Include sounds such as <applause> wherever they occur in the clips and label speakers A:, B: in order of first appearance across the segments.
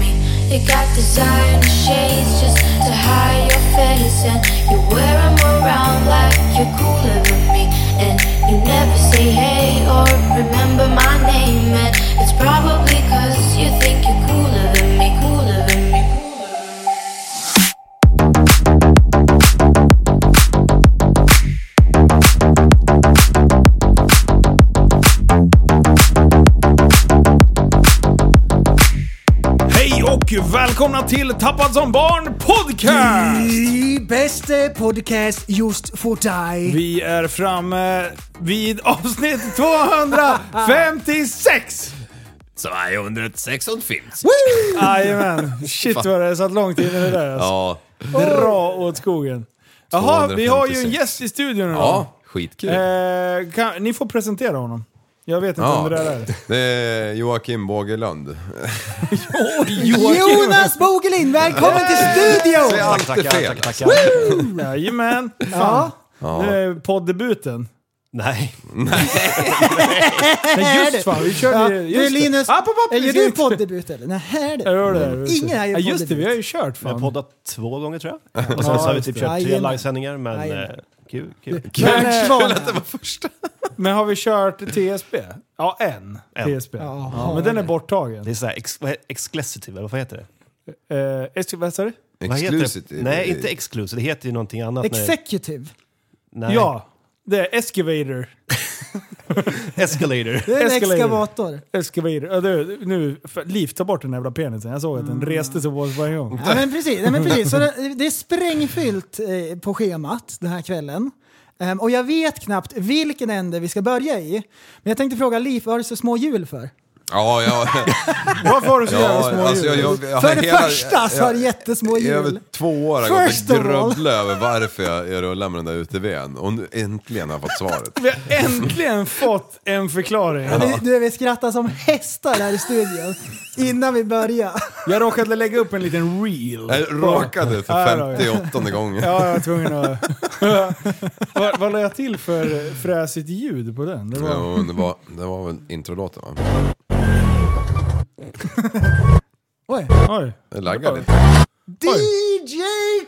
A: me. You got designer shades just to hide your face, and you wear 'em around like you're cooler than me. And you never say hey or remember my name, and it's probably 'cause you think you're cooler than me, cooler than me.
B: Hej och välkomna till Tappad som barn podcast!
C: I bästa podcast just för dig.
B: Vi är framme vid avsnitt 256!
D: Så är jag under ett sexon finns
B: Jajamän, shit vad det satt långt in i det där alltså.
D: Ja,
B: Dra åt skogen. Jaha, vi har ju en
D: 256.
B: gäst i studion idag.
D: ja skitkul.
B: Eh, kan, ni får presentera honom. Jag vet inte om det där är.
E: Det är Joakim Bågelund.
C: Jonas Bogelin, välkommen till
E: Det är
C: studion!
E: alltid fel.
B: Jajamän! Fan.
C: Ja.
B: Det är poddebuten.
F: Nej.
B: <laughs> Nej just fan, vi
C: Ja,
B: körde ju...
C: du
B: just det.
C: Linus,
B: Ah, pop, pop,
C: är ju
B: precis.
C: du poddebut eller? Nähä
B: Ja, det
C: du.
B: var det, just det.
C: Ingen här gör
B: Ja, Just det,
C: poddebut.
B: vi har ju kört fan.
F: Jag har poddat två gånger tror jag. Och sen så har vi typ kört tre
C: Jajamän.
F: livesändningar, men
C: Jajamän.
F: eh, kul, kul.
C: Men, eh,
B: Men har vi kört TSB? Ja, en,
F: En.
B: TSB.
C: Ja,
B: Ja, men den är borttagen.
F: Det är såhär ex, vad he- exclusive, eller vad heter det?
B: Eh, ex- vad sa du?
F: Vad heter
E: Exclusive.
F: det? Nej, inte exclusive. Det heter ju någonting annat. när-
C: Executive.
F: Nej.
B: Ja, det är Excavator.
F: <laughs> Escalator.
C: Det är en
B: Escalator.
C: exkavator.
B: Excavator. Ja, du, nu, för- Liv, ta bort den jävla penisen. Jag såg att
C: Mm.
B: den reste sig på oss varje
C: <laughs>
B: gång.
C: Ja men precis, nej, men precis. Så det, det är sprängfyllt eh, på schemat den här kvällen. Ehm, och jag vet knappt vilken ände vi ska börja i. Men jag tänkte fråga Liv, vad har du så små hjul för?
E: Ja, ja.
B: Varför har du så jävla små
E: ja alltså, jag,
B: hjul?
E: jag, jag,
C: För det
E: hela-
C: första så har du
E: jag-
C: jättesmå
E: I över
C: hjul.
E: två år har jag
C: First
E: gått
C: of
E: och
C: all.
E: grubblat över varför jag, jag rullar med den där UTVn. Och nu äntligen har jag fått svaret.
B: Vi har äntligen fått en förklaring.
C: Du, du, vi skrattar som hästar här i studion innan vi börjar.
B: Jag råkade lägga upp en liten reel.
E: Jag råkade för
B: Ja, då, ja.
E: 58 gången.
B: Ja, jag var tvungen att... <laughs> vad, vad la jag till för fräsigt ljud på den? Det var...
E: Ja, men det, var, det var väl introlåten va?
C: Oj.
B: Oj.
E: Det laggar lite.
C: DJ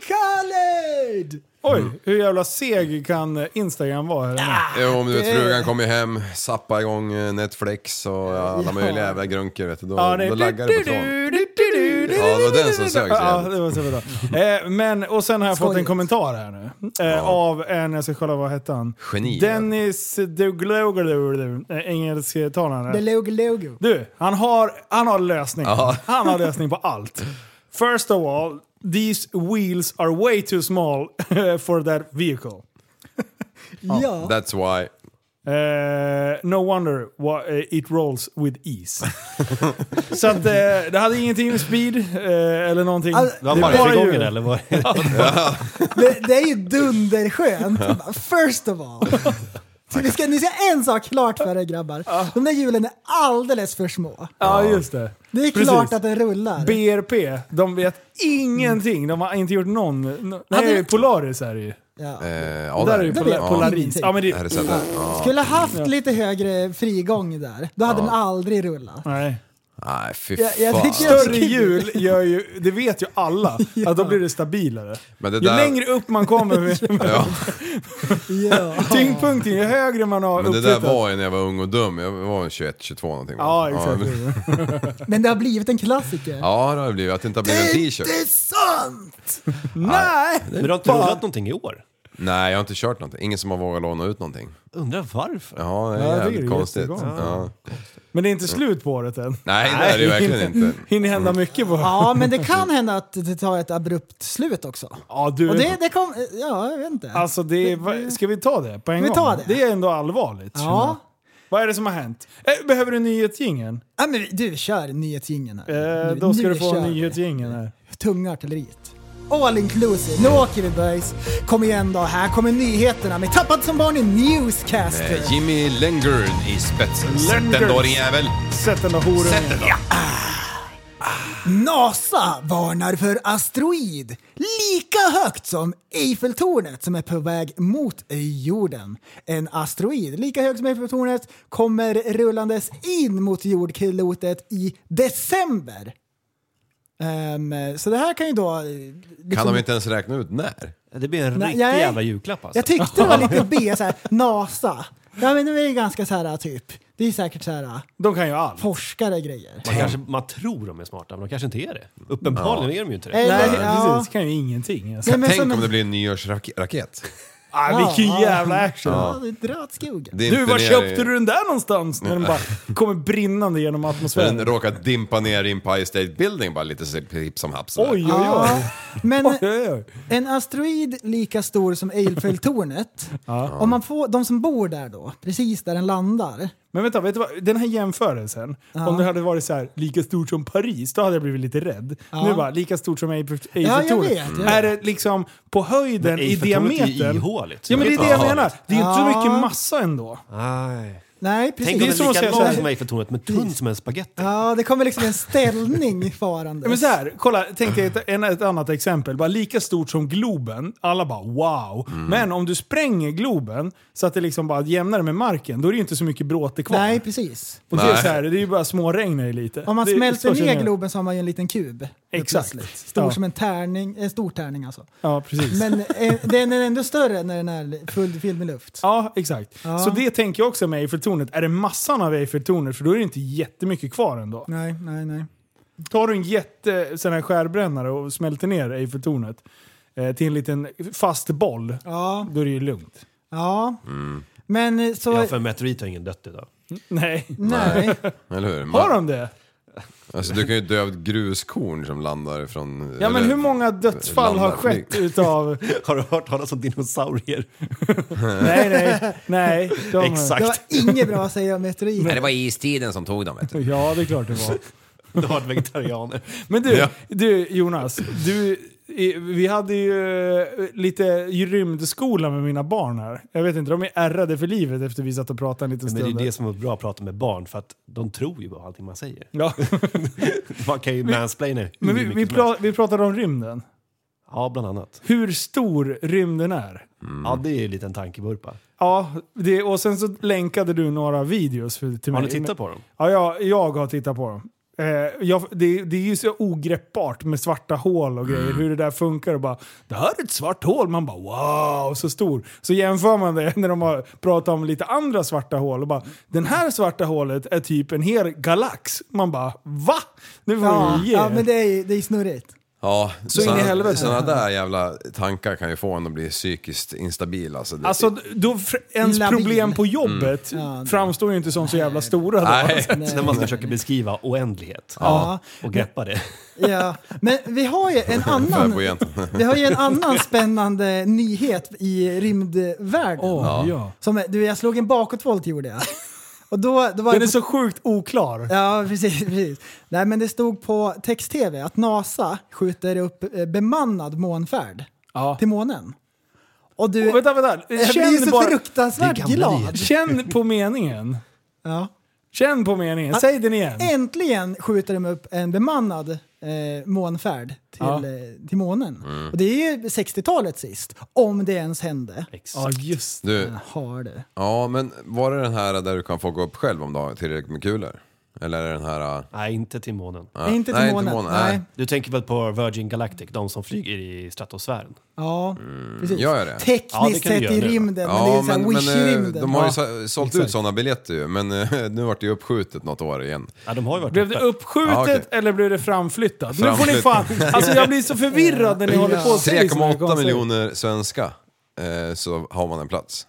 C: Khaled!
B: Oj, hur jävla seg kan Instagram vara? Här inne?
E: Jo, men du vet frugan kom ju hem, zappa igång eh, Netflix och alla möjliga jävla grunker vet du. Då,
B: Ja,
E: då laggar det på tråden. Ja, det var den som sög sig.
B: Ja, det var så bra. Eh, men, och sen har jag fått en
C: Skojigt.
B: kommentar här nu. Eh, Av en, jag ska kolla vad hette han?
E: Geni.
B: Dennis Duglogodoglou, eh,
C: Det
B: engelsktalande.
C: låg logo.
B: Du, han har, han har lösning.
E: Ja.
B: Han har lösning på allt. First of all, these wheels are way too small <laughs> for that vehicle.
C: Ja.
E: That's why.
B: Eh, no wonder why eh, it rolls with ease. så att eh, det hade ingenting med speed eh, eller någonting.
C: All- Alltså, Det
F: Det var
B: är bara
F: varvgången
B: ljud.
F: eller? Vad?
C: Det, det är ju dunderskönt. First of all. Så ni, ska, ni ska ha en sak klart för er grabbar. De där hjulen är alldeles för små.
B: Ja, just det.
C: Det är
B: Precis.
C: klart att den rullar.
B: BRP, de vet ingenting. De har inte gjort någon... No, nej,
C: Hade-
B: Polaris är det ju.
C: Ja.
E: Eh, ja,
B: Där är ju
C: Där
B: Pola-
C: vet man
B: Polaris.
C: ingenting.
B: Ja, men
E: Här är
B: det,
E: sättet. Ja.
C: Skulle haft lite högre frigång där, då hade den aldrig rullat.
B: nej.
E: Nej, fy fan.
C: Jag- jag tycker-
B: Större hjul gör ju, det vet ju
C: <laughs>
B: alla, att då blir det stabilare.
E: Men det
B: ju
E: där-
B: längre upp man kommer, med, med
E: Ja,
C: <laughs> Ja.
B: tyngdpunkten, ju högre man har
E: men det där
B: uppflyttat.
E: var ju när jag var ung och dum. Jag var 21, 22 någonting.
B: Ja, exakt.
E: men-
C: Men det har blivit en klassiker.
E: Ja, det har det blivit. Att det inte har blivit en t-shirt.
C: Det är sant!
B: <laughs> Nej!
F: <laughs> Men du har inte rullat någonting i år?
E: Nej, jag har inte kört någonting. Ingen som har vågat låna ut någonting.
F: Undrar varför?
E: Ja, det
B: Ja, jag tycker
E: är jävligt
B: det är
E: konstigt.
B: jättekonstigt.
E: Ja.
B: Men det är inte slut på året än.
E: Nej, det är det ju verkligen inte.
B: hinner hända mycket på
C: Ja, men det kan hända att det tar ett abrupt slut också.
B: Ja, du,
C: Och det, det kom... Ja, jag vet inte.
B: alltså det, är- va- ska vi ta det på en
C: Vi
B: gång?
C: tar det.
B: är ändå allvarligt. känner jag.
C: ja.
B: Vad är det som har hänt? Eh, Behöver du nyhetsjingeln?
C: ja, men du kör nyhetsjingeln här.
B: Eh,
C: Nu-
B: då ska
C: nu
B: du få
C: kör vi.
B: nyhetsjingeln här.
C: Tunga artilleriet. All inclusive, nu åker vi boys. Kom igen då, här kommer nyheterna med Tappad som barn i Newscaster.
E: Eh, Jimmy Lengren i spetsen. Sätt den
B: Lengren.
E: då din jävel!
B: Sätt den där horungen.
C: NASA varnar för asteroid lika högt som Eiffeltornet som är på väg mot jorden. En asteroid lika hög som Eiffeltornet kommer rullandes in mot jordklotet i december. Ehm, så det här kan ju då... eh,
E: Kan
C: liksom-
E: de inte ens räkna ut när?
F: Det blir en
C: Nej,
F: riktig
C: jag-
F: jävla julklapp alltså.
C: Jag tyckte det var lite
B: <laughs>
C: B, så här, NASA. Ja men det är ju ganska så här typ, det är säkert så här
B: De kan ju allt.
C: forskare grejer.
F: man, kanske, man tror de är smarta, men de kanske inte är det. Uppenbarligen är de ju inte det.
C: Eller-
B: Nej,
C: ja.
B: precis. kan ju ingenting. Alltså.
C: Nej, men
E: Tänk
C: som-
E: om det blir en nyårsraket.
B: Ah, vilken jävla action.
C: Ja, det drar åt skogen.
E: Dimper
B: Du, var
E: ner
B: köpte
E: i-
B: du den där någonstans? När den bara kommer brinnande genom
E: Den
B: atmosfären.
E: råkade dimpa ner i Empire State Building bara lite så- hipp som happ sådär.
B: Oj, oj,
C: Ja,
B: oj. <laughs>
C: men
B: oj, oj, oj.
C: En asteroid lika stor som
B: <laughs>
C: Eiffeltornet. Om man får, de som bor där då, precis där den landar.
B: Men vänta, vet du vad? den här jämförelsen. Om det hade varit så här, lika stort som Paris, då hade jag blivit lite rädd. Nu bara, lika stort som Eiffel-
C: jag
B: Eiffeltornet.
C: vet, jag vet.
B: Är det liksom på höjden i
F: Eiffeltornet är ju
B: diametern?
F: ihåligt.
B: Ja men det är det jag
E: Ja.
B: menar. Det är inte så
C: Ja.
B: mycket massa ändå.
F: Nej.
C: Nej,
F: Tänk om
C: precis.
B: som
F: den är
B: att
F: lika
B: säga så
F: lång
B: här-
F: som Eiffeltornet, men tunn som en spagetti.
C: Ja, det kommer liksom en ställning farandes.
B: Ja, <laughs> men så här, kolla, tänk dig ett, en, ett annat exempel. Bara lika stort som Globen. Alla bara wow.
C: Mm.
B: Men om du spränger Globen så att det liksom bara jämnar med marken, då är det ju inte så mycket bråte kvar.
C: Nej, precis.
B: Och det är
E: Nej.
B: så här, det är ju bara småregn här lite.
C: Om man
B: det,
C: smälter
B: så känner
C: ner
B: jag.
C: Globen så har man ju en liten kub.
B: Exakt.
C: plötsligt. Stor
B: Ja.
C: som en tärning, en stor tärning alltså.
B: Ja,
C: <laughs>
B: precis.
C: Men eh, den är ändå större när den är fullfylld med luft.
B: Ja, exakt. Så det tänker jag också med Eiffeltornet. Är det massan av Eiffeltornet, för då är det inte jättemycket kvar ändå.
C: Nej, nej, nej.
B: Tar du en jätte sån här skärbrännare och smälter ner Eiffeltornet eh, till en liten fast boll,
C: Ja,
B: då är det ju lugnt.
C: ja. Men eh, så...
F: Ja, för en meteorit har ingen dött idag.
B: Nej.
C: nej.
E: Eller hur?
B: Har de det?
E: Alltså du kan ju dö av ett gruskorn som landar från...
B: Ja men
E: eller-
B: hur många dödsfall har
E: landar
B: skett
F: <laughs>
B: utav...
F: Har du hört talas om dinosaurier?
B: Nej nej, nej. de-
F: Exakt.
C: Det var inget bra att säga om meteoriter.
E: Nej, det var istiden som tog dem vet du.
B: Ja det är klart det var.
F: Du har vegetarianer.
B: Men du,
E: Ja.
B: du Jonas. Du, eh, vi hade ju eh, lite rymdskola med mina barn här. Jag vet inte, de är ärrade för livet efter vi satt och pratade en liten
F: Men det är
B: stund.
F: ju det som är bra att prata med barn, för att de tror ju på allting man säger.
B: Ja.
F: <laughs> Man kan ju mansplaina hur
B: Men vi,
F: mycket
B: vi,
F: som helst.
B: pra, vi pratade om rymden.
F: Ja, bland annat.
B: Hur stor rymden är.
F: Ja, det är ju lite en tankevurpa.
B: Ja, det, och sen så länkade du några videos för, till
F: Har
B: mig.
F: ni tittat på dem?
B: Ja, jag, jag har tittat på dem. Eh, jag, det, det är ju så ogreppbart med svarta hål och grejer, hur det där funkar. Och bara, det här är ett svart hål. Man bara wow, så stor. Så jämför man det <laughs> när de har pratat om lite andra svarta hål och bara den här svarta hålet är typ en hel galax. Man bara va? Nu får
C: Ja,
B: ni ge
C: ja
B: er.
C: men det är, ju- det är snurrigt.
E: Ja,
B: Så in i helvete.
E: Sådana där jävla tankar kan ju få en att bli psykiskt instabil alltså. Det,
B: Alltså då, fr- ens
C: Labil.
B: problem på jobbet
C: Mm. Ja, det-
B: framstår ju inte som så jävla stora. Då. <laughs>
E: nej.
F: När man ska försöka beskriva oändlighet
C: Ja.
F: och greppa det.
C: Ja. Men vi har ju en
E: Fan, på
C: annan,
E: egentligen.
C: vi har ju en annan spännande nyhet i rymdvärlden.
B: Ja. Ja.
C: Som, du, jag slog en bakåtvolt gjorde jag. Och då, då var
B: Den
C: det
B: är så sjukt oklar.
C: Ja, precis. <laughs> precis. Nej, men det stod på text-tv att NASA skjuter upp eh, bemannad månfärd
B: Ja.
C: till månen. Och du,
B: Och vänta, vänta.
C: jag blir
B: Känn,
C: så
B: bara,
C: fruktansvärt
F: Det kan bli.
C: glad.
B: känn på meningen.
C: Ja.
B: Känn på meningen, säg den igen.
C: Äntligen skjuter de upp en bemannad eh, månfärd till,
B: Ja.
C: eh, till månen.
E: Mm.
C: Och det är ju 60-talet sist, om det ens hände.
B: Ja, just det.
E: <laughs> Du,
C: Har det.
E: ja men var det den här där du kan få gå upp själv om du har tillräckligt med kulor? Eller är det den här... äh,
F: Nej, inte till månen.
E: Ja.
C: Inte till
E: nej,
C: månen.
E: Nej.
C: Nej.
F: Du tänker väl på Virgin Galactic, de som flyger i stratosfären?
C: Ja, precis.
E: Mm. Gör jag det?
C: Tekniskt
F: Ja, det kan du
C: sett i
F: göra.
C: rymden, men det är
E: Ja,
C: så här
E: men, men
C: wish i
E: eh,
C: rymden.
E: de har ju
C: Ja.
E: så- sålt ut
C: exakt.
E: sådana biljetter ju, men eh, <laughs> nu vart det ju uppskjutet något år igen.
F: Ja, de har ju varit
B: Blev det
F: uppe.
B: uppskjutet
E: Ja, okej.
B: eller blev det framflyttat? Nu får ni fan...
E: Framflyttat.
B: Alltså jag blir så förvirrad när ni håller
E: Alltså,
B: på liksom, och säger såna här
E: 3,8
B: konstiga-
E: miljoner svenska eh, så har man en plats.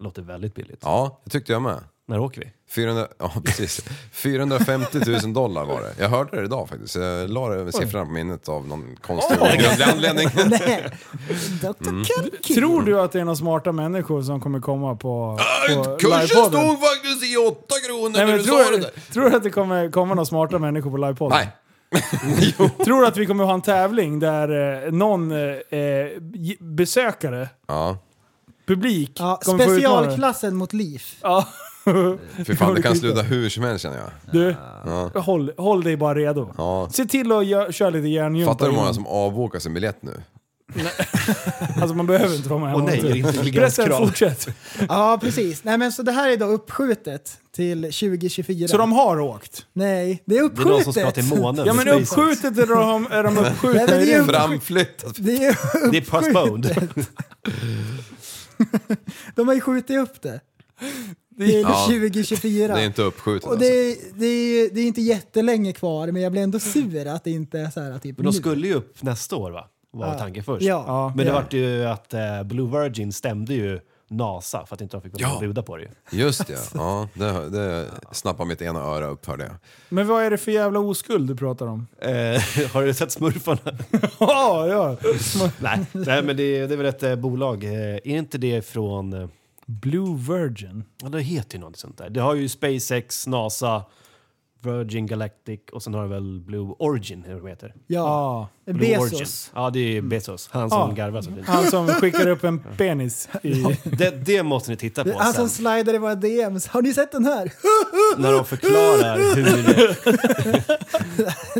F: Låter väldigt billigt.
E: Ja, det tyckte jag med.
F: När åker vi?
E: 400, <laughs> ja, precis. 450 000 dollar var det. Jag hörde det idag faktiskt. Jag la det- siffran på minnet av någon konstig outgrundlig
B: <laughs>
E: anledning.
C: <laughs> Nej. Dr.
E: Mm.
C: Kirky.
B: Tror du att det är några smarta människor som kommer komma på, på
E: Äh, Kursen
B: livepodden?
E: stod faktiskt i 8 kronor
B: Nej,
E: när
B: men
E: du sa
B: tror,
E: det
B: du,
E: där.
B: tror du att det kommer komma några smarta människor på livepodden?
E: Nej.
B: <laughs> Tror du att vi kommer ha en tävling där eh, någon eh, eh, j- besökare,
E: Ja,
B: publik,
C: Ja,
B: kommer få utmana dig?
C: specialklassen mot liv.
F: <laughs>
B: Ja. <laughs>
E: fy fan det kan sluta hur som helst känner jag.
B: Du, håll, håll dig bara redo.
E: Ja.
B: Se till att gö- köra lite järngympa.
E: Fattar du hur många
B: innan.
E: som avbokar sin biljett nu?
B: Alltså man behöver inte vara med.
F: Åh nej, det är
B: Pressen,
F: intelligenskrav.
B: fortsätt.
C: Ja, precis. Nej, men så det här är då uppskjutet till 2024.
B: Så de har åkt?
C: Nej, det är
F: Det
C: uppskjutet.
F: är någon som ska till månen.
B: Ja men
F: med SpaceX.
B: uppskjutet är de, är de
C: <laughs> Nej, men
B: uppskjutna
C: det
B: i
C: är ju-
B: rymden.
E: Framflyttat.
C: Det är
F: Det är postponed.
C: De har ju skjutit upp det. Till
E: Ja.
C: 2024.
E: Det är inte uppskjutet
C: och
E: alltså.
C: det, är- det, är, det är inte jättelänge kvar, men jag blir ändå sur att det inte är så här typ
F: Men de
C: nu.
F: skulle ju upp nästa år va? Var tanken först.
C: Ja.
B: Ja.
F: Men det vart ju att eh, Blue Virgin stämde ju NASA för att inte de fick ja.
E: Ja.
F: bjuda på det ju.
E: Just det, ja. Det, det snappade mitt ena öra upp hörde jag.
B: Men vad är det för jävla oskuld du pratar om? <laughs>
F: Eh, <laughs> har du
C: <laughs>
F: sett Smurfarna?
B: Ja, ja.
F: nej. nej, men det, det är väl ett eh, bolag. Eh, är inte det från... Eh,
B: Blue Virgin.
F: ja, det heter ju något sånt där. Det har ju SpaceX, NASA, Virgin Galactic och sen har det väl Blue Origin, hur de heter.
C: Ja,
B: Ja.
F: Blue Origin.
C: Bezos.
F: Ja, det är ju Bezos. Han som
B: Ja.
F: garvar så fint.
B: Han som skickar upp en penis i...
F: Det, det måste ni titta på
C: Han som
F: sen.
C: slidar i Alltså, våra DMs. Har ni sett den här?
F: när de förklarar
C: <laughs>
F: hur...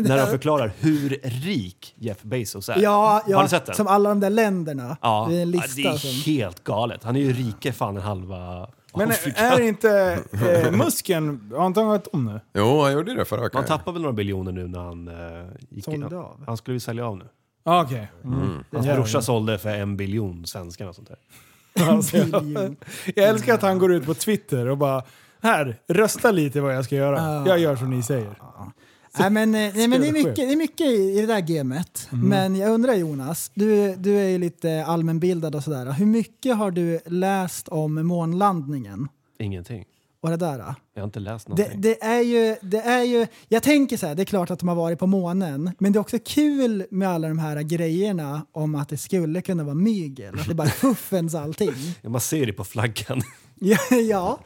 F: när de förklarar hur rik Jeff Bezos är.
C: Ja, ja
F: Har ni sett den?
C: som alla de där länderna.
F: ja.
C: Det är en lista.
F: Ja, det är
C: som,
F: helt galet. Han är ju rike fan en halva...
B: Men är,
F: Afrika.
B: är
C: <laughs>
B: inte eh, muskeln... Har inte han varit om nu?
E: Jo, han gjorde det förra veckan.
F: Man tappar väl några biljoner nu när han eh, gick
C: Sålde
F: in.
C: av.
F: Han skulle ju sälja av nu.
B: Ah, Okej.
F: Hans
B: jävlar.
F: brorsa sålde för en biljon svenskar och sånt där.
B: Alltså, jag, jag älskar att han går ut på Twitter och bara här, rösta lite vad jag ska göra. Jag gör som ni säger.
C: <laughs> nej, men, eh, nej, men det, är
B: Spelchef.
C: mycket, det är mycket i i det där gamet. Men jag undrar Jonas, du, du är ju lite allmänbildad och sådär. Hur mycket har du läst om månlandningen
F: Ingenting.
C: och det där? då?
F: Jag har inte läst
C: Det,
F: någonting.
C: det, är ju, det är ju, jag tänker så här, det är klart att de har varit på månen, men det är också kul med alla de här grejerna om att det skulle kunna vara mygel, att det bara är fuffens allting.
F: Ja, Man ser det på flaggan.
C: Ja, <laughs> ja.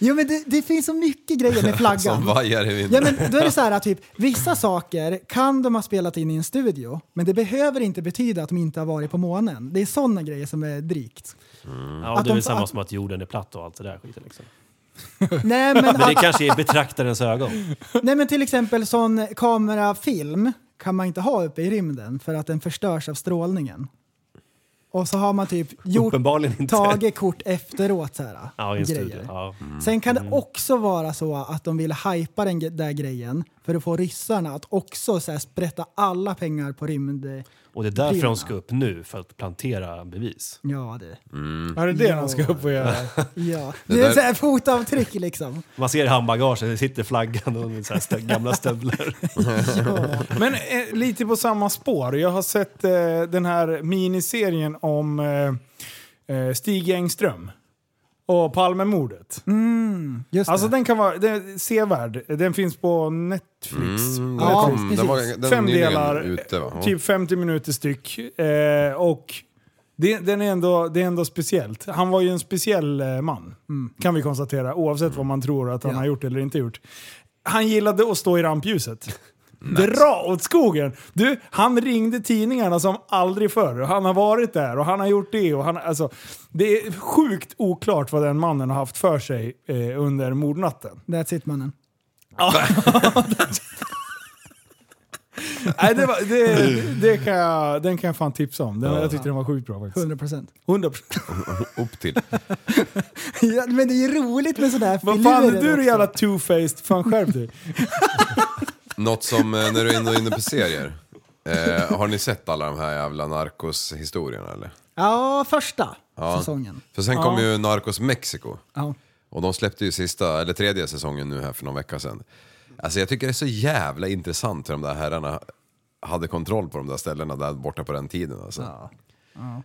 C: Jo men det, det finns så mycket grejer med
E: Som
C: flaggan.
E: vajar i
C: Ja
E: vinden.
C: men då är det så här typ, vissa saker kan de ha spelat in i en studio, men det behöver inte betyda att de inte har varit på månen. Det är sådana grejer som är drygt.
F: Ja,
C: Mm. Att
F: det är
C: de-
F: väl samma
C: att-
F: som att jorden är platt och allt det där skiten. Liksom.
C: Nej men,
F: <laughs> Men det
C: att,
F: kanske är betraktarens ögon.
C: nej men till exempel sån kamerafilm kan man inte ha uppe i rymden för att den förstörs av strålningen. Och så har man typ gjort,
F: Uppenbarligen inte.
C: tagit kort efteråt så här.
F: Ja, i en studio.
C: grejer.
F: Ja. Mm.
C: Sen kan det också vara så att de vill hypa den ge- där grejen för att få ryssarna att också så här, sprätta alla pengar på rymd...
F: Och det är därför
C: Prylarna.
F: de ska upp nu, för att plantera bevis.
C: Ja, det.
B: Är det det han ska upp och göra?
C: Ja.
E: Mm. Det
C: Det
E: där-
C: är så här fotavtryck liksom.
F: Man ser i handbagaget, det sitter flaggan och så här stö- gamla stövlar.
B: Men eh, lite på samma spår. Jag har sett eh, den här miniserien om eh, eh, Stig Engström och Palmemordet.
C: Just
B: Alltså
C: det.
B: den kan vara den är sevärd. Den finns på Netflix.
E: Mm,
C: Ja,
E: den kom,
C: precis.
E: den var, den
B: Fem
E: är nyligen
B: delar,
E: ute va? Ja.
B: Typ 50 minuter styck. Eh, och det, den är ändå, det är ändå speciellt. Han var ju en speciell eh, man, kan vi konstatera. Oavsett vad man tror att han har gjort eller inte gjort. Han gillade att stå i rampljuset. Dra åt skogen! Du, han ringde tidningarna som aldrig förr. Han har varit där och han har gjort det. Och han, alltså, det är sjukt oklart vad den mannen har haft för sig eh, under mordnatten.
C: That's it mannen.
B: Nej, det var, det, det kan jag, den kan jag fan tipsa om. Den, Jag tyckte den var sjukt bra faktiskt.
C: 100 procent. <laughs>
B: 100
E: Upp till.
C: Ja, men det är ju roligt med sådana här
B: Vad fan är
C: filurer
B: du
C: också.
B: då jävla two-faced? Fan skärp dig.
E: Något som eh, när du är ändå inne på serier. Eh, har ni sett alla de här jävla Narcos-historierna eller?
C: Ja, första säsongen.
E: För sen kom ju Narcos Mexico.
C: Ja.
E: Och de släppte ju sista, eller tredje säsongen nu här för någon vecka sedan. Alltså jag tycker det är så jävla intressant hur de där herrarna hade kontroll på de där ställena där borta på den tiden alltså.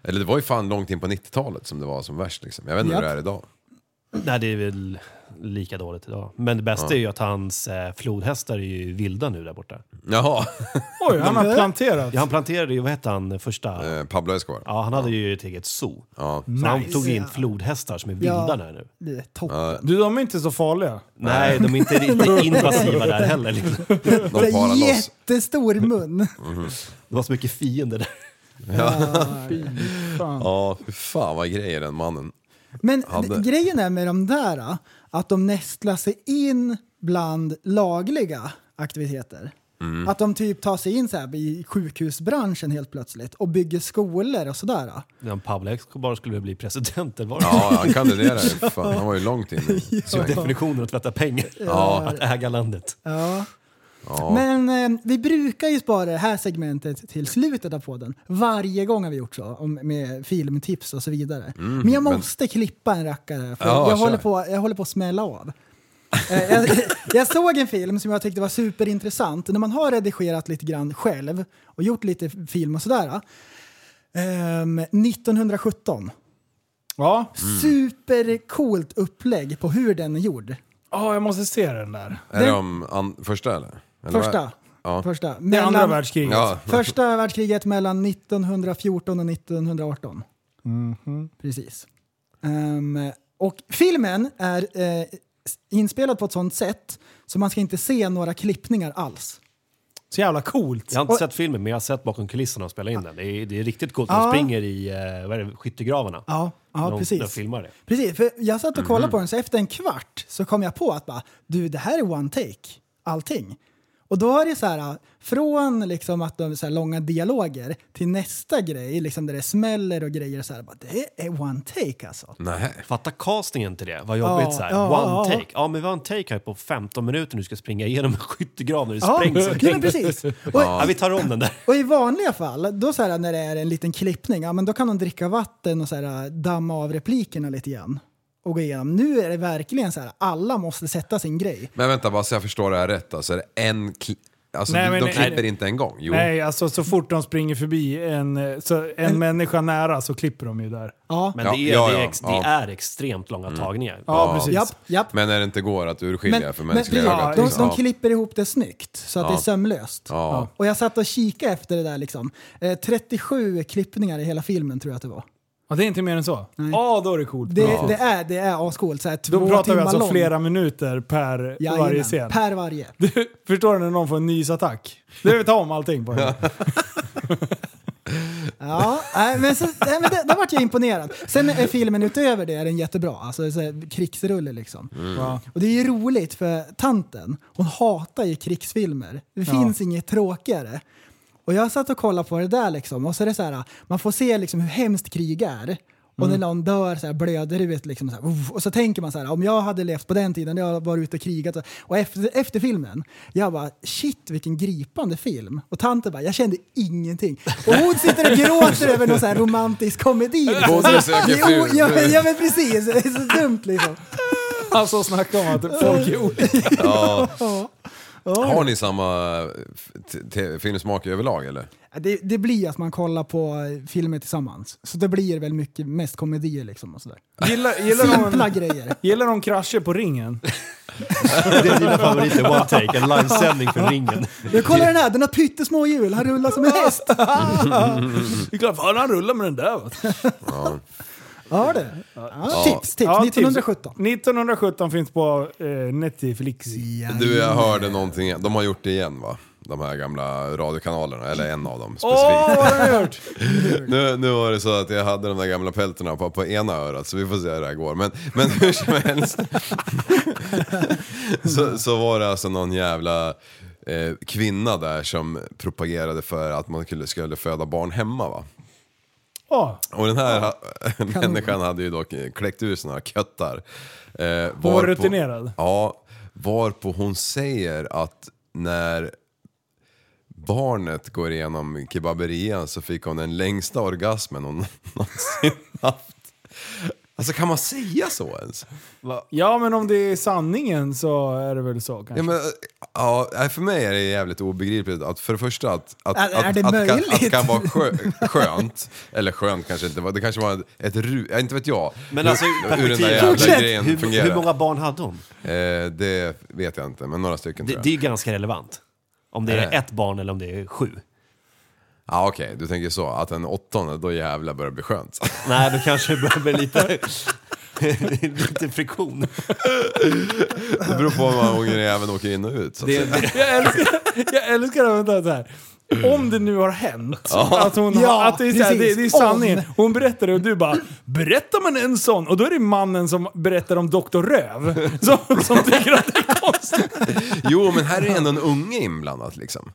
E: Eller det var ju fan långt in på 90-talet som det var som värst liksom. Jag vet inte hur det
C: Japp.
E: är idag.
F: <laughs> Nej, det är väl lika dåligt idag. Men det bästa är ju att hans eh, flodhästar är ju vilda nu där borta.
E: Jaha,
B: <laughs> Oj, han har planterat.
F: Ja, han planterade ju, vad hette han, första...
E: Eh, Pablo Escobar.
F: Ja, Mm. han hade ju ett eget zoo.
E: Ja.
F: Så han
C: Nice.
F: tog in flodhästar som är vilda
C: Ja.
F: där nu.
C: Det är topp.
B: Du, de är inte så farliga.
F: Nej, de är
C: <laughs>
F: inte, inte invasiva där heller. Liksom.
E: De
C: Det är
E: parar loss. <laughs>
C: jättestor mun.
F: Det var så mycket fiender där.
E: Ja, fy fan vad grejer den mannen.
C: Men
E: Hade.
C: grejen är med de där att de nästlar sig in bland lagliga aktiviteter.
E: Mm.
C: Att de typ tar sig in så här i sjukhusbranschen helt plötsligt och bygger skolor och sådär.
F: När Pablo Escobar skulle bli president, eller var det
E: Ja, han kandiderade ju. Fan, han var ju långt inne.
F: så? Definitionen att tvätta pengar.
E: Ja.
F: Att äga landet.
C: Ja.
E: Ja.
C: Men eh, vi brukar ju spara det här segmentet till slutet av podden. Varje gång har vi gjort så, om, med filmtips och så vidare. men jag måste klippa en rackare, för
E: Mm, Ja,
C: jag,
E: kör.
C: håller på, jag håller på att smälla av. Eh, jag, <laughs> jag såg en film som jag tyckte var superintressant. När man har redigerat lite grann själv och gjort lite film och sådär. ehm, 1917.
B: Ja.
E: Mm.
C: Supercoolt upplägg på hur den är gjord.
B: Ja, jag måste se den där.
E: Är det de an- första eller? eller
C: Första.
E: vad? Ja.
C: Första.
B: Det är andra
C: Mellan-
B: världskriget.
E: Ja,
C: Första världskriget mellan 1914 och 1918. Mhm. Precis. Ehm, och filmen är eh, inspelad på ett sånt sätt så man ska inte se några klippningar alls.
B: Så jävla coolt.
F: Jag har inte
C: Och-
F: sett filmen, men jag har sett bakom kulisserna och spelat in den. Det är, det är riktigt coolt. De
C: Ja.
F: springer i eh, vad är det, skyttegravarna.
C: Ja, ja
F: de, De
C: precis. Mhm.
F: filmar det.
C: Precis, för jag satt och kollade på den så efter en kvart så kom jag på att bara, du det här är one take, allting. Och då är det så här, från liksom att de så här långa dialoger till nästa grej, liksom där det smäller och grejer så här, bara, det är one take alltså.
E: nej.
F: Fatta castingen till det. Vad jobbigt.
C: Ja,
F: så här.
C: ja, ja,
F: one
C: ja.
F: take. Ja, men vi har en take här på 15 minuter nu ska springa igenom en skyttegrav när det
C: Ja,
F: sprängs
C: ja
F: omkring.
E: <laughs>
C: men precis. Och,
F: Ja, vi tar om den där.
C: och i vanliga fall, då så här, när det är en liten klippning, ja, men då kan de dricka vatten och så här, damma av replikerna lite grann. Och gå igenom. Nu är det verkligen så här, alla måste sätta sin grej.
E: Men vänta bara så jag förstår det här rätt. Alltså är det en kli- Alltså
B: Nej,
E: de-
B: men-
E: de
B: nej.
E: klipper inte en gång? Jo.
B: Nej, alltså så fort de springer förbi en, eh, så, en människa nära så klipper de ju där.
C: Ja,
F: Men
E: Ja,
F: det, är,
E: ja,
F: det, är
E: ja,
F: ex,
E: ja. Mm.
F: det är extremt långa tagningar.
B: Ja, precis.
C: japp, japp.
E: Men när det inte går att urskilja för mänskliga
B: precis.
E: ögat.
C: de,
E: liksom.
C: de klipper ihop det snyggt så att det är sömlöst.
E: Ja.
C: Och jag satt och kikade efter det där liksom. Eh, 37 klippningar i hela filmen tror jag att det var.
B: Ja, det är inte mer än så? Ja, då är det coolt.
C: Det,
B: Ja.
C: det är, det är ascoolt. Så här, två
B: Då pratar vi
C: timmar
B: alltså
C: lång.
B: flera minuter per
C: Jajamän,
B: varje scen.
C: Per varje.
B: Du, förstår du när någon får en nysattack? Det vill ta om <laughs> allting på den.
C: <laughs> Ja, nej, men, så, nej, men det, där vart jag imponerad. Sen är filmen utöver det är den jättebra. Alltså så här, krigsrulle liksom.
B: Ja.
C: Och det är ju roligt för tanten, hon hatar ju krigsfilmer. Det finns inget tråkigare. Och jag satt och kollade på det där liksom och så är det så här, man får se liksom hur hemskt krig är. Och
B: Mm.
C: när någon dör så här blöder ut liksom så här, uff. och så tänker man så här om jag hade levt på den tiden, jag hade varit ute och krigat. Och- Och efter, efter filmen, jag bara shit vilken gripande film. Och tanten bara, jag kände ingenting. Och hon sitter och gråter över någon så här romantisk komedi. Liksom.
E: Bonde söker
C: Jo,
E: fru.
C: ja, men, ja men precis, det är så dumt liksom.
B: Alltså snacka om att folk är olika.
E: Har ni samma eh, t- t- filmsmak överlag eller?
C: Det, det blir att man kollar på eh, filmer tillsammans. Så det blir väl mycket mest komedier liksom och sådär.
B: Gillar, gillar,
C: Simpla
B: de,
C: grejer.
B: gillar de krascher på ringen?
C: <laughs>
F: Det är dina favoriter, one take, en livesändning från ringen.
C: Jag kollar den här, den har pyttesmå hjul, han rullar som en häst.
B: Det är klart, fan han rullar med den där. va?
C: <laughs> Ja du. Ja, tips, tips.
B: Ja, tips.
C: 1917.
B: 1917 finns på eh, Netflix.
E: Du, jag hörde någonting. De har gjort det igen va? De här gamla radiokanalerna, eller en av dem specifikt.
B: Åh, vad har jag gjort?
E: Nu, nu var det så att jag hade de där gamla pälterna på, på ena örat så vi får se hur det här går. Men, men hur <laughs> som helst. så, så var det alltså någon jävla eh, kvinna där som propagerade för att man skulle, skulle föda barn hemma va.
B: Ja,
E: Och den här ha, <laughs> människan hade ju då kläckt ur sina köttar. Eh,
B: var
E: varpå-
B: rutinerad.
E: Ja, varpå hon säger att när barnet går igenom kebaberian så fick hon den längsta orgasmen hon <laughs> någonsin haft. Alltså kan man säga så ens?
B: ja, men om det är sanningen så är det väl så kanske.
E: Ja, men, ja, nej, för mig är det jävligt obegripligt att för det första att, att,
C: Är- är
E: att,
C: det
E: att, kan-
C: möjligt?
E: att det kan vara sjö, skönt, eller skönt kanske inte var, det kanske var ett, ett ru, ja, inte vet jag,
F: Men alltså,
E: hur, hur den där jävla
C: Fortsätt!
E: grejen
F: hur,
E: fungerar.
F: hur många barn hade hon?
E: Eh, det vet jag inte, men några stycken
F: Det,
E: tror jag.
F: det är ju ganska relevant. Om det
E: Är det?
F: är ett barn eller om det är sju.
E: Ja okej, du tänker så, att en åttonde, då jävlar börjar det bli skönt.
F: Nej, då kanske det börjar bli lite, <laughs> lite friktion.
E: Det beror på hur många gånger även åker in och ut. Så att säga.
B: Jag älskar, jag älskar att vänta så här. Om det nu har hänt, att, hon har,
C: Ja,
B: att det, är så här, det,
C: precis.
B: det är sanningen. Hon berättar det och du bara “berättar man en sån?” och då är det mannen som berättar om Dr. Röv <laughs> som, som tycker att det är konstigt.
E: Jo men här är ändå en unge inblandad liksom.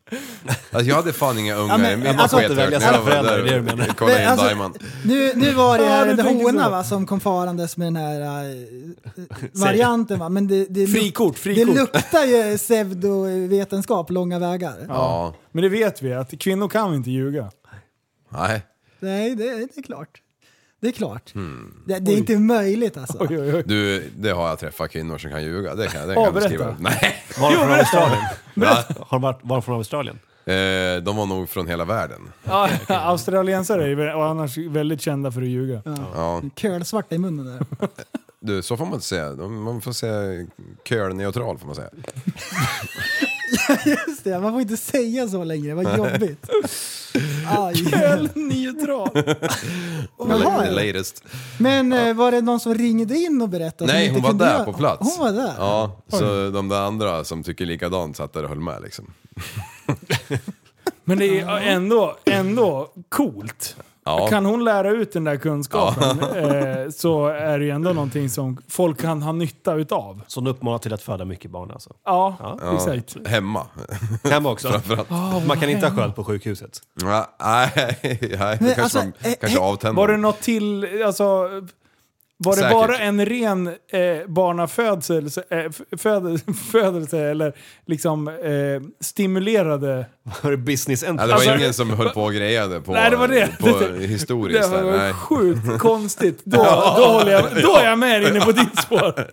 E: Alltså, jag hade fan inga ungar,
C: Ja, men-
E: min
C: alltså,
E: sket
F: inte välja
E: högt när
F: sina
E: jag var
F: föräldrar,
E: där
F: det är det du menar.
E: och kollade
C: Nej,
E: in
C: alltså,
E: Diamond.
C: Nu, nu var det
B: Ja, du
C: den där
B: tänker
C: hona
B: så.
C: va, som kom farandes med den här eh,
B: <laughs>
C: varianten va. Men det, det,
B: Frikort,
C: det
B: frikort.
C: luktar ju pseudovetenskap långa vägar.
E: Ja,
B: Men det vet vi, att kvinnor kan inte ljuga.
E: nej.
C: Nej, det, det är klart. Det är klart.
E: Hmm.
C: Det, det är inte möjligt alltså.
B: Oj, oj, oj.
E: Du, det har jag träffat kvinnor som kan ljuga. Det kan,
B: Ja,
E: det kan jag
B: berätta. <laughs>
E: beskriva. Nej.
F: Var de från Australien?
E: Va?
F: Har de varit, var de från Australien?
E: Eh, de var nog från hela världen.
B: Ja, <laughs> australiensare är väl- och annars väldigt kända för att ljuga.
E: Ja.
C: Kölsvarta i munnen där.
E: Du, så får man inte säga. De- Man får säga kölneutral får man säga.
C: Just det, man får inte säga så längre,
B: <laughs>
C: vad jobbigt. Aj.
E: <laughs>
B: Neutral.
E: The
C: Jaha, ja.
E: latest.
C: Men eh, var det någon som ringde in och berättade? att
E: Nej,
C: inte
E: hon var
C: kunde
E: där
C: göra-
E: på plats.
C: Hon var där?
E: Ja, så de där andra som tycker likadant satt där och höll med liksom.
B: Men det är ändå, ändå coolt.
E: Ja.
B: Kan hon lära ut den där kunskapen eh, så är det ju ändå någonting som folk kan ha nytta utav.
F: Så de uppmanar till att föda mycket barn alltså.
B: Ja,
E: Ja,
B: exakt.
E: Hemma.
F: Hemma också. Man kan inte ha sköld på sjukhuset.
E: Nej, <laughs> nej, nej.
C: Men
E: kanske,
C: alltså,
E: de-
C: eh,
E: kanske
C: eh,
E: avtänder.
B: Var det något till, alltså... Var det
E: Säkert.
B: bara en ren eh, barnafödsel, eh, f- födelse, <laughs> födelse eller liksom eh, stimulerade...
F: Var det business
E: Nej,
F: end?
E: det var
B: Alltså-
E: ingen som höll på och grejade på,
B: Nej, det var det.
E: på
B: Det-
E: historiskt.
B: det
E: där.
B: var
E: Nej.
B: sjukt konstigt.
E: <laughs>
B: Då, då, håller jag, då är jag med inne på ditt spår.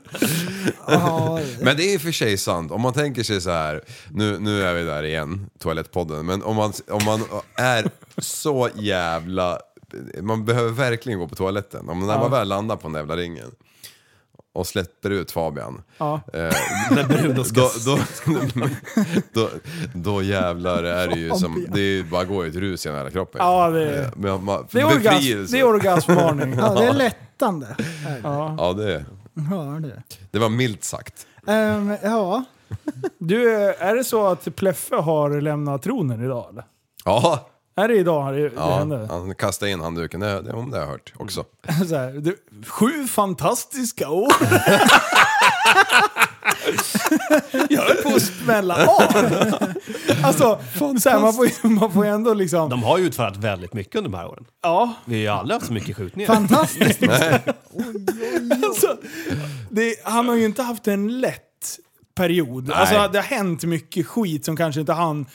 C: Ja,
E: Men det är i och för sig sant, om man tänker sig så här, nu, nu är vi där igen, toalettpodden, men om man, om man är så jävla, man behöver verkligen gå på toaletten, om när man väl landar på den jävla ringen och släpper ut Fabian.
B: <laughs>
E: Eh,
F: När Bruno ska...
E: då, då, <laughs> då, då jävlar är det ju som, det är ju bara går i ett rus i hela kroppen.
B: Ja, det är-
E: Eh, men man,
B: Det är, orgasm,
E: befrielse.
B: det är orgasmvarning.
C: ja, det är lättande.
E: Ja, det, är-
C: Ja, det. är
E: det var milt sagt.
C: det. Ehm, ja.
B: Du, är det så att Pleffe har lämnat tronen idag eller?
E: Ja,
B: Är det idag det, det
E: ja
B: hände?
E: han kastade in handduken, det, det, om det har jag hört också.
B: <laughs> Så här, du, sju fantastiska år! <laughs> jag höll på att smälla av! <laughs> alltså, så här, man, får, ju- man får ju ändå liksom...
F: De har ju utfört väldigt mycket under de här åren.
B: Ja,
F: Vi har ju aldrig haft så mycket
C: <laughs>
F: skjutningar.
C: Fantastiskt!
B: alltså, det, han har ju inte haft en lätt period. Alltså, det har hänt mycket skit som kanske inte han...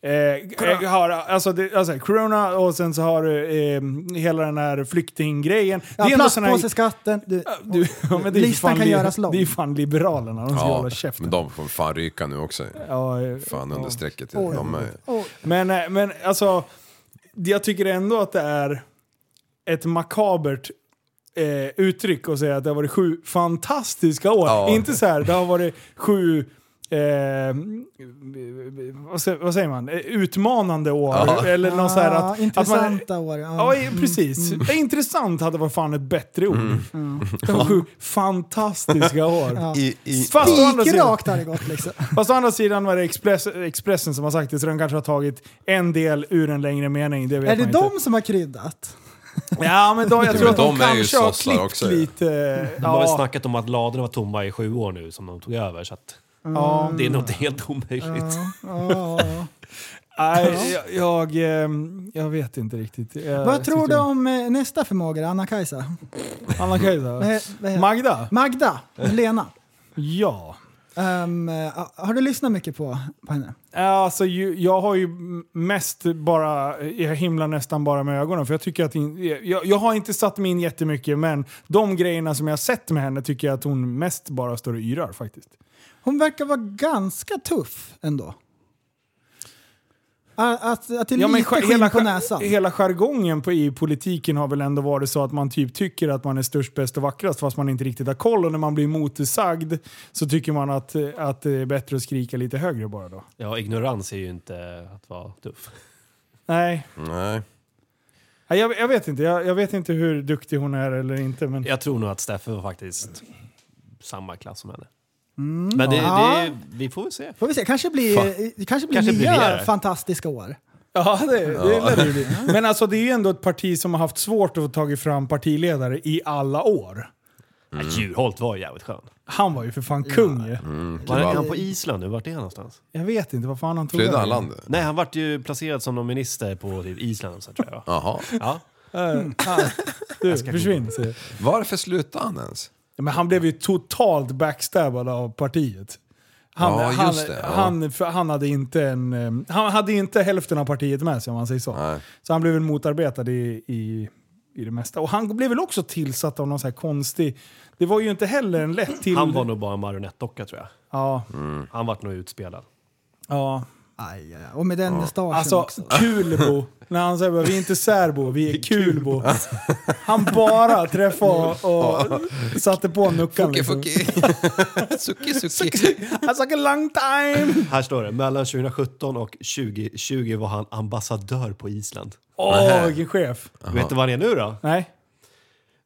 B: Eh, har, alltså, det, alltså, corona och sen så har du eh, hela den här flyktinggrejen.
C: Ja,
B: det är ändå sån här-
C: Plastpåseskatten. Du,
B: Du, ja, men det är ju
C: Listan
B: fan
C: kan
B: li-
C: göras lång.
B: Det är ju fan Liberalerna, de ska hålla Alltså, käften.
E: men de kommer fan ryka nu också.
B: Ja, eh,
E: Fan under strecket.
C: Oj.
E: De är,
C: Oj.
B: Men, eh, men alltså, det- jag tycker ändå att det är ett makabert eh, uttryck att säga att det har varit sju fantastiska år.
E: Ja.
B: Inte så här, det har varit sju... Eh, vad, sä- vad säger man? Eh, Utmanande år.
E: Ja.
B: Eller något så här
C: Ja,
B: att, att man,
C: intressanta år. Ja.
B: Ja, i- precis. Eh, Intressant hade varit fan ett bättre ord.
E: Mm.
B: Det var sju fantastiska år.
E: I, i,
B: Fast å andra sidan-
C: Spikrakt har det
B: <laughs>
C: gått liksom.
B: Fast å andra sidan var det Express, Expressen som har sagt det, så de kanske har tagit en del ur en längre mening. Det vet
C: Är det
B: man inte.
C: de som har kryddat?
B: Ja, men de, jag tror eh,
E: men
B: att de,
E: de är ju
B: kanske har
E: sossar
B: klippt
E: också, ja.
B: lite...
F: De har ju
B: Ja,
F: snackat om att ladorna var tomma i sju år nu som de tog över. Så att
B: Ja.
F: Det är något helt omöjligt.
B: <laughs>
C: Ja, ja.
B: Nej, jag, jag, ehm, jag vet inte riktigt. Jag
C: Vad tror
B: tycker-
C: du om eh, nästa förmåga, Anna-Kajsa? <laughs> Vad
B: Anna-Kajsa?
C: he- vad heter-
B: Magda?
C: Magda, Lena.
B: Ja.
C: Ehm, eh, har du lyssnat mycket på, på henne?
B: Alltså, ju- jag har ju mest bara, jag himlar nästan bara med ögonen för jag tycker att, in- jag, jag har inte satt mig in jättemycket men de grejerna som jag har sett med henne tycker jag att hon mest bara står och yrar faktiskt.
C: Hon verkar vara ganska tuff ändå. Att, att, att det är lite
B: skär-
C: skinn på
B: skär-
C: näsan.
B: hela jargongen på EU-politiken har väl ändå varit så att man typ tycker att man är störst, bäst och vackrast fast man inte riktigt har koll och när man blir motsagd så tycker man att, eh, att det är bättre att skrika lite högre bara då.
F: Ja, ignorans är ju inte att vara tuff.
B: Nej,
E: Nej.
B: Nej, jag, jag vet inte. Jag, jag vet inte hur duktig hon är eller inte men...
F: Jag tror nog att Steffe var faktiskt samma klass som henne.
B: Mm.
F: Men det,
C: Ja.
F: det, vi får väl se.
C: Får vi se, kanske blir, eh, kanske blir
F: Kanske blir
C: nya
F: nyare.
C: fantastiska år.
B: Ja, det, det lär det ju bli. <laughs> Men alltså det är ju ändå ett parti som har haft svårt att få tagit fram partiledare i alla år.
E: Mm.
F: Ja, Juholt var ju jävligt skön.
B: Han var ju för fan kung ju.
F: Var är
E: Kebab.
F: han på Island nu? Vart är han någonstans?
B: Jag vet inte vad fan han tog
E: Flydde
B: vägen.
E: han landet?
F: Nej, han vart ju placerad som någon minister på typ Island så tror jag.
E: Jaha.
F: Ja.
B: Du, försvinn säger jag.
E: Varför slutade han ens?
B: Ja, Men han blev ju totalt backstabbad av partiet. Han,
E: Ja,
B: han,
E: just det, ja.
B: han, för han, hade inte en, eh, han hade inte hälften av partiet med sig om man säger så.
E: Nej.
B: Så han blev väl motarbetad i, i, i det mesta. Och han blev väl också tillsatt av någon så här konstig... Det var ju inte heller en lätt till...
F: Han var nog bara en marionettdocka tror jag.
B: Ja.
F: Han vart nog utspelad.
B: ja.
C: Aj, aj, aj. Och med den mustaschen
B: Alltså
C: också.
B: Kulbo,
C: <laughs>
B: när han säger bara, vi är inte särbo, vi är Kulbo. Han bara träffade och, och satte på nuckan.
E: Fuki
B: liksom.
E: fuki. suki suki.
B: I suck a long time!
F: Här står det, mellan 2017 och 2020 var han ambassadör på Island.
B: Åh, vilken chef!
F: Vet du vad han är nu då?
B: Nej.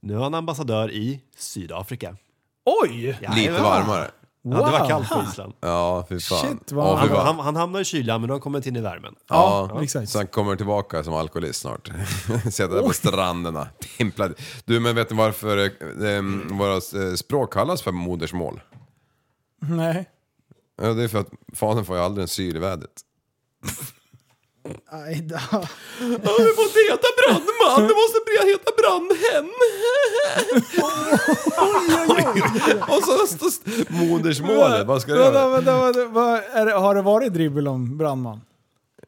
F: Nu är han ambassadör i Sydafrika.
B: Oj!
E: Lite
F: Jajamän.
E: varmare.
F: Ja, det var
B: Wow.
F: kallt på Island.
E: Ja, fy fan.
B: Shit, vad-
E: Ja,
F: Han,
E: fy fan.
F: han, han hamnade i kylan men nu har han kommit in i värmen.
E: Ja,
B: exakt.
E: så han kommer tillbaka som alkoholist snart. <laughs> Sitter där på stranderna, pimplad. Du, men vet ni varför eh, eh, våra eh, språk kallas för modersmål?
B: Nej.
E: Ja, det är för att fadern får ju aldrig en syl i vädret. <laughs>
C: Aj, då.
F: Du måste heta brandman! Du måste heta brandhem!
E: Och så, så, så modersmålet, vad ska det
B: vänta,
E: göra?
B: vänta, vänta, vad är det, Har det varit dribbel om brandman?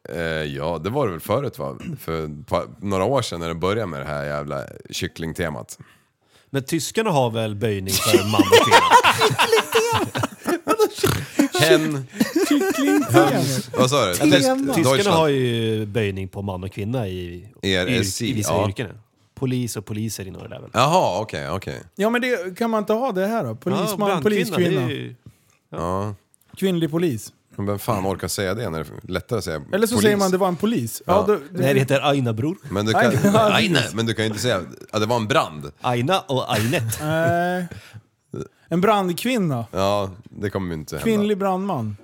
E: Eh, ja, det var det väl förut va? För pa, några år sedan när det började med det här jävla kycklingtemat.
F: Men tyskarna har väl böjning för man
B: <laughs>
F: och kvinna?
E: Hen,
B: Kycklingtemat?
E: vad sa du?
C: Tema.
F: Tyskarna har ju böjning på man och kvinna i,
E: RSC,
F: i, i vissa
E: ja.
F: yrken. Polis och poliser ingår det där väl?
E: Jaha, okej, okej.
B: Ja men det, kan man inte ha det här då? Polisman,
F: brandkvinna,
B: poliskvinna,
F: det är ju-
E: Ja.
B: kvinnlig polis.
E: Men vem fan orkar säga det när det är lättare att säga
B: Eller så
E: polis?
B: säger man det var en polis. Ja, då,
F: Nej, det heter Aina-bror.
E: Men du kan,
B: Aj, ja,
E: nej, nej, men du kan ju inte säga att det var en brand.
F: Aina och Ainet.
B: Nej. en brandkvinna.
E: Ja, det kommer ju inte hända.
B: Kvinnlig brandman.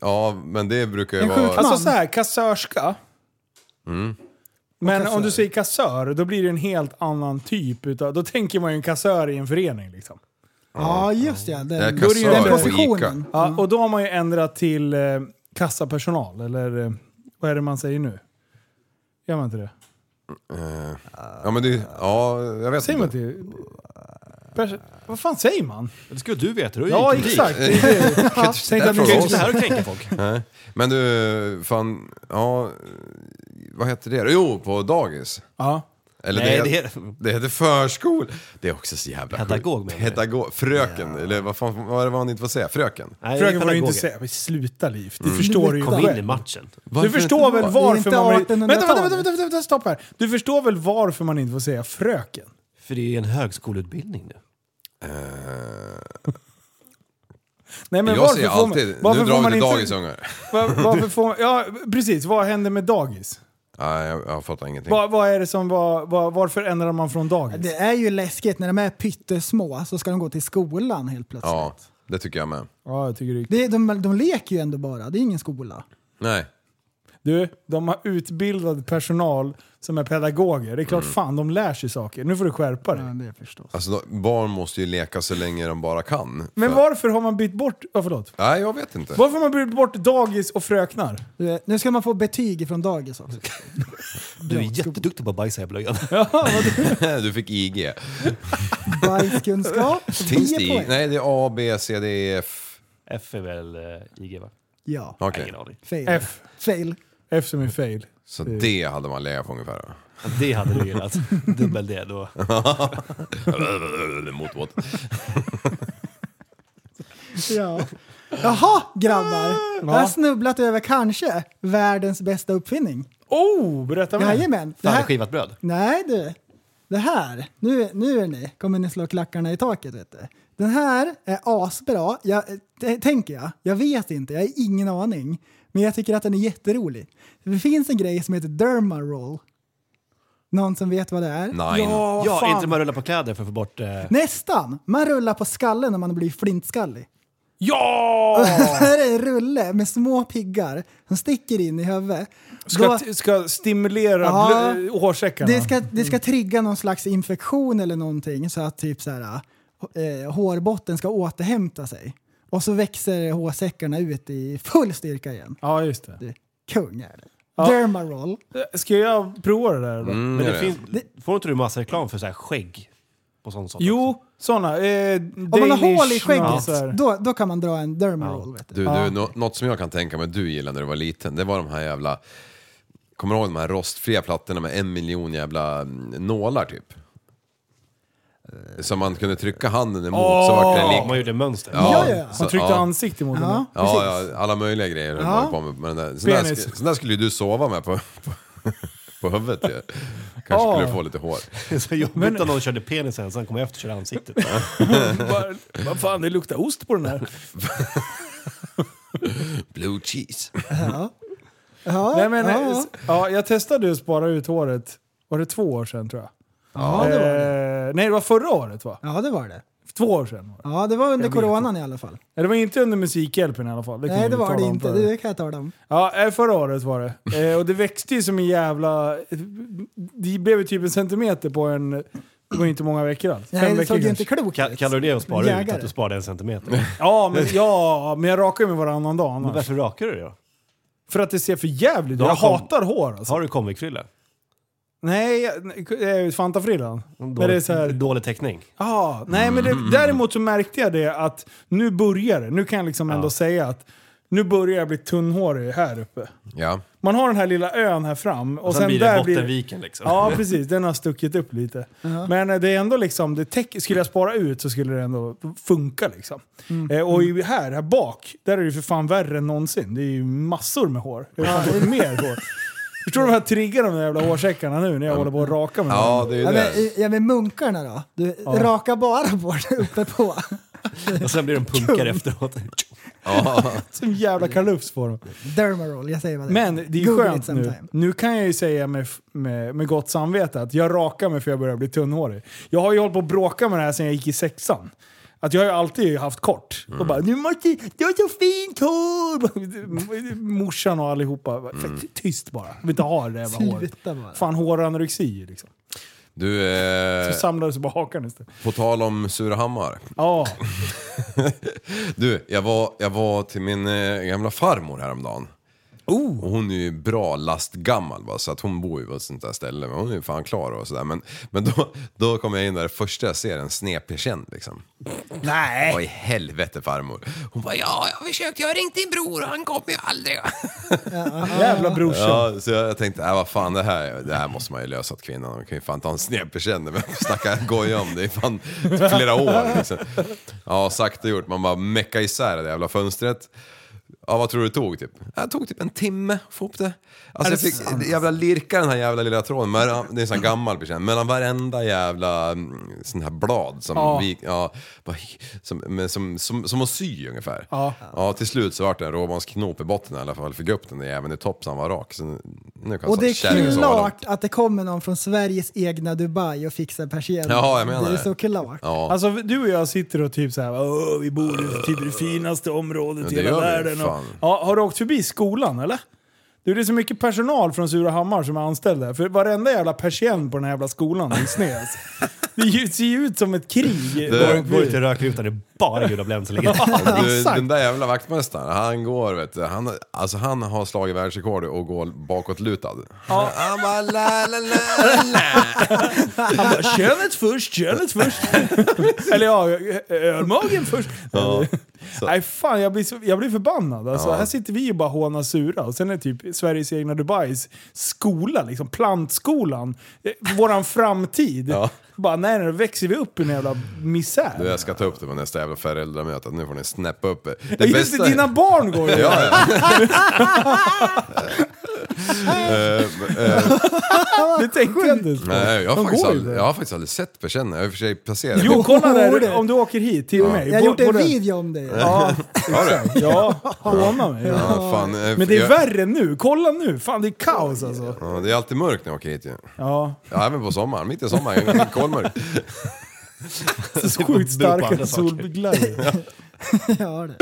E: Ja, men det brukar ju
C: En
E: vara...
C: sjukman.
B: Alltså så här, kassörska.
F: Mm.
B: Men om du säger kassör, då blir det en helt annan typ. Utav, då tänker man ju en kassör i en förening. Liksom.
C: Ja, just ja. Den,
E: Jag
C: den
E: kassör på
C: positionen.
E: Ica.
B: Ja, Och då har man ju ändrat till eh, kassapersonal, eller eh, vad är det man säger nu? Gör man inte det?
E: Ja, men det, ja, jag vet
B: Säger man
E: inte.
B: inte... Pers- vad fan säger man?
F: Det skulle du veta, du är
B: Ja,
F: ju kritik.
B: exakt. Det är det. Ja, tänkte att ni
E: Jag
F: Det är
B: skulle
F: inte så
B: säga-
F: här och
B: <laughs>
F: kränker folk.
E: Nej. Men du, fan, ja... Vad heter det? Jo, på dagis.
B: Ja.
E: Eller
F: Nej,
E: det,
F: det
E: heter,
F: heter-
E: det heter förskol. Det är också så jävla sjukt.
F: Pedagog, menar du?
E: Pedagog, Fröken, eller vad fan vad var han inte får säga? Fröken?
F: Nej, det är
B: Fröken får du inte
F: pedagoger.
B: säga. Men Sluta Liv, det förstår du ju
F: Mm. Kom in i
B: själv.
F: matchen.
B: Du
E: Varför
B: förstår
E: inte
B: väl
E: då?
B: varför
C: inte
B: man... Vänta,
C: 1800-tal.
B: vänta, vänta, vänta, vänta, stopp här. Du förstår väl varför man inte får säga fröken?
F: För det är en högskoleutbildning nu.
E: Eh,
B: Nej, men
E: Jag
B: varför
E: säger
B: får man-
E: alltid,
B: varför
E: nu
B: får
E: drar vi
B: man
E: till
B: inte-
E: dagis ungar.
B: Va- Varför får man, ja, precis. Vad hände med dagis?
E: Nej, jag, jag fattar ingenting.
B: Va, vad är det som var, va, varför ändrar man från dagis?
C: Det är ju läskigt när de är pyttesmå så ska de gå till skolan helt plötsligt.
E: Ja, det tycker jag med.
B: Ja, jag tycker det är...
C: Det, de, de leker ju ändå bara, det är ingen skola.
E: Nej.
B: Du, de har utbildad personal som är pedagoger. Det är
E: Mm.
B: klart fan de lär sig saker. Nu får du skärpa dig.
C: Ja, det förstås.
E: Alltså, de- barn måste ju leka så länge de bara kan.
B: Men
E: För-
B: varför har man bytt bort... Ja, förlåt.
E: Nej, jag vet inte.
B: Varför har man bytt bort dagis och fröknar?
C: Du, Nu ska man få betyg från
E: <laughs>
C: dagis också.
F: Du är jätteduktig på att bajsa i blöjan.
E: <laughs>
F: <laughs>
E: Du fick IG.
C: Bajskunskap,
E: Finns det
C: 10
E: IG?
C: poäng.
E: Nej, det är A, B, C, D, E, F.
F: F är väl eh, IG va?
C: Ja,
E: Okej.
F: Ingen aning.
C: fail.
B: F.
C: Fail.
B: F som är fail.
C: Eh.
E: Så det hade man legat på ungefär.
F: Det hade du
B: <laughs>
F: gillat. Dubbel D då.
E: <laughs> Mot what?
C: Ja. <laughs> Jaha grabbar, jag har snubblat över kanske världens bästa uppfinning.
B: Oh, berätta mer.
C: Jajamän. Det här,
F: Färdigskivat bröd.
C: nej du, det här, nu, nu är ni, kommer ni slå klackarna i taket vet du. Den här är asbra, jag, t- tänker jag. Jag vet inte, jag har ingen aning. Men jag tycker att den är jätterolig. Det finns en grej som heter dermaroll. Någon som vet vad det är?
E: Nine.
B: Ja,
F: Ja,
B: fan.
F: inte man rullar på kläder för att få bort... Eh,
C: Nästan! Man rullar på skallen när man blir flintskallig.
B: Ja!
C: <laughs> Här är en rulle med små piggar som sticker in i huvudet. Då-
B: Ska, ska stimulera
C: Ja.
B: blö- hårsäckarna.
C: det, ska, det
B: Mm.
C: ska trigga någon slags infektion eller någonting så att typ så här, eh, hårbotten ska återhämta sig. Och så växer hårsäckarna ut i full styrka igen.
B: Ja, just det.
C: Kung är det.
B: Ja.
C: Dermaroll.
B: Eh, Ska jag prova det där? Då?
E: Mm,
F: men
E: gör
F: det finns, får inte du massa reklam för så här skägg? På sånt sånt också?
B: Jo, såna. Eh,
C: Om man har hål i
B: Dailies,
C: skägget,
B: så här.
C: då, då kan man dra en dermaroll. Vet du.
E: Du, du, nå- något som jag kan tänka mig du gillade när du var liten, det var de här jävla... Kommer du ihåg de här rostfria plattorna med en miljon jävla mm, nålar typ?
C: Eh.
E: Som man kunde trycka handen emot så vart det en
F: Ja,
E: lik...
F: man gjorde mönster.
C: Ja, ja, ja.
E: så-
B: Man tryckte
E: ja.
B: ansiktet mot den.
C: Ja.
B: där.
E: Ja, ja, alla möjliga grejer höll man ju på med. med den där. Sån, där,
B: Penis.
E: sk- sån där skulle ju du sova med på, på, <laughs> på huvudet ju. Kanske
B: Ja.
E: skulle du få lite hår.
F: <laughs> Så jobbigt om någon körde penisen, sen kom jag efter och körde ansiktet.
B: Vad- <laughs> Vad fan, det luktar ost på den här.
E: Blue cheese.
C: Ja,
B: <laughs> Nej, men, eh,
C: ja.
B: s- ja, jag testade att spara ut håret, var det två år sedan tror jag?
C: Ja, det var det.
B: Eh, nej, det var förra året va?
C: Ja, det var det.
B: Två år sedan. Var det.
C: Ja, det var under coronan i alla fall.
B: Nej, det var inte under Musikhjälpen i alla fall. kan
C: Nej,
B: jag
C: det var
B: tala
C: det
B: om
C: inte.
B: för er.
C: Det kan jag tala om.
B: Ja, eh, förra året var det. Eh, och det växte ju som en jävla... Det blev ju typ en centimeter på en... Det var ju inte många veckor alls.
C: Nej, det
B: veckor
C: såg ju
B: kanske.
C: inte klokt
F: Kall- Kallar du det att spara ut?
C: Jägare.
F: Att du sparade en centimeter?
B: Ja, men, ja, men jag rakar ju mig varannan dag
F: Men
B: annars.
F: varför rakar du dig då?
B: För att det ser för jävligt ut.
F: Ja,
B: Jag
F: kom-
B: hatar hår alltså.
F: Har du comicfrilla?
B: Nej, eh, Fantafrillan. Men det är
F: Dålig,
B: så här,
F: dålig täckning.
B: Ja, nej men det, däremot så märkte jag det att nu börjar det. Nu kan jag liksom ändå
F: Ja.
B: säga att nu börjar jag bli tunnhårig här uppe.
E: Ja.
B: Man har den här lilla ön här fram och,
F: Och sen, blir
B: där
F: det bottenviken liksom.
B: Ja, precis. Den har stuckit upp lite. Men eh, det är ändå liksom, det täck, skulle jag spara ut så skulle det ändå funka liksom. Eh, och ju här, här bak, där är det ju för fan värre än någonsin. Det är ju massor med hår. <laughs> Jag har fått mer hår. Förstår du vad jag triggar de där jävla hårsäckarna nu när jag håller på att raka mig?
E: ja, det är ju
C: Ja men,
E: det.
C: i- ja, men munkarna då? Du raka bara bort <laughs> uppe på.
F: <laughs> Och sen blir de punkar efteråt.
E: Ja.
B: Som jävla kalufs får de.
C: Dermaroll, jag säger vad det är.
B: Men det är ju
C: Google
B: skönt
C: it
B: nu.
E: Alltså,
C: sometime.
B: Nu kan jag ju säga med, med, med gott samvete att jag rakar mig för jag börjar bli tunnhårig. Jag har ju hållit på och bråkat med det här sedan jag gick i sexan. Att jag har ju alltid haft kort. Och bara du måste, du har så fint hår! <laughs> Morsan och allihopa. bara, Tyst bara. Jag vill inte ha det jävla håret.
C: Sluta bara.
B: Fan håranorexi liksom.
E: Du, eh,
B: Så samlades på hakan istället.
E: på tal om Surahammar.
B: Ja,
E: Du, jag var, jag var till min eh, gamla farmor häromdagen. Och hon är ju bra lastgammal va, så att hon bor ju på ett sånt där ställe. Men hon är ju fan klar och sådär. Men, men då, då kom jag in där, det första jag ser är en snepig känd liksom. Nej! Vad i helvete farmor. Hon bara, ja jag har försökt, jag har ringt din bror och han kommer ju aldrig.
B: jävla brorsan.
E: Ja, så jag, jag tänkte, äh, vad fan det här, det här måste man ju lösa åt kvinnan. Hon kan ju fan ta en snepig känd. Men <laughs> snacka goja om det i fan flera år liksom. Ja, sagt och gjort. Man bara mecka isär det jävla fönstret. Ja, vad tror du det tog typ? Ja, Det tog typ en timme att få upp det. Alltså jag fick jävla lirka den här jävla lilla tråden, men det är en sån här gammal bekänt, mellan varenda jävla mm, sån här blad som,
B: Ja.
E: vi, ja, bara, som, men som, som, som att sy ungefär.
B: Ja.
E: ja, till slut så vart det en råbansknop i botten i alla fall, fick upp den där jäveln i topp så han var rak. Så nu kan jag
C: Och det är
E: så- kärringen
B: <laughs>
E: sova lugnt.
C: klart att det kommer någon från Sveriges egna Dubai och fixar persienner.
E: Ja, jag menar
C: det. är
E: det.
C: så klart.
E: Ja.
B: Alltså du och jag sitter och typ såhär, Åh, vi bor i typ det finaste området i
E: Ja, det
B: hela
E: gör vi,
B: världen. Och,
E: fan.
B: ja, har du åkt förbi skolan eller? Du, det är så mycket personal från Surahammar som är anställda. För varenda jävla persien på den här jävla skolan är sned.
E: <laughs>
B: alltså. Det ju- ser ju ut som ett krig.
E: Du-
F: Går ut till rökrutan, det är bara gudabläm som ligger där.
E: Du,
B: Exakt.
E: den där jävla vaktmästaren, han går vet du, han, alltså han har slagit världsrekord och går bakåtlutad. <laughs> Han bara la la la la la.
B: Han bara, könet först, könet först. <laughs> Eller ja, ölmagen först. Nej fan, jag blir, så, jag blir förbannad. Alltså, Här sitter vi och bara hånar sura. Och sen är typ Sveriges egna Dubais skola, liksom plantskolan, eh, våran framtid.
E: Ja.
B: Bara, nej, nej, då växer vi upp i en jävla misär.
E: Du jag ska ta upp det på nästa jävla föräldramöte, nu får ni snäppa upp er. Det
B: Just det, dina barn går ju.
E: Ja, ja. Eh, eh,
B: Det tänkte jag inte ens på.
E: nej, jag, har
B: De
E: faktiskt
B: går ju
E: aldrig,
B: där.
E: jag har faktiskt aldrig sett Persien, jag har i och för sig passerat.
B: Jo, kolla
C: Borde.
B: där om du åker hit till mig.
C: Jag har
B: Bo-
C: gjort en
B: både-
C: video om det.
B: Ja,
E: har du?
B: ja håna mig.
E: Ja, fan, eh,
B: Men det är
E: jag-
B: värre nu. Kolla nu. Fan, det är kaos alltså.
E: Ja, det är alltid mörkt när jag åker hit ju.
F: <laughs>
B: Ja,
E: Ja, även på sommaren, mitt i sommaren, kolmörkt.
B: så sjukt
F: Du på
B: starka
F: andra saker. <laughs>
B: solglajjor.
C: <laughs> Ja, det.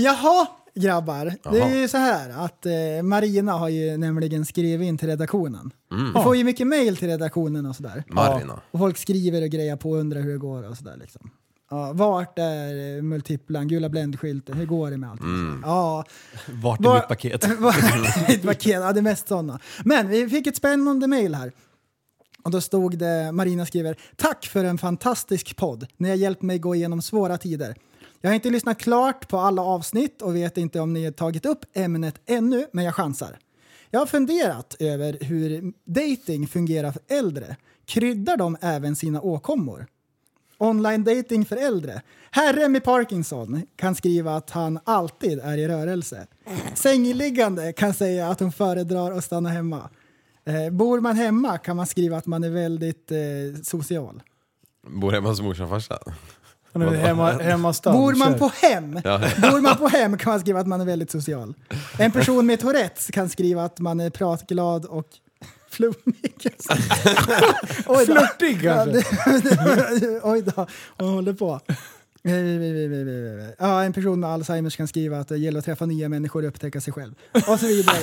C: Jaha, grabbar. Det är ju så här att eh, Marina har ju nämligen skrivit in till redaktionen. Vi får ju mycket mejl till redaktionen och sådär.
E: Mm. Marina.
C: Och folk skriver och grejer på och undrar hur det går och sådär liksom. Ja, vart är eh, multiplan, gula bländskylten, hur går det med allting?
E: Mm.
C: Ja,
F: Vart är
C: Var- <laughs>
F: mitt paket?
C: Vart är mitt paket? Ja, det är mest sådana. Men vi fick ett spännande mejl här. Och då stod det, Marina skriver, tack för en fantastisk podd. Ni har hjälpt mig gå igenom svåra tider. Jag har inte lyssnat klart på alla avsnitt och vet inte om ni har tagit upp ämnet ännu, men jag chansar. Jag har funderat över hur dating fungerar för äldre. Kryddar de även sina åkommor? Online dating för äldre. Herre med Parkinson kan skriva att han alltid är i rörelse. Sängliggande kan säga att hon föredrar att stanna hemma. Eh, bor man hemma kan man skriva att man är väldigt eh, social.
E: Bor hemma hos morsan och farsan.
B: Han är hemma, hemma stall,
C: Bor man
B: kör.
C: på hem
F: <laughs>
C: Bor man på hem kan man skriva att man är väldigt social. En person med Tourettes kan skriva att man är pratglad och <laughs>
F: <laughs>
C: flummig. Oj då.
B: Flörtig
C: Ja,
B: kanske?
C: det- <laughs> Oj då, hon håller på. Ja, en person med Alzheimers kan skriva att det gäller att träffa nya människor och upptäcka sig själv. Och så vidare.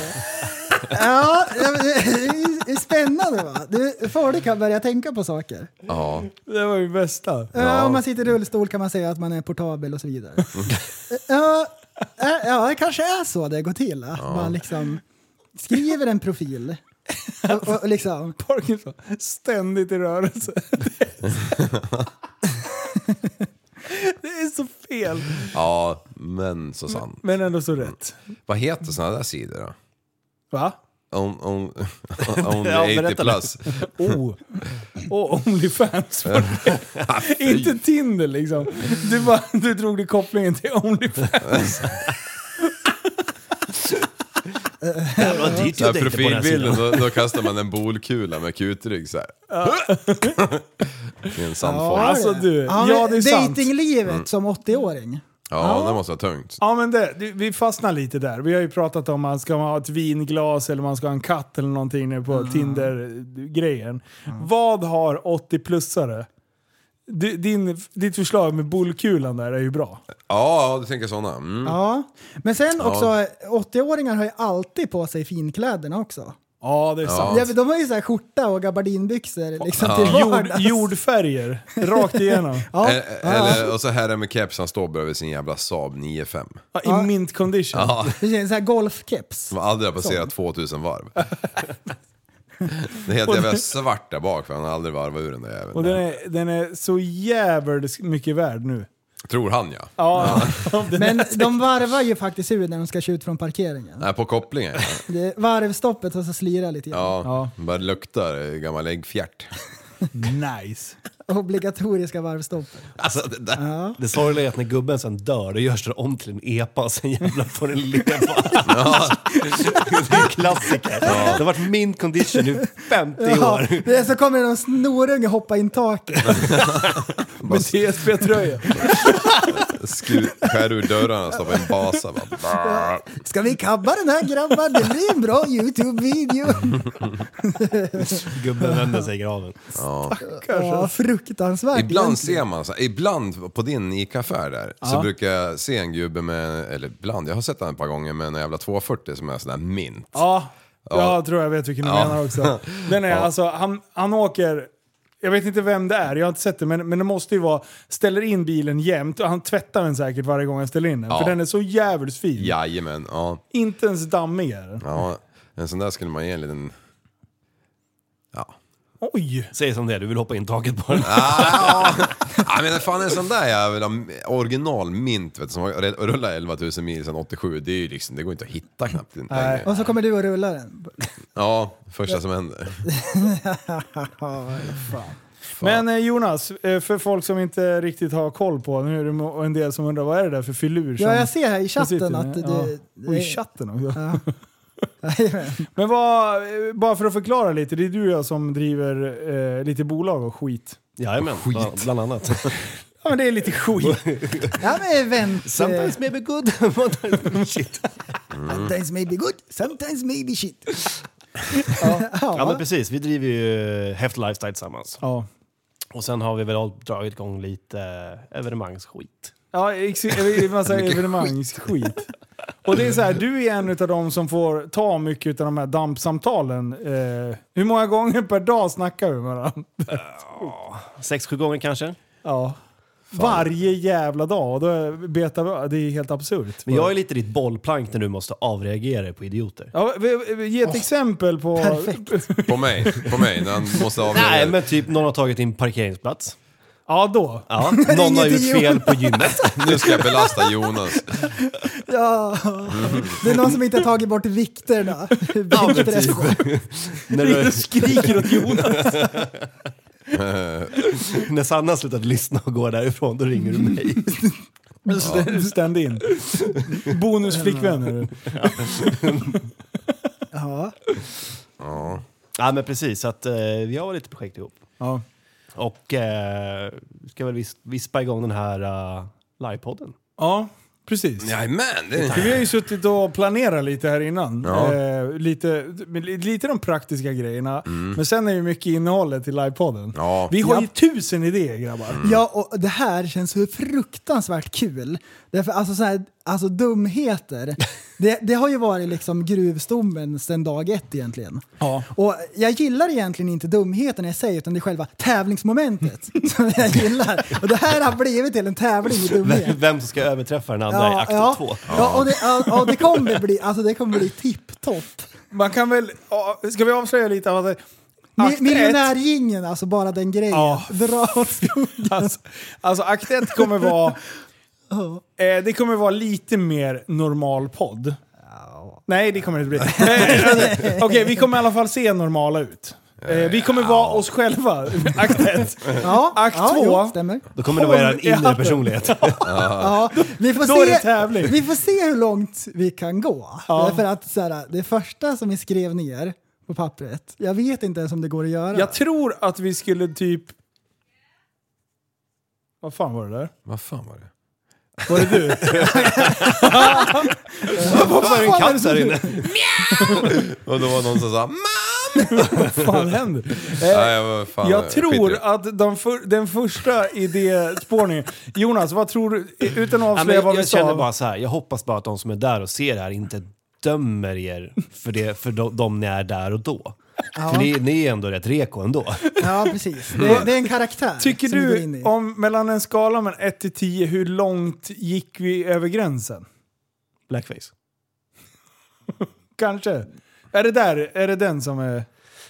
C: Ja, det är- det är spännande va? Du, folk kan börja tänka på saker.
E: Ja.
B: Det var ju bästa.
C: Ja. Om man sitter i rullstol kan man säga att man är portabel och så vidare. ja, ja, ja, det kanske är så det går till. Att man liksom skriver en profil. Och, och, och liksom,
B: Parkinson, ständigt i rörelse. Det är så fel,
E: ja, men så sant.
B: men ändå så rätt.
E: Vad heter såna där sidor då?
B: Va?
E: On, on, on
F: Ja,
E: 80
F: berätta nu.
E: plus.
B: Oh. Och Onlyfans var det. Inte Tinder liksom. Du, bara, du drog dig kopplingen till Onlyfans.
F: Jävlar vad dyrt
E: Så här
F: jag tänkte på den här
E: profilbilden,
F: sidan.
E: då, då kastar man en bolkula med kutrygg så här. <laughs> I en sandform. Ja,
B: Alltså du,
C: ja,
B: ja det är sant. Mm.
C: Datinglivet som 80-åring.
E: det måste vara tungt.
B: Ja men det, du, vi fastnar lite där. Vi har ju pratat om man ska ha ett vinglas eller man ska ha en katt eller någonting nu på Tinder-grejen. Vad har 80-plussare? Du- Din, ditt förslag med bullkulan där är ju bra.
E: Ja, du tänker såna. Mm.
C: Ja. Men sen också, 80-åringar har ju alltid på sig finkläderna också.
B: Ja, det är sant.
C: Ja, men de har ju så här skjorta och gabardinbyxor liksom, till
B: Jord, <laughs> Eh.
C: vardags.
B: jordfärger, rakt igenom.
C: Ja,
E: E- Eller, och så här är med keps, han står bredvid sin jävla Saab 9-5.
B: Ja, I mint condition.
C: det känns så här golfkeps.
E: Som aldrig har passerat 2000 varv. Det är helt jävla svart där bak för han har aldrig varvat ur den där
B: Och
E: jäveln.
B: den är, den är så jävligt mycket värd nu.
E: Tror han ja.
B: <laughs> Ja, den
C: Men
B: är-
C: de varvar ju faktiskt ur när de ska köra ut från parkeringen.
E: Nej, på kopplingen ja.
C: Det är varvstoppet och så slirar lite grann.
E: Ja, bara luktar eh, gammal äggfjärt.
B: nice.
C: Obligatoriska varvstoppet.
E: Alltså det där.
F: Det sorgliga är att när gubben sen dör, då görs det om till en epa och sen jävlar får den
E: <laughs>
F: leva. Det är en klassiker. Det har varit mint condition i 50
C: Ja,
F: år.
C: det är så kommer det någon snorunge hoppa in taket.
E: Bara
B: Med TSB-tröja.
E: skur, skär ur dörrarna och stoppar en basa. Bara,
C: Ska vi kabba den här grabbar? Det blir en
B: <laughs>
C: bra Youtube-video.
F: Gubben vänder sig i graven.
C: Ja, fruktansvärt.
E: Ibland ser man så här, ibland på din ICA-affär där så brukar jag se en gubbe med, eller ibland, jag har sett honom ett par gånger med en jävla 240 som är sån där mint.
B: Ja, jag tror jag vet vilken du
E: Ja.
B: menar också. Den är, alltså, han, han åker... Jag vet inte vem det är, jag har inte sett det, men, men det måste ju vara... Ställer in bilen jämt och han tvättar den säkert varje gång han ställer in den.
E: Ja.
B: För den är så jävligt fin.
E: Jajamän, ja.
B: Inte ens dammig är den.
E: ja. En sån där skulle man ge en liten... Ja.
B: Oj!
F: Säg som det är, du vill hoppa in taket på den.
E: Ja, men fan en sån där jävla original mint vet du, som har rullat 11 000 mil sedan 87, det är ju liksom, det går inte att hitta knappt längre.
C: Och så kommer du och rullar den.
E: Ja, första som händer.
B: Men eh, Jonas, eh, för folk som inte riktigt har koll på, nu är det mo- en del som undrar vad är det där för filur som...
C: Ja, jag ser här i
B: som sitter
C: chatten att
B: med?
C: du...
B: Ja. Och i
C: det-
B: chatten också.
C: Ja. Jajamän.
B: Men vad, eh, bara för att förklara lite, det är du och jag som driver eh, lite bolag och skit.
F: Jajamän, bland, bland annat.
E: <laughs>
B: Ja men det är lite skit.
C: ja, men event...
F: Sometimes maybe good. Shit.
C: Mm. sometimes maybe good, sometimes maybe shit.
F: Ja men precis, vi driver ju Heft Lifestyle tillsammans.
B: Ja.
F: Och sen har vi väl dragit igång lite eh, evenemangsskit.
B: Ja, ex- eller en
C: <laughs>
B: massa
E: Mycket
B: evenemangsskit. Och det är så här, du är en av de som får ta mycket av de här dampsamtalen. Eh, hur många gånger per dag snackar vi med varandra?
F: Sex, sju gånger kanske.
B: Ja. Varje jävla dag. Och då betar vi, det är helt absurt.
F: Men jag är lite ditt bollplank när du måste avreagera dig på idioter.
B: Ja, vi- vi- ge ett exempel på...
C: Perfekt.
E: På mig, på mig, när han måste avgöra.
F: Nej men typ någon har tagit din parkeringsplats.
B: Ja, då.
F: <laughs> Ja, någon har gjort fel på gymmet.
E: Nu ska jag belasta Jonas.
C: Ja. Det är någon som inte har tagit bort vikterna.
F: <laughs> Ja, men
C: Viktpress.
F: typ. <laughs> när, du,
B: Skriker åt Jonas.
F: när Sanna slutat lyssna och går därifrån, då ringer du <laughs> mig.
B: Stand in. Bonusflickvän är du.
C: Ja.
E: Ja.
F: Ja men precis, så att eh, vi har lite projekt ihop.
B: Ja.
F: Och eh, ska väl vis- vispa igång den här eh, livepodden.
B: ja, precis.
E: Jajamän, det är...
B: För vi har ju suttit och planerat lite här innan.
E: Ja.
B: Eh, lite, men li- lite de praktiska grejerna. Men sen är ju mycket innehållet i livepodden.
E: Mm. Ja. Mm.
B: Vi har ju
C: Japp.
B: tusen idéer grabbar.
C: ja, och det här känns så fruktansvärt kul. Därför alltså, så här, alltså
B: <laughs>
C: dumheter, det, det har ju varit liksom gruvstommen sedan dag ett egentligen.
B: Ja.
C: Och jag gillar egentligen inte dumheten i sig utan det är själva
B: <laughs>
C: tävlingsmomentet som jag gillar. Och det här har blivit till en tävling i dumhet.
F: Vem, vem som ska överträffa den andra i akt
C: ja,
F: två.
C: ja, och det, ja, och det kommer bli, alltså det kommer bli tipptopp.
B: Man kan väl... ja, Ska vi avslöja lite av att...
C: Mi-
B: akt ett-
C: Miljonärgingen, alltså bara den grejen.
B: Ja.
C: Dra åt skogen.
B: <laughs> Alltså, alltså akt 1 kommer vara...
E: <laughs>
B: Eh, det kommer vara lite mer normal podd. Nej, det kommer det inte bli. Eh, alltså,
E: <laughs>
B: <laughs> Okej, vi kommer i alla fall se normala ut. Eh, vi kommer vara oss själva, <laughs> akt 1.
C: Ja,
B: Akt
C: ja,
B: två.
C: jo, stämmer.
F: Då kommer det vara
B: Håll
F: en
B: i
F: inre
B: hatten.
F: <laughs> personlighet.
C: Ja, vi, får
B: <laughs> Då är det tävling.
C: se, vi får se hur långt vi kan gå.
B: Ja.
C: Därför att så här, det första som vi skrev ner på pappret, jag vet inte ens om det går att göra.
B: Jag tror att vi skulle typ... Vad fan var det där?
E: Vad fan var det?
B: Var det du?
F: Då var det en katt där inne.
E: Och då var någon som sa
B: Vad fan händer? Eh,
E: Nej, vad fan,
B: jag tror
E: skit i det.
B: att de för, den första idéspårningen... Jonas, vad tror du? Utan att
C: Alltså,
F: Ja, men
B: avslöja vad
F: jag
B: vi
F: jag känner
B: sa.
F: bara så här, jag hoppas bara att de som är där och ser det här inte dömer er för, det, för de, de ni är där och då. För ni, ni är ändå rätt reko ändå.
C: <laughs> Ja, precis. Det, det är en karaktär
B: Tycker
C: som vi går in
B: du,
C: i.
B: om, mellan en skala mellan 1 till 10, hur långt gick vi över gränsen?
F: Blackface.
B: Kanske? Är det där, är det den som är...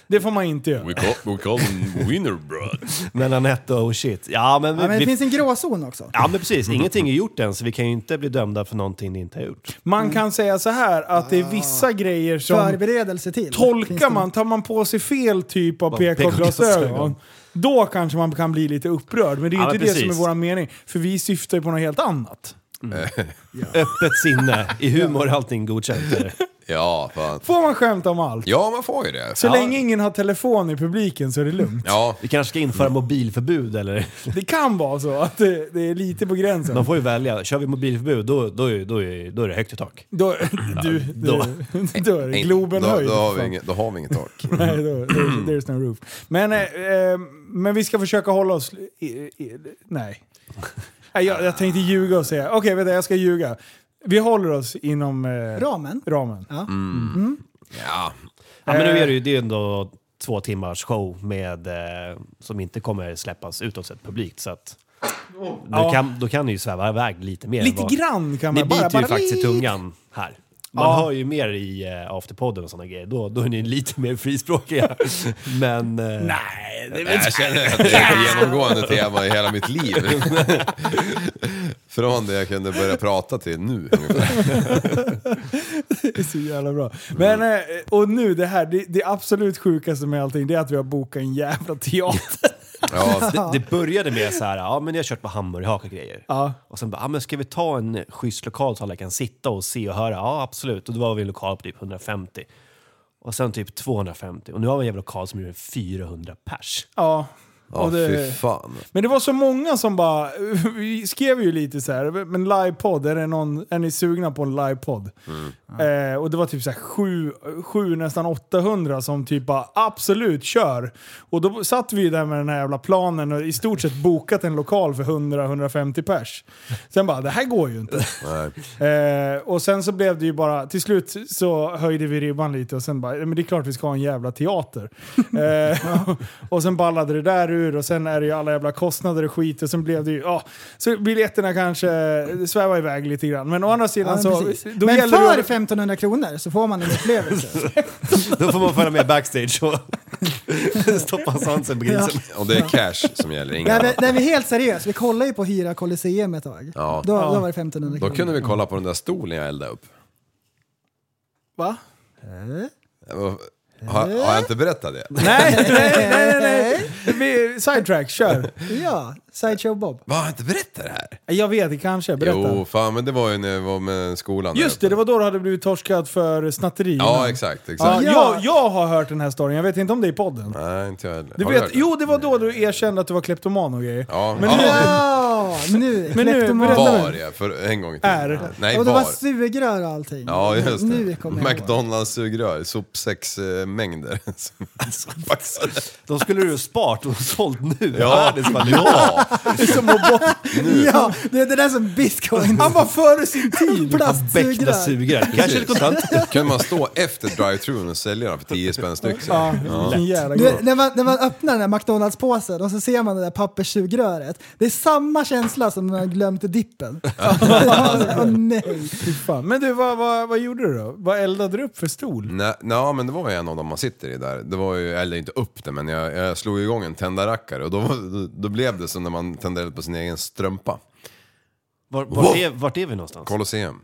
B: Det får man inte göra.
E: We call, we call them winner blood.
F: Mellan ett och oh shit. Ja men, vi,
C: Ja, men det
F: vi,
C: finns en gråzon också.
F: ja, men precis, ingenting är gjort än så vi kan ju inte bli dömda för någonting ni inte har gjort.
B: Man
C: Mm.
B: kan säga så här att det är vissa grejer som...
C: Förberedelse till. Ah. Finns
B: Tolkar
C: det- <laughs>
B: man, <laughs> tar man på sig fel typ av
F: Bara
B: PK-glasögon,
F: PK-glasögon.
B: då kanske man kan bli lite upprörd. Men det är ju
F: Ja, men
B: inte det
F: precis.
B: som är vår mening, för vi syftar ju på något helt annat.
F: Öppet sinne, i humor är allting godkänt. eller?
E: Ja, fan.
B: Får man skämta om allt?
E: Ja, man får ju det.
B: Så
E: ja.
B: länge ingen har telefon i publiken så är det
C: <laughs>
B: lugnt.
E: Ja,
F: Vi kanske ska införa mobilförbud eller?
B: Det kan vara så att det, det är lite på gränsen.
F: Man får ju välja. Kör vi mobilförbud då, då, är- då, är- då är det högt i tak.
B: Då, du,
F: då.
B: du, då är det Globen
E: då,
B: höjd.
E: Då har, vi
B: Fan.
E: inget, då har vi inget tak.
B: <laughs> Nej, då, there's, there's no roof. Men, eh, eh, men vi ska försöka hålla oss... I, i, nej. nej jag, jag tänkte ljuga och säga... Okej, vänta, jag ska ljuga. Vi håller oss inom eh,
C: Ramen?
B: ramen.
C: Ja.
E: Ja,
F: Ja, men nu är det ju det är ändå två timmars show med, eh, som inte kommer släppas utåt sett publikt. Så att, nu
B: Ja.
F: kan, då kan det ju sväva iväg lite mer. än
B: Lite
F: vad-
B: grann kan
F: Ni
B: man...
F: biter ju faktiskt i
B: lite.
F: tungan här. Man hör ju mer i eh, afterpodden och sådana grejer. Då, då är ni lite mer frispråkiga. <laughs> men... eh,
B: <laughs> Nej, det är väl...
E: jag känner att det är ett genomgående tema i hela mitt liv. <laughs> Från det jag kunde börja prata till nu ungefär.
B: Det är så jävla bra. Men, eh, och nu det här, det, det absolut sjukaste med allting, det är att vi har bokat en jävla teater.
E: Ja,
F: Det, det började med så här, ja men jag har kört på hamburgerhaka och grejer.
B: Ja.
F: Och sen bara, ja men ska vi ta en schysst lokal så alla kan sitta och se och höra? Ja absolut. Och då var vi i en lokal på typ 150. Och sen typ 250. Och nu har vi en jävla lokal som gjorde 400 pers.
B: Ja.
E: ja
B: Och det-
E: fy fan.
B: Men det var så många som bara, <laughs> vi skrev ju lite så här, men livepodd, är, det någon, är ni sugna på en livepodd?
E: Mm.
B: Eh, och det var typ så här sju, sju, nästan 800 som typ bara absolut kör. Och då satt vi ju där med den här jävla planen och i stort sett bokat en lokal för 100-150 pers. Sen bara, det här går ju inte.
E: Nej.
B: Eh, och sen så blev det ju bara, till slut så höjde vi ribban lite och sen bara, "Ja, men det är klart vi ska ha en jävla teater. Eh, och sen ballade det där ur och sen är det ju alla jävla kostnader och skit och sen blev det ju, ja, så biljetterna kanske svävar iväg lite grann. Men å andra sidan
C: Ja,
B: så,
C: precis.
B: Alltså, då
C: Men
B: gäller
C: för
B: det att-
C: 1500 kronor så får man
E: <laughs>
C: en upplevelse.
F: Då får man följa med backstage och <laughs> stoppa svansen på grisen.
E: Och det är cash som gäller, inget
C: Nej, men,
E: annat.
C: nej men helt seriöst, vi kollade ju på Hyra Colosseum ett tag.
E: Ja.
C: Då, då var det 1500
E: Då
C: kronor.
E: kunde vi kolla på den där stolen jag eldade upp.
B: Va?
E: Eh? Har, har jag inte berättat det?
B: Nej, nej, nej,
C: <laughs>
B: nej, nej. Vi- Sidetrack, kör.
C: Ja, Sideshow Bob.
E: Va, har jag inte berättat det här?
B: Jag vet, kanske. Berätta.
E: Jo, fan men det var ju när jag var med skolan. där
B: Just det,
E: uppe.
B: det var då du hade blivit torskad för snatteri.
E: Ja, exakt.
B: Ja,
E: exakt.
B: jag, jag har hört den här storyn, jag vet inte om det är i podden.
E: Nej, inte jag heller.
B: Du
E: Har du
B: vet,
E: hört det?
B: jo, det var då du erkände att du var kleptoman och grejer.
E: Ja.
B: Men
E: Ja.
B: nu
C: Ja, nu
B: Men nu-
C: kleptoman.
B: berätta nu.
E: Var jag, för en gång till.
B: Är.
E: Nej,
C: Och det var
E: var.
C: sugrör och allting.
E: Ja, just
C: Nu
E: det.
C: kommer jag ihåg.
E: McDonalds-sugrör, sopsäcksmängder. <laughs> som paxade.
F: De skulle du ju ha spart och sålt nu.
E: Ja,
F: Världens valuta.
E: ja.
C: Ja, det är det där som
B: <laughs>
C: bitcoin.
B: Han var före sin tid!
F: Bäckna
C: Plastsugrör.
F: sugrör. Kanske lite kontant.
E: Kunde man stå efter drive-thrun och sälja dem för 10 spänn styck? så?
B: Ja, vilken jävla
C: Du,
B: grej.
C: när, man, när man öppnar den där McDonalds-påsen och så ser man det där papperssugröret. Det är samma känsla som när man glömt dippen. <laughs> Åh nej.
B: Fy fan. Men du, vad, vad, vad gjorde du då? Vad eldade du upp för stol?
E: Nej, nej, men det var ju en av dem man sitter i där. Det var ju, eller inte upp det, men jag, jag slog igång en tändarrackare och då, då, då blev det som när man tände eld på sin egen strumpa.
F: Var, vart, är, vart är vi någonstans?
E: Colosseum.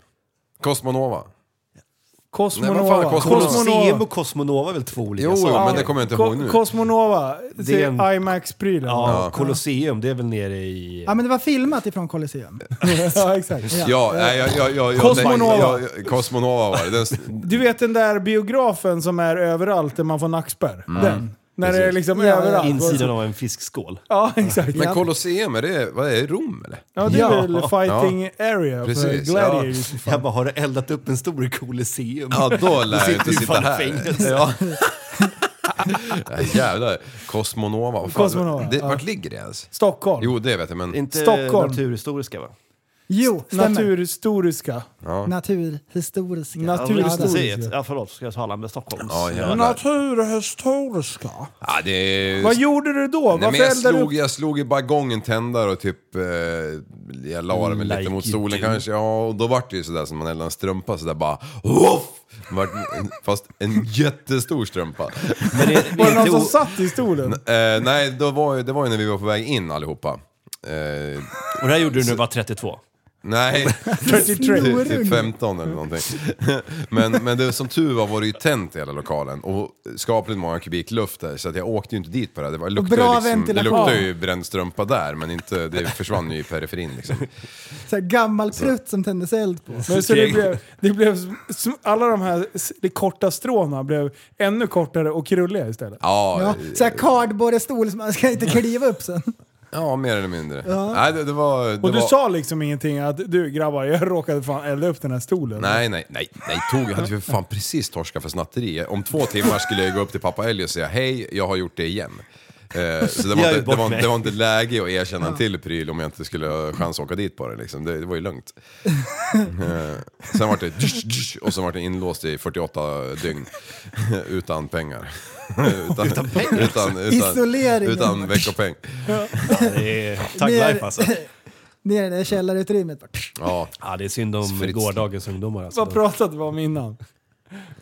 E: Cosmonova. Nej, vad
B: Kosmonova.
E: fan, Cosmonova.
F: Colosseum och Cosmonova är väl två olika
E: Jo, jo,
F: saker?
E: men det kommer jag inte ihåg nu.
B: Kosmonova, det
F: är
B: är
F: en-
B: IMAX-prylen. Ja.
F: Ja, Colosseum, det är väl nere i...
C: Ja men det var filmat
B: <laughs>
C: ifrån Colosseum.
B: exakt.
E: Ja, nej, jag, jag, jag, jag,
B: Cosmonova.
E: Jag, jag, Cosmonova var det. Den,
B: <laughs> Du vet den där biografen som är överallt där man får nackspärr? Den. När det är liksom
C: Ja, ja.
B: överallt.
F: Insidan av en fiskskål.
B: Ja, exakt.
E: men Colosseum, är det, vad är det, Rom eller?
B: Ja, det är
F: Ja.
B: väl fighting area för
E: Precis,
B: gladiators.
F: Jag bara, har du eldat upp en stor i Colosseum?
E: Ja,
B: <laughs>
E: då lär jag
F: sitter
E: inte
F: ju
E: sitta
F: fan i
E: här.
F: fängelse.
E: Ja. Ja, jävlar. Cosmonova. vad fan.
B: Cosmonova,
E: Det,
B: ja.
E: Vart ligger det ens?
B: Stockholm.
E: Jo, det vet jag, men...
F: Inte
B: Stockholm.
F: Naturhistoriska va?
C: Jo, stämmer.
B: Naturhistoriska.
C: Naturhistoriska.
F: Alltså,
B: Naturhistoriska. alltså,
F: Museet. Ja, förlåt, ska jag tala med Stockholms?
E: Ja, jävlar.
B: Naturhistoriska.
E: Ja, det är...
B: Vad gjorde du då?
E: Nej,
B: Varför
E: men jag,
B: eldade du upp
E: slog, jag slog i bara igång en tändare och typ... Eh, jag la mig lite
F: Like
E: mot
F: you
E: solen
F: do.
E: kanske. Ja, och då vart det ju sådär som man eldar en strumpa sådär bara... Off! Vart, fast en jättestor strumpa.
F: Men det, det,
B: Var det
F: är
B: någon
F: inte
B: som
F: o-
B: satt i stolen?
E: Eh, nej, då var, ju- det var ju när vi var på väg in allihopa. Eh,
F: och det här gjorde du när du var 32.
E: Nej,
B: 33.
E: typ, typ 15 eller någonting. <laughs> Men, men det, som tur var var det ju tänt i hela lokalen och skapligt många kubik luft där så att jag åkte ju inte dit på det. Det, var, luktade,
C: Bra
E: ju liksom, det
C: ventilation.
E: luktade ju bränd strumpa där men inte, det försvann ju i periferin liksom.
C: Så här gammal prutt som tändes eld på.
B: Men så det blev, det blev, sm- alla de här s- de korta stråna blev ännu kortare och krulliga istället.
E: Ja,
C: Ja, så här cardboardstol som man ska inte kliva upp sen.
E: ja mer eller mindre. Nej, det, det var... Det
B: Och du
E: var...
B: sa liksom ingenting att du grabbar, jag <laughs> råkade fan elda upp den här stolen.
E: Nej, nej, nej, nej. Tog, jag hade ju för fan precis torskat för snatteri. Om två timmar skulle jag gå upp till pappa Ellie och säga hej, jag har gjort det igen. Eh, så det
F: Jag
E: var,
F: är
E: inte, det,
F: bort
E: var,
F: mig.
E: det var inte läge att erkänna en till pryl om jag inte skulle ha chans att åka dit på det. Liksom. Det, det var ju
F: <laughs>
E: lugnt. Eh, sen var det dysch, dysch, och sen var det inlåst i 48 dygn <laughs> utan
F: <laughs>
E: pengar. utan, utan pengar? Utan,
C: Isoleringen.
E: Utan veckopeng.
F: Det är tag
C: Det är-
F: life alltså.
C: Ner i det där källarutrymmet. bara.
F: <laughs>
E: Ja.
F: Ja, det är synd om
E: Fritz.
F: gårdagens ungdomar alltså.
B: Vad pratade vi om innan?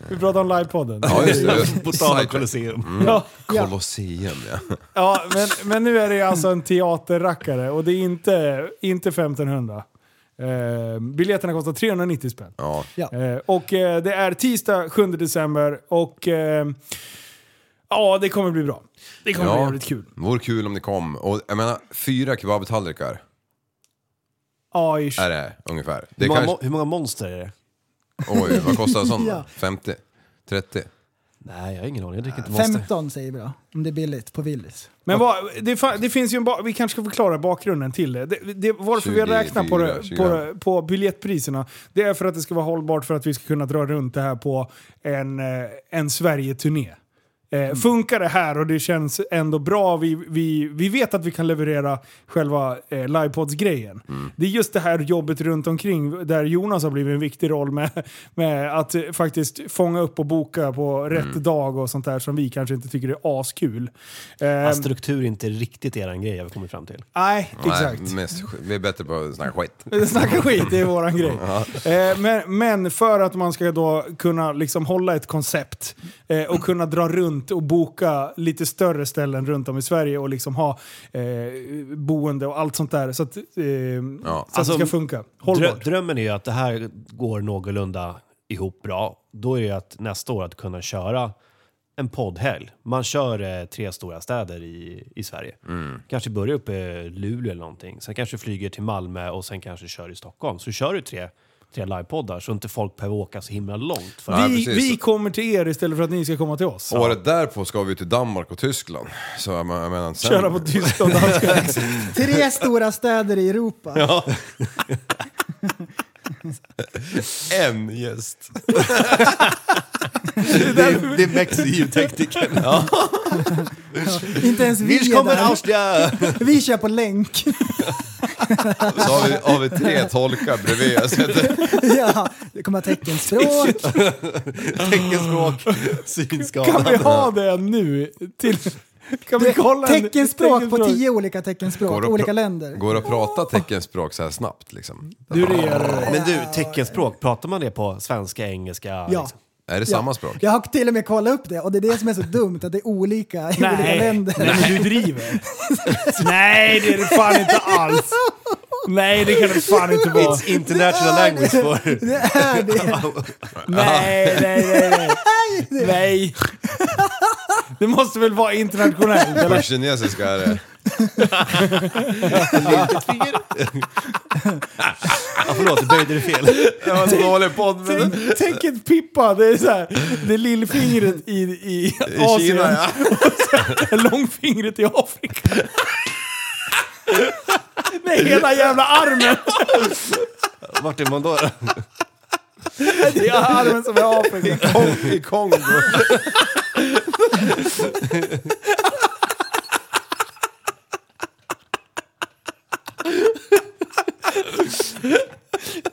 B: Vi pratade om livepodden.
E: ja, just det.
F: <laughs> På tal om
E: Sidetrack.
F: Colosseum.
B: Ja,
E: Colosseum ja.
B: ja men, men nu är det alltså en teaterrackare och det är inte, inte 1500. Eh, biljetterna kostar 390 spänn.
E: ja.
C: Ja.
B: Eh, och eh, det är tisdag 7 december och eh, ja, det kommer bli bra. Det kommer bli jävligt kul.
E: Vore kul om ni kom. Och jag menar, fyra kebabtallrikar
B: Ja, ish.
E: är det ungefär. Det
F: Hur, många,
E: kanske,
F: mo- hur många monster är det?
E: oj, vad kostar en sån?
C: Ja.
E: 50? 30?
F: Nej, jag har ingen aning. Jag dricker inte monster.
C: 15 säger vi då, om det är billigt på Willys.
B: Men vad, det, fa- det finns ju en ba- vi kanske ska förklara bakgrunden till det. det, det varför vi
E: 24,
B: räknar på, det, på,
E: 25.
B: det, på biljettpriserna, det är för att det ska vara hållbart för att vi ska kunna dra runt det här på en, eh, en Sverige-turné. Eh, Funkar det här och det känns ändå bra, vi, vi, vi vet att vi kan leverera själva eh, livepods-grejen. Det är just det här jobbet runt omkring där Jonas har blivit en viktig roll med, med att eh, faktiskt fånga upp och boka på rätt dag och sånt där som vi kanske inte tycker är askul.
F: Ja,
B: Ehm,
F: Struktur är inte riktigt eran grej, har vi kommit fram till.
B: Nej, exakt. <laughs>
E: Nej, mest, sk- vi är bättre på att snacka skit.
B: Snacka skit, det är våran grej. Eh, men, men för att man ska då kunna liksom hålla ett koncept eh, och kunna dra runt och boka lite större ställen runt om i Sverige och liksom ha eh, boende och allt sånt där så att, eh, så att
F: Alltså,
B: det ska funka.
F: Drö-
B: Hållbart.
F: drömmen är ju att det här går någorlunda ihop bra. Då är det ju att nästa år att kunna köra en poddhelg. Man kör eh, tre stora städer i, i Sverige.
E: Mm.
F: Kanske börjar uppe i Luleå eller någonting. Sen kanske flyger till Malmö och sen kanske kör i Stockholm. Så kör du tre, tre livepoddar så inte folk behöver åka så himla långt. För
E: Ja,
B: vi,
E: precis.
B: vi kommer till er istället för att ni ska komma till oss.
E: Året därpå ska vi till Danmark och Tyskland. Så jag men- jag menar, sen...
B: Köra på Tyskland och danska.
C: Tre stora städer i Europa.
E: en
F: <laughs>
E: gäst!
F: det är Mex ljudtekniker.
C: Inte ens vi är
F: Willkommen
C: där.
F: Austria!
C: Vi kör på länk. <laughs>
E: Så har vi, har vi tre tolkar bredvid oss.
C: ja, det
B: <laughs>
C: kommer teckenspråk.
F: Teckenspråk,
B: Kan vi
F: synskada.
B: ha det nu? Till, kan vi kolla en-
C: Teckenspråk på tio olika teckenspråk,
E: att
C: olika
E: pra-
C: länder.
E: Går det att prata teckenspråk så här snabbt liksom?
B: Du, det gör det.
F: Men du, teckenspråk, pratar man det på svenska, engelska? liksom?
C: Ja.
E: Är det samma språk?
C: Jag har till och med kollat upp det och det är det som är så dumt att det är olika i olika
B: Nej, nej
C: länder.
B: men du driver. <laughs> Nej, det är det fan inte alls. Nej, det kan det fan inte vara.
F: It's international language for...
B: <laughs>
C: <laughs> Det är det.
B: Nej, nej, nej, nej. <laughs> Nej. Det måste väl vara internationellt?
E: På
B: Eller?
E: kinesiska är det...
F: Ja, förlåt, böjde du fel?
E: Det var en dålig podd men...
B: Tänk, tänk ett pippa, det är så här, det är lillfingret i, i
E: I
B: Asien,
E: Kina ja.
B: <laughs> långfingret i Afrika. Nej, hela jävla armen!
F: Vart är man då?
B: Det är armen som är Afrika.
E: Kong, I Kongo.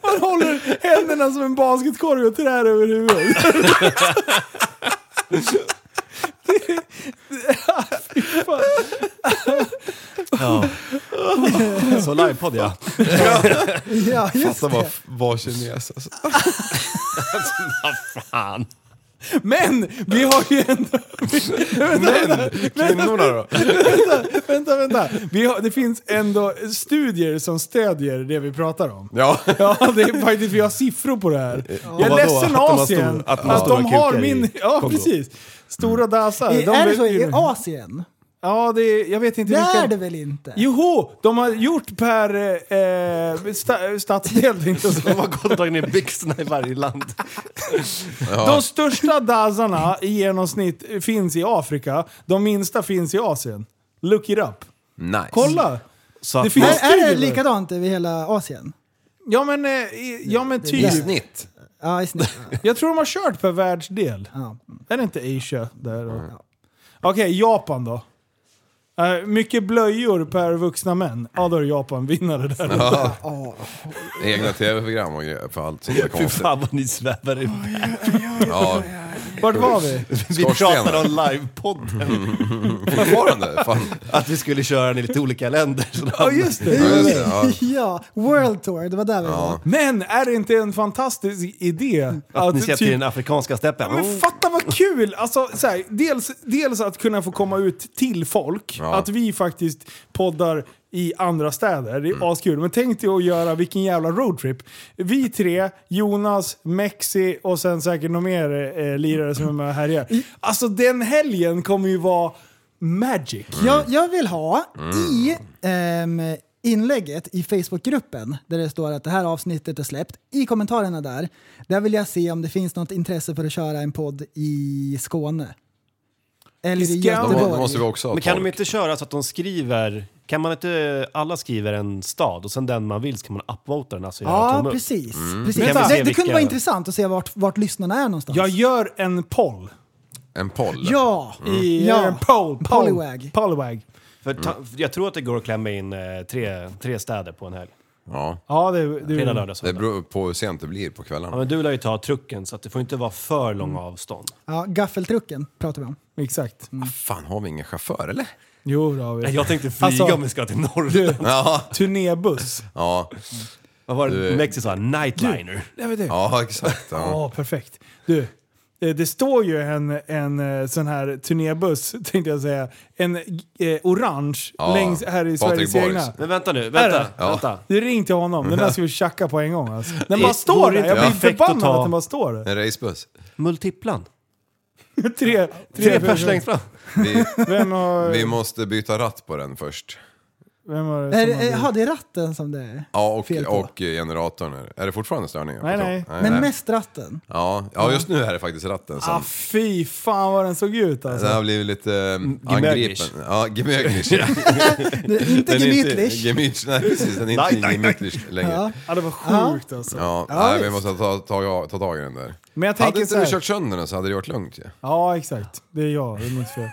B: Man håller händerna som en basketkorg och trär över huvudet.
F: Ja. Så livepodd ja.
C: Ja, just
E: Fatta
C: det.
E: vad, vad kines alltså.
F: Vad fan.
B: Men vi har ju ändå...
E: Men kvinnorna då?
B: Vänta, vänta. Vi har, det finns ändå studier som stödjer det vi pratar om.
E: Ja.
B: <laughs> Ja, det är faktiskt, vi har siffror på det här. Jag är
F: Och Eh, vadå?
B: ledsen
F: Att de har
B: Asien,
F: stor-
B: att
F: att
B: de
F: de
B: har,
F: har stora kukar i Mm.
B: min... Ja,
F: Kongo.
B: precis. Stora dassar.
C: I, är det så i
B: Ja,
C: Asien?
B: det är, jag vet inte
C: Det är det
B: vilka...
C: väl inte?
B: Joho! De har gjort per eh, sta, stadsdel, tänkte jag säga.
F: De har gått och tagit ner byxorna i varje land.
B: De största dassarna i genomsnitt finns i Afrika. De minsta finns i Asien. Look it up.
E: Nice.
B: Kolla!
F: Så att
B: Det
F: man-
B: finns-
C: Är, är det
B: studier.
C: likadant över hela Asien?
B: Ja men, eh, i- ja, men
E: I
B: typ.
E: snitt.
C: Ja, i snitt.
B: Jag tror de har kört per världsdel.
C: Ja.
B: Är det inte Asia där? då? Okej, Japan då? Eh, mycket blöjor per vuxna män. Ja, då är Japan vinnare där.
E: Egna tv-program och grejer för allt sånt där
F: Fy
E: konstigt.
F: fan vad ni svävar ut.
E: Ja,
B: Vart var vi?
F: Vi
E: Skorstenar. Mm.
F: pratade om livepodden.
E: fortfarande. Fan.
F: Att vi skulle köra den i lite olika länder. Så
B: Ja, just det.
E: Ja, just det, ja.
C: <laughs> ja, World Tour, det var där vi var.
B: Men är det inte en fantastisk idé?
F: Att ni ser till
B: typ-
F: den afrikanska steppen.
B: Ja, Men fatta vad kul! Alltså, så här, dels, dels att kunna få komma ut till folk,
E: Ja.
B: att vi faktiskt poddar i andra städer, det är askul. Men tänk dig att göra vilken jävla roadtrip. Vi tre, Jonas, Mexi och sen säkert någon mer eh, lirare som är med och härjar. Alltså den helgen kommer ju vara magic.
E: Mm.
C: Jag, jag vill ha i ehm, inlägget i Facebookgruppen där det står att det här avsnittet är släppt, i kommentarerna där, där vill jag se om det finns något intresse för att köra en podd i Skåne. Eller i
B: I Skåne?
E: Då
C: Göteborg.
E: må- då måste vi också ha
F: Men kan de
E: folk.
F: inte köra så att de skriver... Kan man inte... Alla skriver en stad och sen den man vill så kan man upvota den. Alltså göra
C: Ja,
F: tumme upp.
C: precis.
E: Mm.
C: precis.
F: Kan vi se
C: Det, det
F: vilka-
C: kunde vara intressant att se vart, vart lyssnarna är någonstans.
B: Jag gör en poll.
E: En poll.
C: ja!
E: Mm.
B: I, eh,
C: Ja.
B: Jag gör en poll. poll.
C: Polywag.
B: Polywag.
F: För ta, för jag tror att det går att klämma in eh, tre, tre städer på en helg.
E: Ja.
B: Ja, det,
F: Fredag,
B: det,
F: lördag,
E: Det
F: söndag.
E: beror på hur sent det blir på
F: Ja,
E: kvällarna.
F: men du lär ju ta trucken så att det får inte vara för långa avstånd.
C: ja gaffeltrucken pratar vi om.
B: exakt.
E: Ah, Fan, har vi ingen chaufför eller?
B: Jo, det har vi.
F: Jag tänkte flyga
B: Alltså-
F: om vi ska till Norrland.
E: Ja,
B: Turnébuss.
E: ja,
F: <laughs> Vad var
E: Du-
F: det Mexi sa? Nightliner.
B: Det var det.
E: ja exakt. Ja.
B: Ja, perfekt. Du, eh, det står ju en, en eh, sån här turnébuss, <laughs> tänkte jag säga. En eh, orange
E: Ja,
B: längs här i
E: Patrik
B: Sveriges
E: Borgs.
B: egna.
F: Men vänta nu,
B: Är
F: vänta.
B: det?
F: vänta.
B: Du ring till honom, den där ska vi tjacka på en gång alltså. Den
F: Det
B: bara står
F: vore
B: där, jag
F: inte
B: blir
F: perfekt att
B: förbannad
F: ta-
B: att den bara står där. <laughs>
E: En racebuss.
F: Multiplan.
B: tre,
F: Tre pers längst fram.
E: Vi,
B: Vem har...
E: vi måste byta ratt på den först.
B: Vem har
C: Är,
B: som har-
C: är, har det ratten som det är?
E: Ja, och,
C: Fel på.
E: och generatorn. Är, är det fortfarande störningar? på
B: Nej,
E: tåg?
B: nej.
C: Men
E: <laughs>
C: mest ratten.
E: Ja, ja, just nu är det faktiskt ratten som...
B: Ah, fy fan vad den såg ut alltså.
E: Den har blivit lite eh,
F: gemöglish.
E: angripen. Ja, gemöglish.
C: Det, inte
E: Den är inte
C: gemytlich.
E: gemytlich, Nej, precis. Den är
F: Nej,
E: inte
F: nej, nej.
E: gemytlich längre.
C: Ja.
B: Ja, det var sjukt alltså.
E: Ja,
C: Ja,
E: nej, vi
C: visst.
E: måste ta, ta, ta tag i den där.
B: Men jag
E: Hade
B: tänker så
E: inte du
B: här.
E: kört sönder den så hade det varit lugnt ju.
B: Ja, exakt. Det är jag. Det är mitt fel.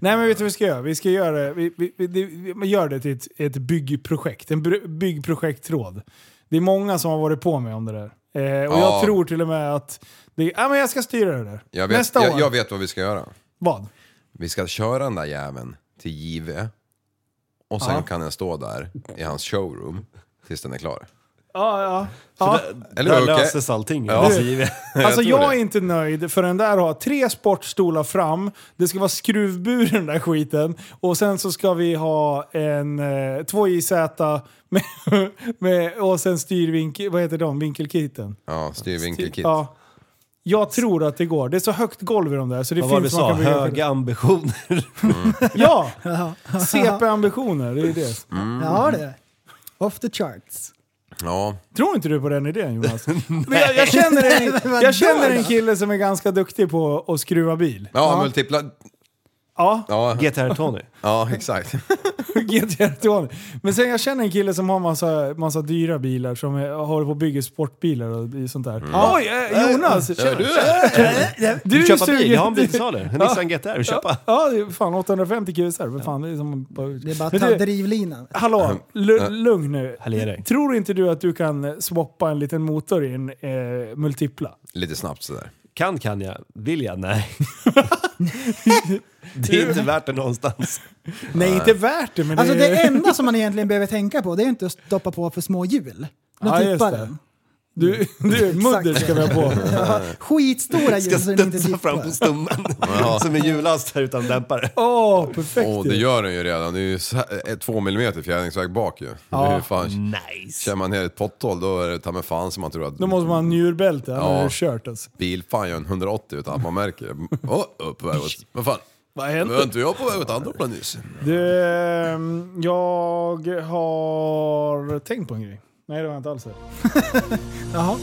B: Nej, men vet du vad vi ska göra? Vi ska göra det, vi, vi, vi, det- vi man gör det till ett, ett byggprojekt. En br- byggprojekttråd. Det är många som har varit på mig om det där. Eh, och jag
E: Ja.
B: tror till och med att... Det, ja, men jag ska styra det där.
E: Jag vet,
B: Nästa
E: jag,
B: år.
E: jag vet vad vi ska göra.
B: Vad?
E: Vi ska köra den där jäveln till JV och sen kan den stå där i hans showroom tills den är klar.
B: Ja, ja.
E: <laughs>
B: ja.
E: Eller
F: Där
E: hur, Åke?
F: löses allting.
E: Ja.
F: Alltså, givet-
B: Alltså
E: tror
B: jag,
E: det.
B: är inte nöjd förrän där har tre sportstolar fram, det ska vara skruvburen där skiten och sen så ska vi ha en eh, två JZ med, <laughs> med, och sen styrvinkel, vad heter de, vinkelkiten?
E: Ja, styrvinkelkit.
B: Ja. Jag tror att det går. Det är så högt golv i de där så det
F: Vad var det du
B: finns man kan
F: sa?
B: bygga
F: Höga ambitioner. <laughs>
B: Ja! CP-ambitioner, det är det.
C: Ja, det. Off the charts.
E: Ja,
B: Tror inte du på den idén Jonas? Men jag, jag, känner
C: <laughs>
B: en, jag känner en kille som är ganska duktig på att skruva bil.
E: ja, multipla...
B: Ja.
E: Ja,
F: GTR Tony.
E: ja, exakt.
B: <laughs> GTR Tony. Men sen jag känner en kille som har massa, massa dyra bilar som är, håller på och bygger sportbilar och sånt där. Oj, eh, Jonas!
E: Gör du det?
B: Du
F: Köpa
B: är
F: bil,
B: sugen-
F: jag har en bilsalu. En Nissan GTR, köpa.
B: Ja, det är fan 850 QSR. Men fan, det är som...
C: Det är bara
B: Men
C: att ta
B: du,
C: drivlinan.
B: Hallå, lu- lugn nu.
F: Hallå, dig.
B: Tror inte du att du kan swappa en liten motor i en eh, multipla?
E: Lite snabbt sådär.
F: Kan kan jag, vill
B: <laughs>
F: jag? Nej. det är inte värt det någonstans.
B: Nej, inte värt det, men
C: Alltså
B: det,
C: det enda som man egentligen behöver tänka på det är inte att stoppa på för små hjul.
B: Ja,
C: Då
B: just
C: tippar
B: det.
C: den.
B: Du, <laughs> du mudder ska vi ha <laughs> på.
C: <laughs> Ja, skitstora
F: Ska
C: ljus så den inte
F: studsa fram på
C: dippar.
F: stummen. Som en jullast här utan dämpare.
B: Åh, perfekt
E: Åh,
B: ju.
E: det gör den ju redan. Det är ju så här- eh, två millimeter fjädringsväg bak ju. Det är ju
C: Mm.
E: fan,
F: Nice.
E: känner man ner ett potthål då är det ta mig fan som man tror att
B: Då måste man ha njurbälte, annars
E: Ja.
B: är det kört alltså.
E: bil fan gör en 180 utan att man märker det. Åh, oh, på väg
C: <laughs>
E: åt... Vad fan?
B: Vad
E: Var
B: hände?
E: inte jag på väg åt andra hållet nyss?
B: Du, ehm, jag har tänkt på en grej. Nej, det var inte alls det.
C: Jaha.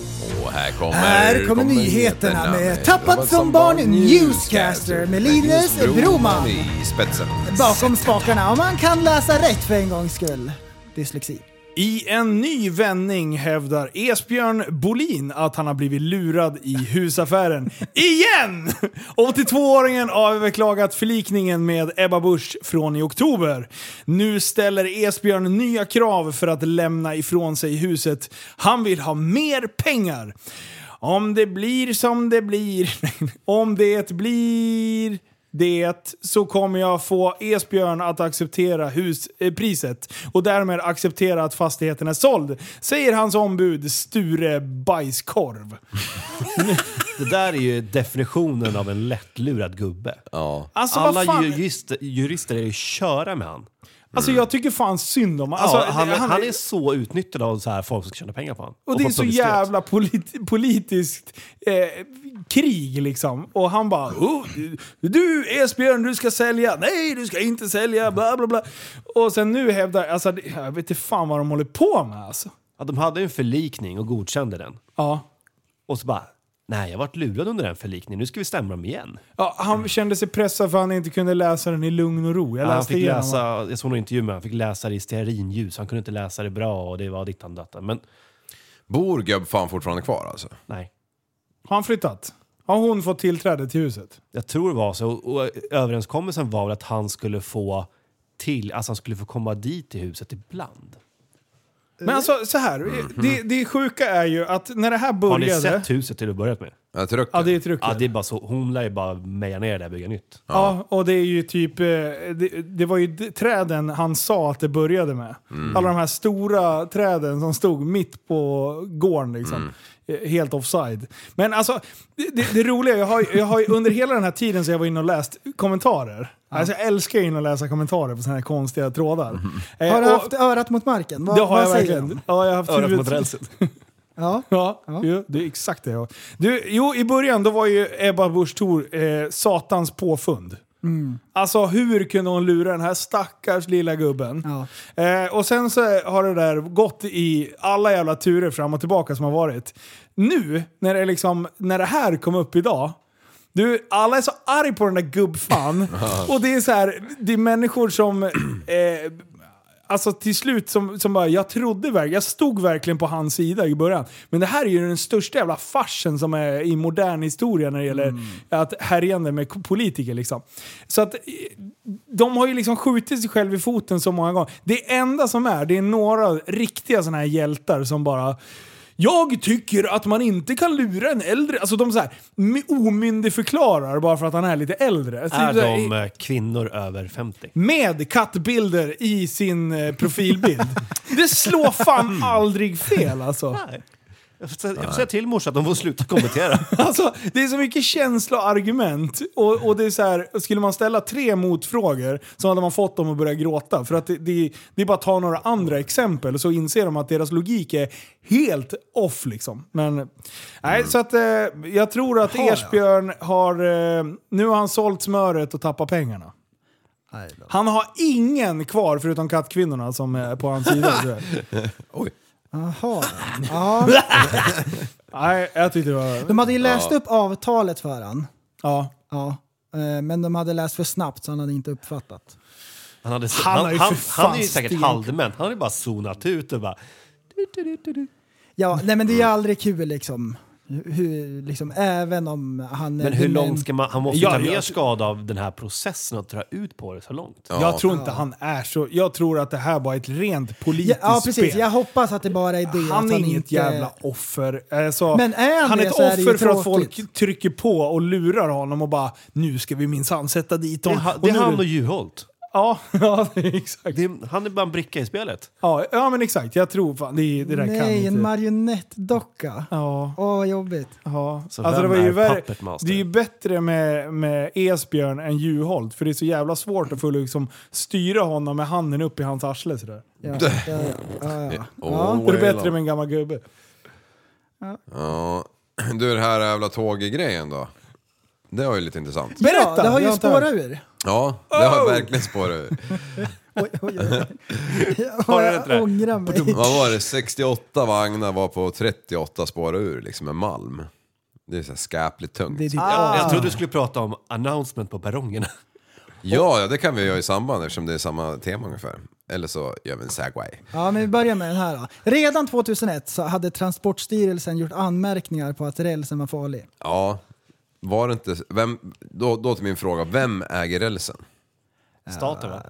E: Och här kommer,
C: Här kommer nyheterna med Tappat som barn Newscaster med Linus Broman
E: i spetsen.
C: bakom spakarna. Om man kan läsa rätt för en gångs skull. Dyslexi.
B: I en ny vändning hävdar Esbjörn Bolin att han har blivit lurad i husaffären. Igen! 82-åringen har överklagat förlikningen med Ebba Busch från i oktober. Nu ställer Esbjörn nya krav för att lämna ifrån sig huset. Han vill ha mer pengar. Om det blir som det blir, <laughs> om det blir det, så kommer jag få Esbjörn att acceptera huspriset och därmed acceptera att fastigheten är såld, säger hans ombud Sture Bajskorv.
F: Det där är ju definitionen av en lättlurad gubbe.
B: Alltså vad
F: Alla
B: fan?
F: jurister, jurister är ju köra med han.
B: Alltså jag tycker fan synd om alltså,
F: Mm. ja, han,
B: det-
F: han, är så utnyttjad av så här folk som ska tjäna pengar på honom.
B: Och det är så jävla polit, politiskt eh, krig liksom. Och han bara oh, Du Esbjörn, du ska sälja! Nej, du ska inte sälja! Bla bla bla. Och sen nu hävdar, alltså det- jag vet inte fan vad de håller på med alltså.
F: Ja, de hade ju en förlikning och godkände den.
B: Ja.
F: Och så bara, nej jag vart lurad under den förlikningen, nu ska vi stämma dem igen.
B: Ja, han kände sig pressad för han inte kunde läsa den i lugn och ro. Jag
F: Ja, han
B: läste
F: fick
B: igenom den.
F: läsa, jag såg en intervju med honom, han fick läsa det i stearinljus, han kunde inte läsa det bra och det var dittan dattan. Men
E: Bor gubb fan fortfarande kvar alltså?
F: nej,
B: Har han flyttat? Har hon fått tillträde till huset?
F: jag tror det var så. Och, och överenskommelsen var väl att han skulle få till, alltså han skulle få komma dit till huset ibland.
B: Men alltså så här, det, det sjuka är ju att när det här
F: Mhm. Har ni
B: började...
F: sett huset till att börja med?
E: Jag tror
B: Ja, det är ett
F: Ja,
B: ruckel.
F: det är bara så, hon lär ju bara meja ner det där och bygga nytt.
B: Ja, och det är ju typ... eh, Det, det var ju d- träden han sa att det började med.
C: Mm.
B: Alla de här stora träden som stod mitt på gården liksom.
C: Mm.
B: Eh, Helt offside. Men alltså, det, det, det roliga, jag har, ju- jag har ju under hela den här tiden så jag var inne och läst kommentarer. Alltså jag älskar ju in och läsa kommentarer på sådana här konstiga trådar. Eh,
C: Mm. Har du
B: och-
C: haft örat mot marken? Vad,
B: det har
C: vad
B: jag
C: säger
B: verkligen.
C: de?
B: Ja, jag har haft
F: Örat
B: huvudet-
F: mot rälset.
B: <laughs>
C: Ja.
B: Ja, ju, det är exakt det. ja. Du, jo, i början då var ju Ebba Busch Thor eh, satans påfund. Alltså hur kunde hon lura den här stackars lilla gubben?
C: Ja.
B: Eh, och sen så har det där gått i alla jävla turer fram och tillbaka som har varit. Nu, när det, liksom, när det här kom upp idag, du, alla är så arg på den där gubbfan. och det är så här, det är människor som... Eh, Alltså till slut som, som bara, jag trodde verkligen, jag stod verkligen på hans sida i början. Men det här är ju den största jävla farsen som är i modern historia när det gäller
F: Mm.
B: att härjande med k- politiker liksom. Så att eh, de har ju liksom skjutit sig själv i foten så många gånger. Det enda som är, det är några riktiga sådana här hjältar som bara jag tycker att man inte kan lura en äldre... Alltså de så här, my- omyndigförklarar bara för att han är lite äldre. Typ så
F: Är
B: här,
F: de eh, kvinnor över 50?
B: med kattbilder i sin eh, profilbild. det slår fan aldrig fel alltså.
F: Nej. Jag får, säga, jag får säga till morsan att de får sluta kommentera.
B: <laughs> alltså. Det är så mycket känsla och argument. Och, och det är så här, skulle man ställa tre motfrågor så hade man fått dem att börja gråta. För att det, det, det är bara att ta några andra exempel så inser de att deras logik är helt off liksom. Men nej, så att eh, jag tror att Ersbjörn har... Eh, nu har han sålt smöret och tappat pengarna. Han har ingen kvar förutom kattkvinnorna som är på hans sida. tror jag.
C: Jaha. Ja.
B: <laughs> Nej, jag tyckte det var...
C: De hade ju läst upp avtalet för han.
B: Ja.
C: Ja. Eh, Men de hade läst för snabbt så han hade inte uppfattat.
F: <laughs> Han, hade,
B: Han har ju för
F: han, han,
B: fan
F: han är ju säkert
B: stenkoll.
F: halvdement. Han har ju bara zonat ut och bara...
C: Ja, nej men det är ju aldrig kul liksom. Hur, liksom även om han...
F: Men hur långt ska man... Han måste ju
B: Ja,
F: ta
B: jag-
F: mer skada av den här processen och dra ut på det så långt.
B: Jag tror inte han är så. Jag tror att det här var ett rent
C: Ja,
B: politiskt
C: ja precis,
B: spel.
C: jag hoppas att det bara är det. att
B: han är inget
C: inte-
B: jävla offer. Alltså,
C: Men är han
B: han är
C: det
B: ett
C: så är det ju
B: offer för att
C: tråkigt.
B: folk trycker på och lurar honom och bara “Nu ska vi minsann sätta dit
F: Det,
B: honom”.
F: är han-
B: Och
F: det är
B: nu-
F: han och Juholt.
B: Ja, <laughs> ja det är exakt.
F: Det är, han är bara en bricka i spelet.
B: Ja, ja, men exakt. Jag tror fan, det, det där kan
C: Nej,
B: inte...
C: en marionettdocka. Åh,
B: ja,
C: vad jobbigt.
B: <laughs> ja.
F: Så
B: Alltså, det, var
F: vem är
B: ju värre,
F: Puppet Master?
B: det är ju bättre med, med Esbjörn än Juholt, för det är så jävla svårt att få liksom, styra honom med handen upp i hans arsle sådär.
C: Ja, ja, ja, ja, ja.
E: Oh,
B: Det är
E: well.
B: bättre med en gammal gubbe.
E: Ja. Du, den här jävla tåggrejen då? Det var ju lite intressant.
B: Berätta!
C: ja det har
B: Jag
C: ju
B: inte
C: spårat
B: hört. <laughs>
C: ur.
E: Ja, det har
C: Oh!
E: verkligen spårat
C: <laughs>
E: ur.
C: Oj, oj, oj.
F: <laughs> Har du rätt
C: Jag
F: där?
C: ångrar mig.
E: Vad var det? 68 vagnar var på 38 spåra ur liksom med malm. Det är så här skäpligt tungt.
C: Det är typ- ditt
F: Jag, jag trodde du skulle prata om announcement på perrongerna.
E: Ja, ja, det kan vi göra i samband eftersom det är samma tema ungefär. Eller så gör vi en segway.
C: Ja, men vi börjar med den här då. Redan 2001 så hade Transportstyrelsen gjort anmärkningar på att rälsen var farlig.
E: Ja, var det inte... Vem, då, då till min fråga, vem äger rälsen?
F: Staten va?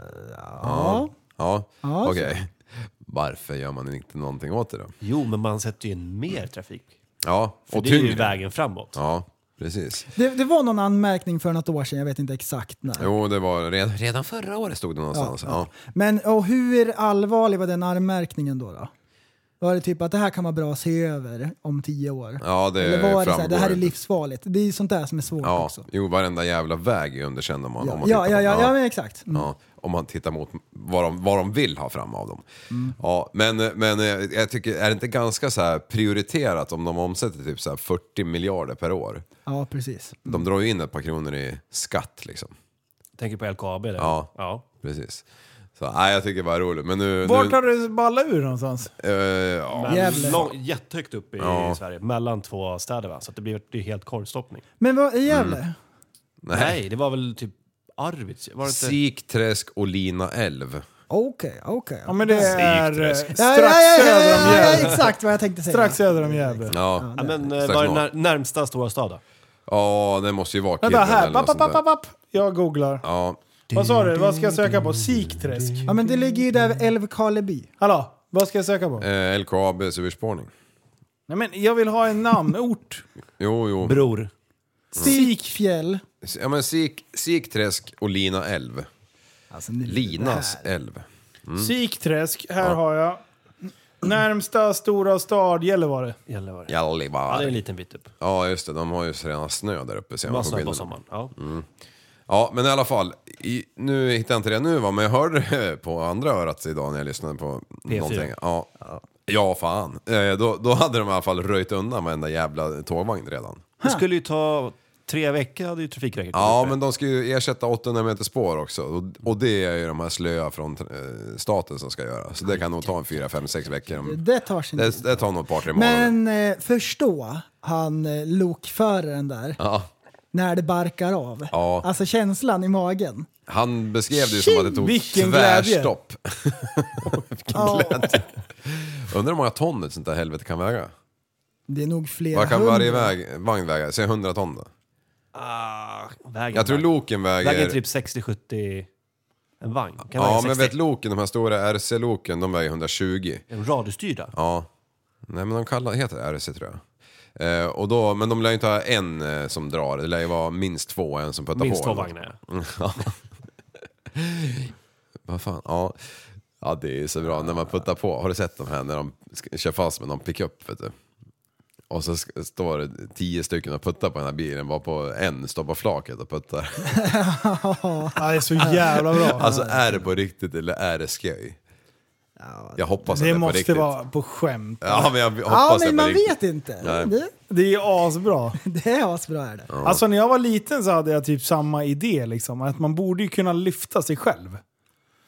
C: Ja.
E: Ja,
C: Ja,
E: okej. Varför gör man inte någonting åt det då?
F: Jo, men man sätter ju in mer trafik.
E: Ja,
F: För
E: och
F: det är ju
E: tyngre.
F: vägen framåt.
E: Ja, precis.
C: Det, det var någon anmärkning för något år sedan, jag vet inte exakt när.
E: Jo, det var redan, redan förra året stod det någonstans. Ja,
C: Men och hur allvarlig var den anmärkningen då? då? Var det typ att det här kan vara bra att se över om tio år?
E: Ja, det
C: Eller var det så här,
E: framgår
C: det här är
E: inte.
C: livsfarligt? Det är ju sånt där som är svårt
E: Ja,
C: också.
E: jo, varenda jävla väg är underkänd om man, om
C: Ja,
E: man
C: ja,
E: tittar
C: ja,
E: på-
C: ja, ja, men exakt. Mm.
E: Ja, om man tittar mot vad de, vad de vill ha fram av dem.
C: Mm.
E: Ja, men, men eh, jag tycker, är det inte ganska så här prioriterat om de omsätter typ så här 40 miljarder per år?
C: Ja, precis.
E: De drar ju in ett par kronor i skatt liksom.
F: Tänker på LKAB där.
E: Ja. Precis. Så nej, jag tycker det var roligt. Men nu...
B: Vart
E: nu,
B: har det ballat ur någonstans?
E: eh, ja.
F: Men
C: Jävlar.
F: Lång, jättehögt upp i,
E: Ja.
F: i Sverige, mellan två städer va? Så att det blir det är helt korvstoppning.
C: Men vad, i Gävle?
E: Mm. Nej.
F: Nej, det var väl typ Arvidsjaur? Var det inte?
E: Sikträsk och Lina älv.
C: Okej, okej.
B: Ja men det är eh,
E: Sikträsk.
B: strax
C: Ja, ja, ja, ja,
B: söder om
C: ja, ja,
B: Gävle.
C: exakt vad jag tänkte säga.
B: Strax söder om Gävle.
E: Ja,
F: Ja, men eh,
E: Strax
F: var det
E: norr.
F: när, närmsta stora stad då?
E: ja det måste ju vara
B: Vänta
E: Kiruna
B: här,
E: eller något
B: papp,
E: sånt
B: papp,
E: där.
B: papp, papp. Jag googlar.
E: Ja,
B: Vad sa du? Vad ska jag söka på? Sikträsk?
C: Ja, men det ligger ju där vid Älvkarleby.
B: Hallå? Vad ska jag söka på?
E: eh, LKABs urspårning.
B: Nej men jag vill ha en <laughs> namnort.
E: Jo, jo.
F: Bror.
C: Sikfjäll.
E: Ja, men Sik, Sikträsk och Lina älv.
C: Alltså, nu-
E: Linas älv. Mm.
B: Sikträsk, här har jag. Närmsta stora stad Gällivare.
F: Gällivare. Ja. det är en
E: Gällivare.
F: liten bit upp.
E: Ja, just det. De har ju redan snö där uppe ser man på
F: Massa på
E: bilderna.
F: sommaren. Ja.
E: Mm. Ja, men i alla fall. I, nu hittar jag inte det nu va, men jag hörde på andra örat idag när jag lyssnade på
F: P4.
E: någonting. Ja. ja, fan. Eh, då, då hade de i alla fall röjt undan varenda jävla tågvagn redan.
F: Det skulle ju ta tre veckor, hade ju Trafikverket
E: Ja,
F: gjort det.
E: men de ska ju ersätta 800 meter spår också. Och, och det är ju de här slöa från eh, staten som ska göra. Så det kan nog ta en 4, 5, 6 veckor. om-
C: Det tar sin
E: Det, det tar nog ett par, tre månader.
C: Men eh, förstå han eh, lokföraren där
E: Ja.
C: när det barkar av.
E: Ja.
C: Alltså känslan
E: <laughs>
C: i magen.
E: Han beskrev det ju som att det tog
B: Vilken glädje.
E: tvärstopp. Undrar hur många ton ett sånt där helvete kan väga?
C: Det är nog flera
E: Vad kan
C: hundra.
E: varje väg, vagn väga? Säg 100 ton då.
F: Ah, vägen,
E: Jag tror loken väger...
F: vägen är typ 60-70... En vagn? Kan
E: ja,
F: väga
E: men
F: 60.
E: vet loken, de här stora RC-loken, de väger 120.
F: En radiostyrda?
E: Ja. Nej, men de kallar, heter RC tror jag. Eh, och då, men de lär ju inte ha en eh, som drar, det lär ju vara minst två, en som puttar
F: Minst
E: på.
F: två
E: eller något.
F: vagnar ja.
E: <laughs> Vad fan, ja. Ja, det är så bra när man puttar på. Har du sett de här när de ska- kör fast med någon pickup? Vet du? Och så sk- står det tio stycken och puttar på den här bilen, bara på en står på flaket och puttar.
B: Ja, det är så jävla bra.
E: <laughs> Alltså är det på riktigt eller är det skoj? Jag hoppas att det
B: Det
E: är på
B: måste
E: riktigt.
B: vara på skämt.
E: Ja, men jag hoppas
C: Ja,
E: att det är
C: men
E: på
C: man
E: riktigt.
C: vet inte.
E: Nej.
C: Det,
B: Det är asbra.
C: det är asbra är det.
B: Alltså när jag var liten så hade jag typ samma idé liksom. Att man borde ju kunna lyfta sig själv.
F: <laughs>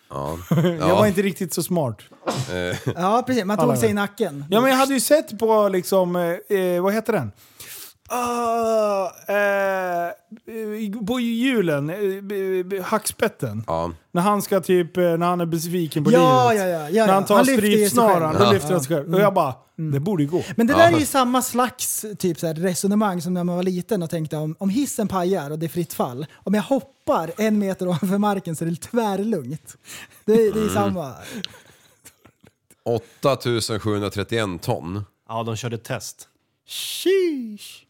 E: Ja.
B: Jag var
E: Ja.
B: inte riktigt så smart.
C: Ja, precis. Man
B: Alla
C: tog sig i
B: vet.
C: nacken.
B: Ja men jag hade ju sett på liksom, eh, eh, vad heter den? Ah, eh, eh, på julen, eh, b- b- hackspetten.
E: Ja.
B: När han ska typ, eh, när han är besviken på
C: Ja,
B: livet.
C: ja, ja, ja,
B: När han
C: ja.
B: tar
C: Han lyfter ju sig
B: strypsnaran,
C: själv. Mm.
B: då
C: Ja.
B: lyfter han sig själv. Och jag bara, det borde ju gå.
C: Men det där är ju samma slags typ, så här, resonemang som när man var liten och tänkte om, om hissen pajar och det är fritt fall. Om jag hoppar en meter ovanför marken så är det tvärlugnt. Det, är-
E: Mm.
C: det är samma.
E: 8731 ton.
F: Ja, de körde test.
C: Sheesh.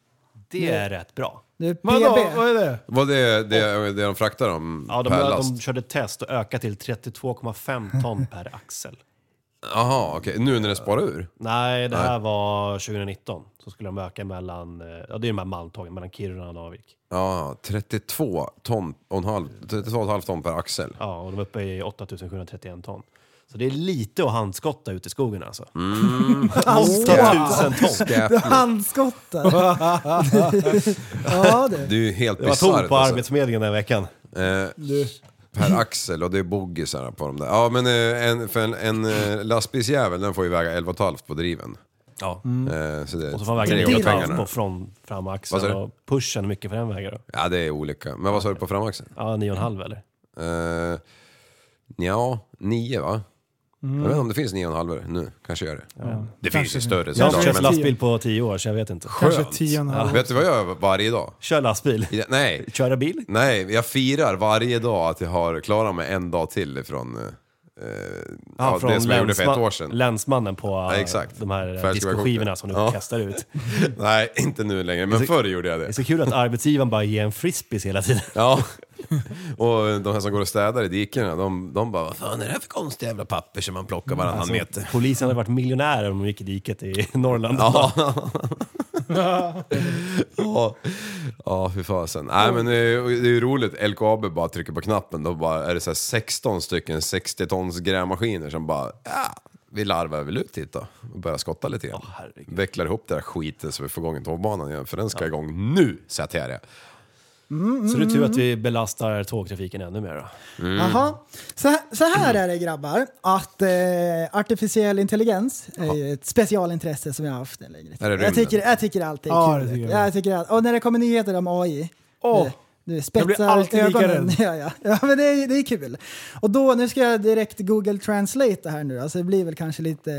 F: Det är rätt bra.
C: Nu är PB.
B: Vadå, vad är det?
E: Vad det, det, det de fraktar dem
F: Ja, de,
E: per
F: de,
E: last?
F: de körde test och ökade till 32,5 ton
E: <laughs>
F: per axel.
E: Jaha, okej. Nu när det sparar ur?
F: Nej, det här var 2019. Så skulle de öka mellan, eh, ja det är de här malmtågen, mellan Kiruna och Narvik.
E: Ja, 32 ton och en halv, 32,5 ton per
F: <laughs>
E: axel.
F: Ja, och de är uppe i 8731 ton. Så det är lite att handskotta ute i skogen alltså.
E: Mm.
F: <laughs>
C: Handskottar.
F: 1000 ton.
C: <laughs>
E: <laughs>
C: Handskottar. ja du.
E: Det är ju helt
F: Det var tomt
E: bisarrt.
F: på
E: Alltså.
F: Arbetsförmedlingen den veckan.
E: Eh, per axel och det är boggisar på dem där. Ja, men eh, en, för en, en eh, lastbilsjävel den får ju väga 11,5 på driven.
F: Ja.
E: Eh, så det,
F: Mm. Och så får man väga
E: tre gånger pengarna.
F: 9,5 på från
E: Vad sa
F: framaxeln.
E: du?
F: Och pushen, hur mycket för den väger då?
E: Ja, det är olika. Men vad sa du på framaxeln?
F: Ja, 9,5 eller?
E: Eh, ja, 9 va? Jag vet inte om det finns 9,5 nu. Kanske gör det. Det finns ju större
F: Jag har
E: såklart,
F: inte kört
E: men-
F: lastbil på 10 år, så jag vet inte.
B: Kanske
E: Skönt.
B: tio och en halv.
E: Vet du vad jag gör varje dag?
F: Kör lastbil.
E: I- Nej,
F: Köra bil?
E: nej, jag firar varje dag att jag har klarat mig en dag till ifrån, eh, ja, det som jag gjorde för ett
F: länsma-
E: år sedan.
F: länsmannen på
E: Ja, exakt.
F: de
E: För jag
F: här
E: skulle
F: diskoskivorna
E: vara
F: som du
E: Ja.
F: kastar ut.
E: Nej, inte nu längre, men förr gjorde jag
F: Det är
E: det.
F: så kul att arbetsgivaren bara ger en frisbees hela tiden.
E: Ja. Och de här som går och städar i dikena, de, de bara Vad fan är det här för <laughs> konstiga jävla papper som man plockar varannan
F: Alltså,
E: meter?
F: Polisen hade varit miljonärer om de gick i diket i <laughs> Norrland.
E: Ja. <laughs> ja. ja, fy fasen. Nej men eh, det är ju roligt, LKAB bara trycker på knappen, då bara är det så här 16 stycken 60 tons grävmaskiner som bara, ja, vi larvar väl ut hit då och börjar skotta lite grann. Vecklar ihop det där skiten så vi får igång tågbanan igen, för den ska igång nu, sätter jag det.
F: Så det är tur att vi belastar tågtrafiken ännu mer. Då.
E: Mm.
C: Jaha. Så, här- så här är det grabbar, att eh, artificiell intelligens är ett specialintresse som jag har haft en längre
E: Är det
C: tid. Jag
E: rymden?
C: tycker, jag tycker alltid
B: Ja,
C: är
B: det
C: kul.
B: tycker jag
C: jag tycker allt. Och när det kommer nyheter om AI,
B: Åh.
C: nu, nu
B: Jag blir
C: spetsar
B: alltid lika
C: ögonen.
B: rädd.
C: <laughs> Ja, ja. ja, men det är, det är kul. Och då, nu ska jag direkt Google Translate det här nu då, så det blir väl kanske lite,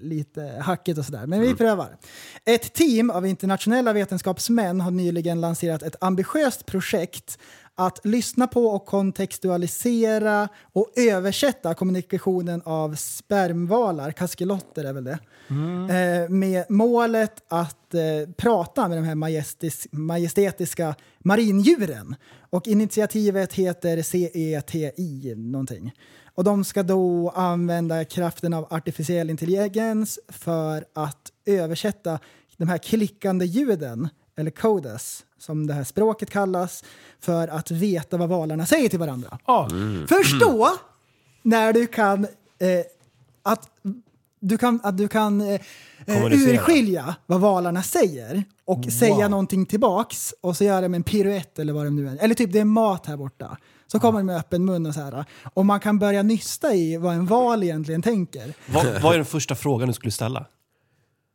C: lite hackigt och sådär. Men vi
B: Mm.
C: prövar. Ett team av internationella vetenskapsmän har nyligen lanserat ett ambitiöst projekt att lyssna på och kontextualisera och översätta kommunikationen av spermvalar, kaskelotter är väl det,
B: Mm.
C: eh, med målet att eh, prata med de här majestis, majestetiska marindjuren. Och initiativet heter CETI någonting. Och de ska då använda kraften av artificiell intelligens för att översätta de här klickande ljuden, eller codes, som det här språket kallas, för att veta vad valarna säger till varandra.
B: Ja.
C: Förstå när du kan eh, att du kan, att du kan eh, eh,
F: Kommunicera.
C: urskilja vad valarna säger och säga någonting tillbaks och så göra med en piruett eller vad det nu är. Eller typ det är mat här borta. Så kommer de med öppen mun och så här. Och man kan börja nysta i vad en val egentligen tänker.
E: <laughs>
F: Vad, vad är den första frågan du skulle ställa?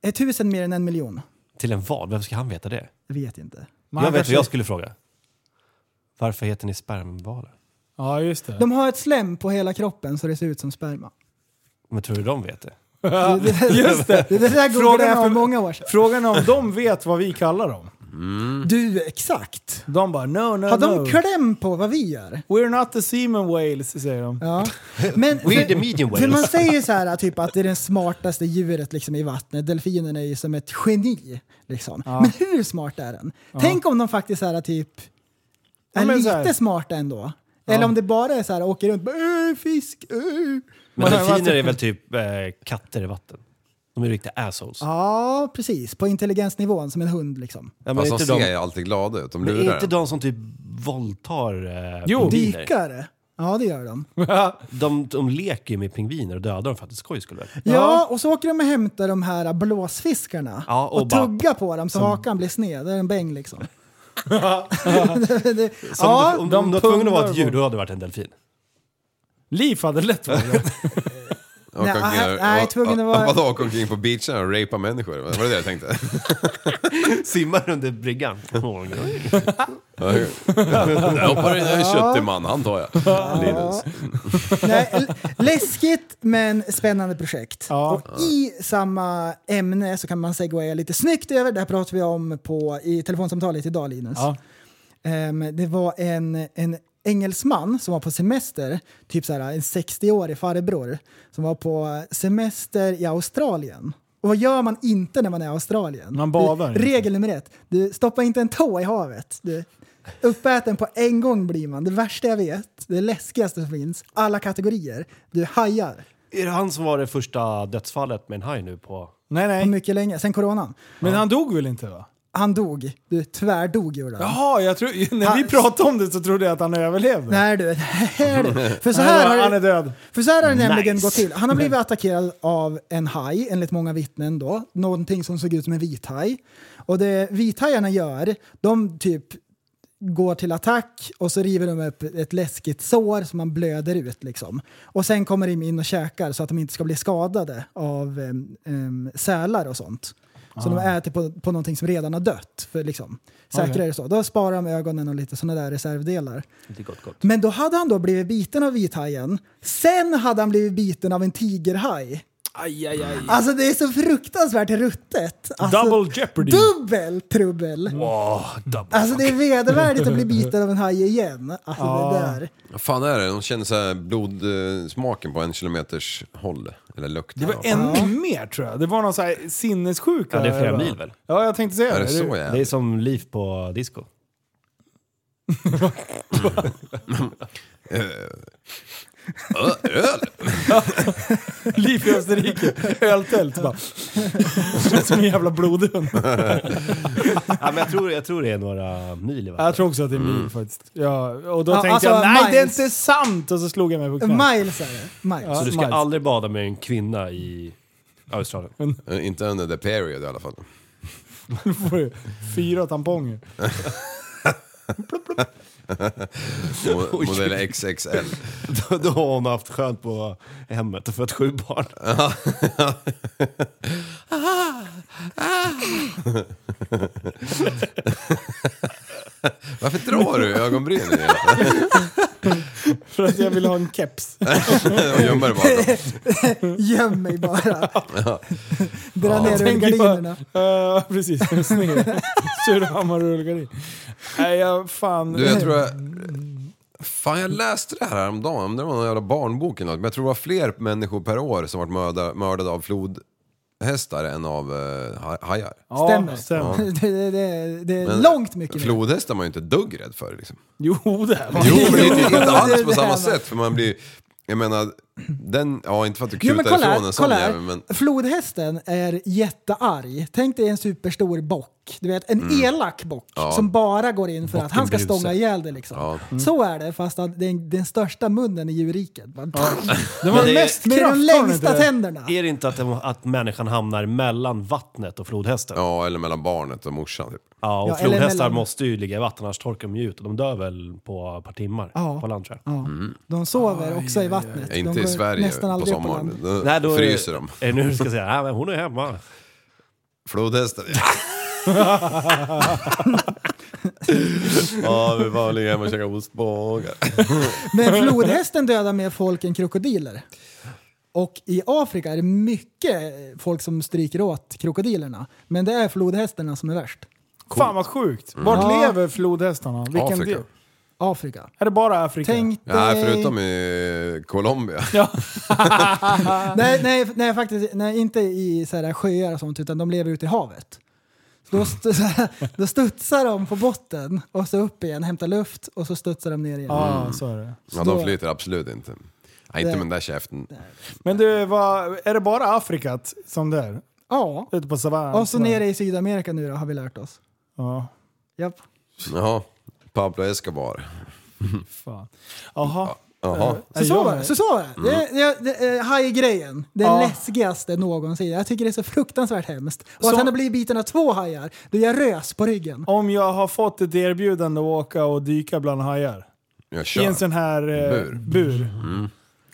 C: Är tusen mer än en miljon?
F: Till en vad? Vem ska han veta det?
C: Jag vet inte.
B: Man
F: jag vet
B: kanske-
F: vad jag skulle fråga. Varför heter ni spermvalar?
B: Ja, just det.
C: De har ett slem på hela kroppen så det ser ut som sperma.
F: Men tror du de
E: <laughs>
F: vet det?
B: <laughs> just det.
C: Det där googlade
B: Frågan
C: jag
B: är
C: för
B: om-
C: många år sedan.
B: Frågan är om de vet vad vi kallar dem.
C: Du, exakt!
B: De bara no, no,
C: Har
B: no.
C: de kläm på vad vi gör?
B: We're not the semen whales, säger de.
C: Ja. Men,
F: We're the medium
C: För man
F: whales.
C: säger ju så här typ att det är det smartaste djuret liksom, i vattnet. Delfinen är ju som ett geni. Liksom. Men hur smart är den? Tänk om de faktiskt så här, typ, är
B: Ja, men så här-
C: lite smarta ändå. Eller om det bara är så här, åker runt bara, "Äh, fisk, äh."
F: Men
B: Vad-
F: delfiner
B: vad-
F: är väl typ eh, katter i vatten? De är riktiga assholes.
C: Ja, precis. På intelligensnivån som en hund liksom.
F: Ja, men
E: Fast
F: är
E: de
F: inte de,
E: ser ju alltid glada ut, de
F: men är
E: lurar
F: inte
E: en.
F: de som typ våldtar eh,
B: Jo.
F: pingviner?
C: Dykare. Ja, det gör de. Ja,
F: De, de leker ju med pingviner och dödar dem för att det är skoj skulle det vara.
C: och så åker de och hämtar de här blåsfiskarna
F: Ja, och
C: och,
F: bara-
C: tuggar på dem så hakan blir sned. Det är en bäng
F: <laughs>
C: liksom. <laughs>
F: Som
C: Ja,
F: om-
B: de
F: om de var tvungna att vara ett
B: pundar
F: djur, då hade det varit en delfin. <laughs>
B: Liv hade lätt varit det.
E: Och
C: Nej,
E: omkring-
C: nej, nej,
E: och-
C: tvungen att
E: och- <laughs>
C: vara-
E: Vadå, åka omkring på beachen och rapa människor? Var det det jag tänkte?
F: Simmar under bryggan.
E: Där hoppar den där köttig man, han tar jag. Linus.
C: <laughs> Nej, l- läskigt men spännande projekt. Och i samma ämne så kan man segwaya lite snyggt över, det här pratade vi om på, i telefonsamtalet idag Linus.
B: Ja.
C: Ehm, det var en, en engelsman som var på semester, typ så här, en 60-årig farbror, som var på semester i Australien. Och vad gör man inte när man är i Australien?
B: Man badar
C: du,
B: inte.
C: Regel nummer ett, du stoppa inte en tå i havet. Du, uppäten på en gång blir man. Det värsta jag vet, det läskigaste som finns, alla kategorier. Du hajar.
F: Är det han som var det första dödsfallet med en haj nu på...
B: Nej,
C: Hur
B: nej.
C: mycket länge? Sen coronan.
B: Men han dog väl inte va?
C: Han dog. Du tvärdog gjorde han.
B: Jaha, jag tror, <laughs> när vi
C: Han-
B: pratade om det så trodde jag att han överlevde.
C: Nej du, nej, du.
B: <laughs>
C: För så
B: Nej,
C: här
B: då,
C: har det-
B: han är död.
C: För så här har det nämligen
F: Nice.
C: gått till. Han
B: <laughs>
C: har blivit attackerad av en haj, enligt många vittnen då. Någonting som såg ut som en vithaj. Och det vithajarna gör, de typ går till attack och så river de upp ett läskigt sår som man blöder ut liksom. Och sen kommer de in och käkar så att de inte ska bli skadade av em, em, sälar och sånt. Så de
B: Ah.
C: äter på, på någonting som redan har dött, för liksom, säkrare så. Då sparar de ögonen och lite sådana där reservdelar.
F: Det är gott, gott.
C: Men då hade han då blivit biten av vithajen. Sen hade han blivit biten av en tigerhaj.
B: Aj, aj, aj.
C: Alltså det är så fruktansvärt ruttet. Alltså,
B: Double Jeopardy.
C: Dubbel trubbel!
F: Åh, double.
C: Alltså det är
B: <laughs>
C: vedervärdigt att bli biten av en haj igen. Alltså det där.
E: Vad fan är det? De känner så här blodsmaken på en kilometers håll. Eller lukt.
B: Det var ännu mer tror jag. Det var någon så här sinnessjuka.
F: Ja, det är flera
B: va?
F: mil väl?
B: Ja, jag tänkte säga
E: Är
B: det.
E: det så
B: Det-
F: Det är
E: jävligt?
F: som liv på disco.
E: Eh. Ö, Öl?
B: Liv i Österrike. Öltält bara. Som en jävla blodhund.
F: ja, men jag, tror, jag tror det är några mil i
B: Jag
F: vattnet.
B: tror också att det är mil
F: Mm.
B: faktiskt. Ja, och då
C: Ja,
B: tänkte
C: alltså,
B: jag nej det är
C: miles."
B: inte sant! Och så slog jag mig på knät.
C: Miles är det. Miles.
B: Ja.
F: Så du ska
B: Miles.
F: aldrig bada med en kvinna i <laughs> Australien.
E: Eh, Inte under the period i alla fall.
B: Nu får du fyra tamponger.
E: Mo- Modell XXL.
F: Då- Då har hon haft skönt på hemmet och fött sju barn.
E: Varför drar du ögonbrynen i alla fall?
B: För att jag ville ha en keps.
E: och gömmer det bara?
C: Göm mig bara.
B: <laughs>
C: Dra ner
B: Tänker
C: rullgardinerna.
B: bara, eh, precis,
C: <laughs>
B: Surahammar och rullgardin. Nej, jag fan.
E: Du, jag tror jag...
C: Mm.
E: Fan, jag läste det här häromdagen. Om Det var någon jävla barnbok eller något. Men jag tror det var fler människor per år som varit mörda, mördade av flodhästar än av eh, ha- hajar.
B: Ja,
C: Stämmer.
B: stämmer.
C: <laughs> Det, det, det, det är
E: Men
C: långt mycket mer.
E: Flodhästar är man ju inte dugg rädd för. Liksom.
B: <laughs> Jo, det här var
E: Jo, men det är inte,
C: det
E: inte
C: är
E: alls på
C: det
E: samma
C: här.
E: sätt. För man blir... Jag menar, den... Ja, inte för att du kutar
C: Jo men kolla
E: ifrån en
C: här,
E: sån
C: kolla här.
E: jävel, men...
C: Flodhästen är jättearg. Tänk dig en superstor bock. Du vet, en
E: Mm.
C: elak bock som bara går in för att han ska
F: Bocken Bruse.
C: stånga ihjäl dig. Liksom.
E: Ja. Mm.
C: Så är det, fast att det är den största munnen i djurriket. Bara, <laughs>
B: Den var
F: det är-
B: mest
C: Med
B: kraft,
C: de
B: har den
C: längsta
B: inte det?
C: tänderna.
F: Är det inte att, den- att människan hamnar mellan vattnet och flodhästen? Ja,
E: Ja, eller mellan barnet och morsan. Typ.
F: och
C: Ja, eller
F: flodhästar
C: mellan-
F: måste ju ligga i vatten, annars torkar de ju ut. Och de dör väl på ett par timmar
C: Ja.
F: på land tror jag.
C: Ja. De sover också i vattnet.
E: Ja, Inte
C: de
E: i
C: går
E: Sverige
C: nästan
E: på
C: aldrig upp
E: sommaren.
C: land.
E: Då,
F: Nej, då är-
E: fryser de.
F: Är det Eh, nu du ska säga nej men hon är hemma?
E: Flodhästen.
B: <laughs>
E: Ja, vi bara ligger hemma och käkar ostbågar. <laughs>
C: Men flodhästen dödar mer folk än krokodiler. Och i Afrika är det mycket folk som stryker åt krokodilerna. Men det är flodhästarna som är värst.
B: Fan vad sjukt. Vart
C: Mm. Ja.
B: lever flodhästarna? <laughs> Vilken
E: Afrika.
B: del?
C: Afrika.
B: Är det bara Afrika?
C: Tänk dig...
E: Nej, förutom i Colombia.
C: nej, nej, nej, faktiskt nej, inte i så här sjöar och sånt, utan de lever ute i havet. Så Då, st- <laughs> så här, då studsar de på botten och så upp igen, hämtar luft och så studsar de ner igen.
B: Ja,
E: Mm.
B: så är det.
E: Ja, de flyter absolut inte. Nej, inte med den där käften.
B: Men du, vad, är det bara Afrika t- som det är?
C: Ja.
B: Ute på savannen?
C: Och så nere i Sydamerika nu då, har vi lärt oss.
B: Ja,
C: Japp.
E: Jaha, Pablo Escobar.
B: fan. Jaha.
E: Jaha.
C: Så så
B: Jag-
C: var det. Så så var det. det,
E: Mm.
C: det, det eh, Hajgrejen. Den
B: Ja.
C: läskigaste någonsin. Jag tycker det är så fruktansvärt hemskt. Och
B: Så-
C: att han har blivit biten av två hajar, då är jag rös på ryggen.
B: Om jag har fått ett erbjudande att åka och dyka bland hajar.
E: Jag
B: I en sån
E: kör.
B: här eh,
E: Bur.
B: bur.
C: Mm.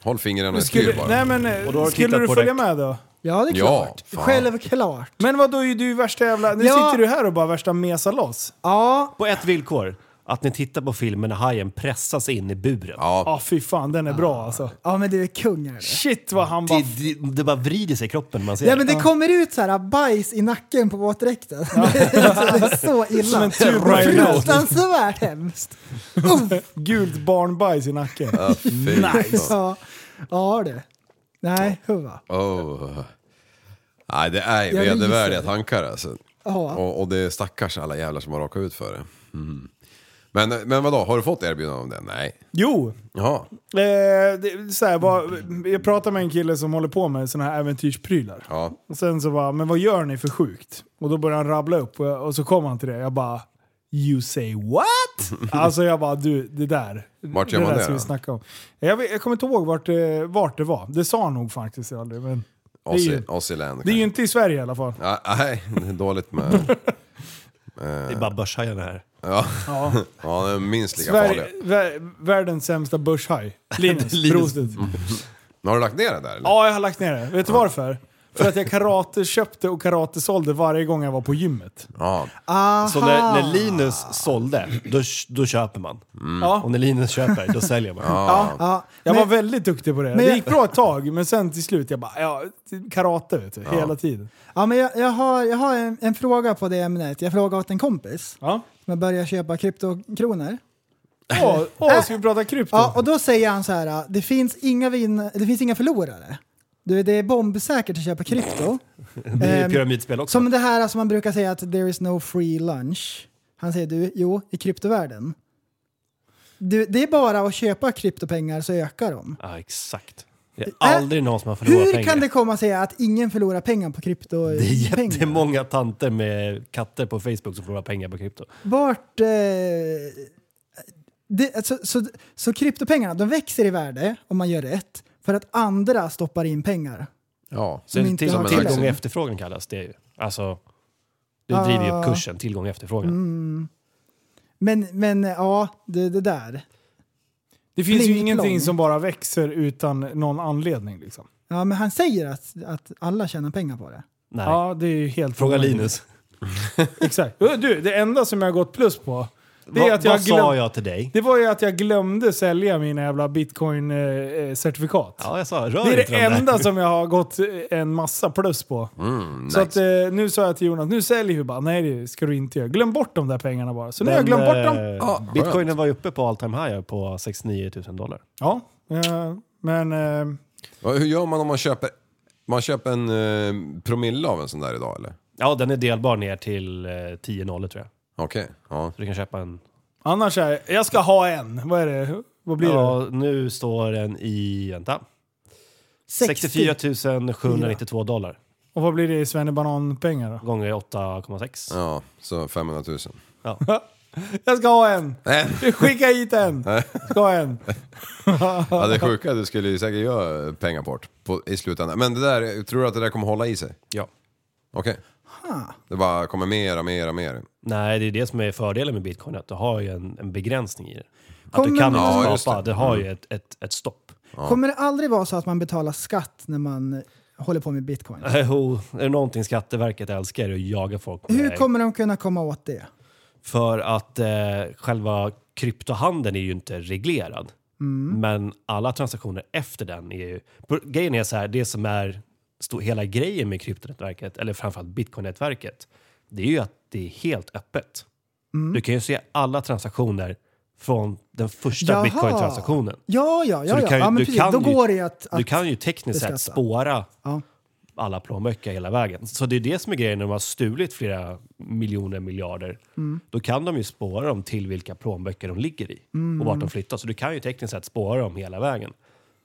E: Håll fingrarna i styr
B: Skulle, nej
E: bara.
B: men,
F: Och då
B: eh,
F: har du
B: skulle
F: tittat
B: du
F: på
B: följa
F: räck.
B: med då?
C: Ja, det är
E: Ja,
C: klart.
E: fan.
C: Självklart.
B: Men vad då är ju du värsta jävla... Nu
C: Ja.
B: sitter du här och bara värsta mesar loss. Ah,
C: Ja,
F: På ett villkor, att ni tittar på filmen när hajen pressas in i buren.
B: Ja
E: Ja,
B: ah, fy fan, den är bra alltså.
C: ja men du är kung är det.
B: Shit vad han bara...
F: Det, det, det bara vrider sig i kroppen när man ser
C: Ja, men det kommer ut så här bajs i nacken på våtdräkten. <laughs> det är så
B: Som
C: illa.
B: en tub majonnäs.
C: Fruktansvärt hemskt.
B: Gult barnbajs i nacken.
E: ja, fy.
C: Ja, ja du. Nej, huva.
E: Oh. Nej, det är
C: Jag
E: vedervärdiga
C: ryser.
E: tankar alltså.
C: Ja.
E: Och, och det är stackars alla jävlar som har råkat ut för det. Mm. Men, men vadå, har du fått erbjudande om det? Nej.
B: Jo,
E: Jaha.
B: Eh, det, så här, vad, jag pratade med en kille som håller på med såna här äventyrsprylar.
E: Ja.
B: Och sen så bara, men vad gör ni för sjukt? Och då började han rabbla upp och, jag, och så kom han till det. Jag bara, you say what? alltså jag bara, du det där.
E: Vart gör man
B: där
E: det
B: ska vi
E: då?
B: snacka om. Jag, vet- jag kommer inte ihåg vart, eh, vart det var. Det sa han nog faktiskt aldrig. Men det, är ju,
E: Aussie- Aussieland.
B: det är ju
E: kanske.
B: inte i Sverige i alla fall.
E: Ja, Nej, det är
B: <laughs>
E: dåligt med...
F: Det är bara börshajarna här.
E: Ja,
B: Ja.
E: ja de är minst lika
B: Sverige,
E: farliga.
B: vä- världens sämsta börshaj. Linus,
F: Linus.
B: Linus.
E: Har du lagt ner det där? Eller?
B: Ja, jag har lagt ner det. Vet du varför? För att jag karate köpte och karate sålde varje gång jag var på gymmet.
E: Ja.
F: Så när, när Linus sålde, då, då köper man. Och
B: Ja.
F: när Linus köper, då säljer man.
C: Ja,
B: Jag
C: men-
B: var väldigt duktig på det.
C: men
B: det
C: jag-
B: gick bra ett tag, men sen till slut, jag bara, ja, karate vet du, hela tiden.
C: Ja, men jag, jag har, jag har en, en fråga på det ämnet. Jag frågade åt en kompis
B: Ja.
C: som har börjat köpa kryptokronor.
B: Åh, åh, ska vi prata krypto?
C: Ja, och då säger han så här, det finns inga, vin, det finns inga förlorare. Du, det är bombsäkert att köpa krypto.
F: Det är ju
C: Ehm,
F: pyramidspel också.
C: Som det här som man brukar säga att there is no free lunch. Han säger du, jo, i kryptovärlden. Du, det är bara att köpa kryptopengar så ökar de.
F: Ja, exakt. Det är aldrig någon som har förlorat
C: Hur
F: pengar.
C: kan det komma sig att ingen förlorar pengar på kryptopengar?
F: Det är jättemånga tanter med katter på Facebook som förlorar pengar på krypto.
C: Vart... Eh, det, så, så, så kryptopengarna, de växer i värde om man gör rätt för att andra stoppar in pengar.
E: ja.
F: Så till,
C: inte har
F: tillgång
E: tillgång.
F: och efterfrågan kallas det ju. Alltså, det driver ju upp
B: Ah.
F: kursen, tillgång och efterfrågan.
B: Mm.
C: Men, men ja, det, det där.
B: det finns ju
C: pling
B: ingenting
C: plong.
B: som bara växer utan någon anledning. Liksom.
C: Ja, men han säger att, att alla tjänar pengar på det.
F: Nej.
B: Ja, det är ju helt
F: Fråga
B: omöjligt.
F: Linus.
B: Exakt. Du, det enda som jag har gått plus på, det är
F: Vad-
B: att jag
F: Vad
B: glöm-
F: sa jag till dig?
B: Det var ju att jag glömde sälja mina jävla bitcoin-certifikat.
F: Ja, jag sa rör
B: Det är
F: inte
B: det
F: dem där.
B: enda som jag har gått eh, en massa plus på.
F: Mm,
B: Så att, eh, nu sa jag till Jonas, nu säljer vi bara. Nej det ska du inte göra. Glöm bort de där pengarna bara. Så nu har jag glömt bort dem.
F: eh,
E: Ja,
F: Bitcoinen
E: skönt.
F: var ju uppe på all time high på 69 000 dollar.
B: Ja, eh, men... Eh,
E: Ja, Hur gör man om man köper, man köper en eh, promille av en sån där idag eller?
F: Ja, den är delbar ner till eh, 10 nollor tror jag.
E: Okej, ja.
F: Så du kan köpa en.
B: annars är jag ska ha en. Vad är det? Vad blir det?
F: Ja, nu står den i, vänta, 64 792 dollar
B: Och vad blir det i svennebanan-pengar då?
F: gånger 8,6.
E: ja. Så 500 000.
B: Jag ska ha en!
E: Nej.
B: Skicka hit en! Ska ha
F: <laughs>
B: en.
E: Ja, det sjuka är att du skulle ju säkert göra pengar på det på, i slutändan. Men det där, tror du att det där kommer hålla i sig?
F: Ja.
E: Okej. Det bara kommer mer och mer och mer.
F: Nej, det är det som är fördelen med bitcoin, att du har ju en, en begränsning i det. Att
C: Kommer-
F: du kan
E: Ja,
F: inte
E: just
F: skapa,
E: det. Mm.
F: det. har ju ett, ett, ett stopp. <laughs>
C: Kommer det aldrig vara så att man betalar skatt när man håller på med bitcoin?
F: Jo, är det någonting Skatteverket älskar är det att jaga folk med.
C: Hur kommer de kunna komma åt det?
F: För att eh, själva kryptohandeln är ju inte reglerad. Men alla transaktioner efter den är ju... på- Grejen är så här, det som är stor, hela grejen med kryptonätverket, eller framförallt bitcoin-nätverket, det är ju att det är helt öppet. Du kan ju se alla transaktioner från den första
C: Jaha.
F: bitcoin-transaktionen.
C: Ja, ja,
F: Så
C: ja.
F: du
C: ja.
F: kan ju-
C: ja men
F: du
C: precis.
F: kan
C: Då
F: ju-
C: går det ju att... att
F: Du kan ju tekniskt sett
C: beskatta.
F: spåra
C: Ja.
F: alla plånböcker hela vägen. Så det är det som är grejen när de har stulit flera miljoner miljarder.
C: Mm.
F: Då kan de ju spåra dem till vilka plånböcker de ligger i och
C: Mm.
F: vart de flyttar. Så du kan ju tekniskt sett spåra dem hela vägen.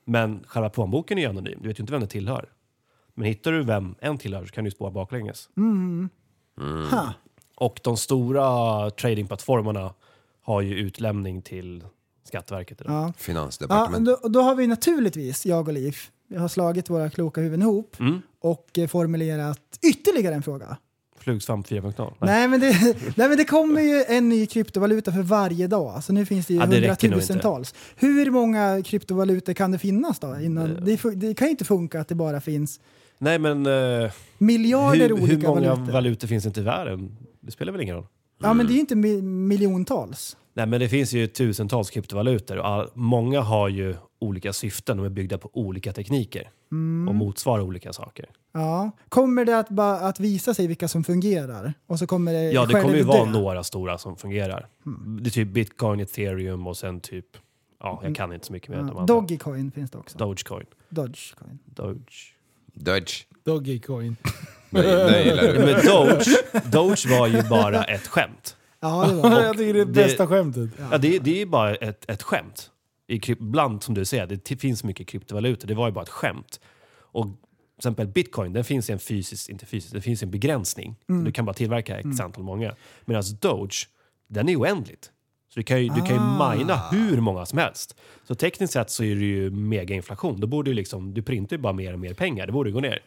F: Men själva plånboken är ju anonym. Du vet ju inte vem den tillhör. Men hittar du vem en tillhör så kan du ju spåra baklänges.
C: Mm. Ha.
F: Och de stora tradingplattformarna har ju utlämning till Skatteverket idag.
C: Ja. Ja,
E: Finansdepartementet.
C: då, då har vi naturligtvis, jag och Liv, vi har slagit våra kloka huvuden ihop
F: Mm.
C: och eh, formulerat ytterligare en fråga.
F: Flugsvamp 4.0. Nej.
C: Nej men, det, <laughs> nej men det kommer ju en ny kryptovaluta för varje dag, så nu finns det ju
F: Ja, det räcker nog inte.
C: hundratusentals. Hur många kryptovalutor kan det finnas då? Innan?
F: Eh.
C: Det, fu- det kan ju inte funka att det bara finns
F: Nej men... eh,
C: miljarder
F: hur, hur
C: olika
F: många
C: valutor.
F: valutor. finns inte i världen? Det spelar väl ingen roll?
C: ja men det är ju inte mi miljontals.
F: Nej, men det finns ju tusentals kryptovalutor och all, många har ju olika syften. De är byggda på olika tekniker
C: Mm.
F: och motsvarar olika
C: Eh,
F: saker.
C: Ja. Kommer det att, bara, att visa sig vilka som fungerar? Och så kommer det
F: Ja, det
C: själv
F: kommer ju
C: dö.
F: vara några stora som fungerar.
C: Mm.
F: Det är typ bitcoin, ethereum och sen typ... Ja, jag kan inte så mycket mer än de
C: Ja.
F: andra.
C: Dogecoin finns det också.
F: Dogecoin.
C: Dogecoin.
F: Doge.
E: Dodge.
B: Dogecoin.
E: Nej, det gillar du.
F: Men Doge, Doge var ju bara ett skämt.
C: Ja, det var
B: <laughs> Jag tycker det är det
F: Det-
B: bästa skämtet.
F: Ja, det, det är ju bara ett, ett skämt. I, kryp- bland, som du säger, det ti- finns mycket kryptovalutor. Det var ju bara ett skämt. Och till exempel bitcoin, den finns i en fysisk, inte fysisk, det finns i en begränsning. Du kan bara tillverka x antal många. Medan doge, den är oändligt. Så du kan ju, du kan ju mina hur många som helst. Så tekniskt sett så är det ju megainflation. Då borde ju liksom, du printar ju bara mer och mer pengar. Det borde gå ner.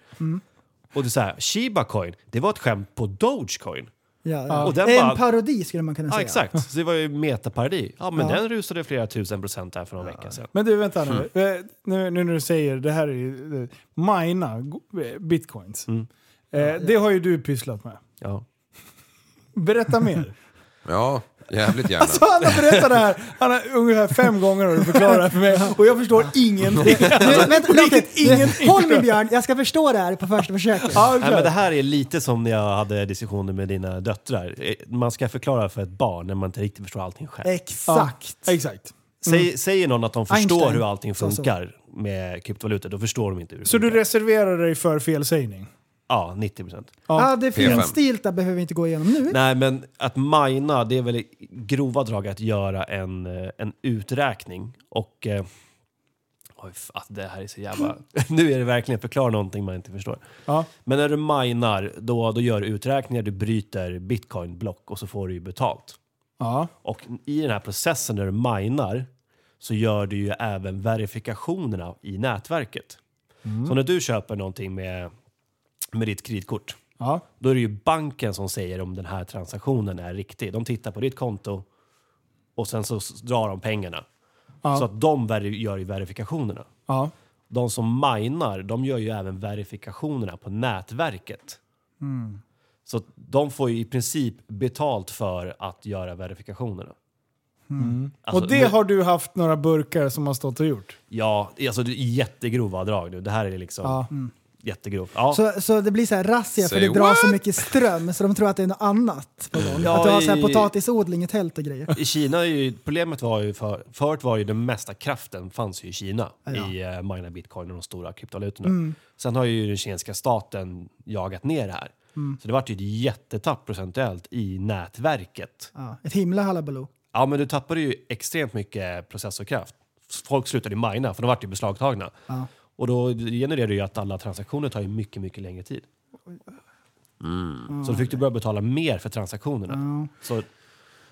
F: Och det är så här, Shiba coin, det var ett skämt på Dogecoin.
C: ja, ja.
F: <laughs> Och den
C: En
F: bara-
C: parodi skulle man kunna
F: Ja,
C: säga.
F: exakt. Så det var ju metaparodi. Ja, men
C: Ja.
F: den rusade flera tusen procent här för någon vecka sedan.
B: Men du, vänta nu.
F: Mm.
B: Eh, Nu, nu när du säger det här är ju... eh, Mina go- eh, bitcoins.
F: Mm.
B: Eh, Det har ju du pysslat med.
F: Ja.
B: Berätta mer. <laughs>
E: Ja, jävligt gärna.
B: Så han har berättat det här han har, ungefär fem gånger
F: <laughs>
B: har du förklarat det här för mig
C: <laughs>
B: och jag förstår Alltså, ingenting.
C: Nu, vänta, vänta,
B: ingenting.
C: <laughs> Håll mig Björn, jag ska förstå det här på första försöket.
B: Ja,
F: Nej, men det
B: klart.
F: här är lite som när jag hade diskussioner med dina döttrar. Eh, Man ska förklara för ett barn när man inte riktigt förstår allting själv.
C: Exakt.
B: Ja, exakt.
F: Säg, säger någon att de förstår
C: Mm. Einstein.
F: hur allting
C: Så, så.
F: funkar med kryptovalutor, då förstår de inte hur det
B: Så du
F: funkar.
B: reserverar dig för felsägning?
F: Ja, 90 procent.
C: Ja, det
E: P5.
C: finstilta behöver vi inte gå igenom nu.
F: Nej, men att mina, det är väl i grova drag att göra en, eh, en uträkning. Och... Eh, oj, fan, det här är så jävla... <laughs> nu är det verkligen förklara någonting man inte förstår.
B: Ja.
F: Men när du minar, då, då gör du uträkningar, du bryter bitcoinblock och så får du ju betalt.
B: ja.
F: Och i den här processen när du minar så gör du ju även verifikationerna i nätverket. Så när du köper någonting med, med ditt kreditkort,
B: ja.
F: då är det ju banken som säger om den här transaktionen är riktig. De tittar på ditt konto och sen så s- drar de pengarna.
B: Ja.
F: Så att de veri- gör ju verifikationerna.
B: ja.
F: De som minar, de gör ju även verifikationerna på nätverket.
B: Mm.
F: Så att de får ju i princip betalt för att göra verifikationerna. Alltså,
B: Mm. och det
F: nu-
B: har du haft några burkar som har stått och gjort?
F: Ja, alltså det är jättegrova drag nu. Det här är liksom
B: Ja.
F: jättegrovt. Ja.
C: Så, så det blir så här razzia för
E: Say
C: det drar så
E: what?
C: mycket ström så de tror att det är något annat på gång.
F: Ja,
C: att du har så här
F: i-
C: potatisodling i tält och grejer.
F: I Kina, är ju, problemet var ju för, förut var ju den mesta kraften fanns ju i Kina i eh, mina bitcoin och de stora kryptovalutorna. Sen har ju den kinesiska staten jagat ner det här. Så det vart ju ett jättetapp procentuellt i nätverket.
C: Ja, ett himla halabaloo.
F: Ja, men du tappade ju extremt mycket processorkraft. Folk slutade mina, för de vart ju beslagtagna. Och då genererar det ju att alla transaktioner tar ju mycket, mycket längre tid. Mm. Så då fick du börja betala mer för transaktionerna. Så,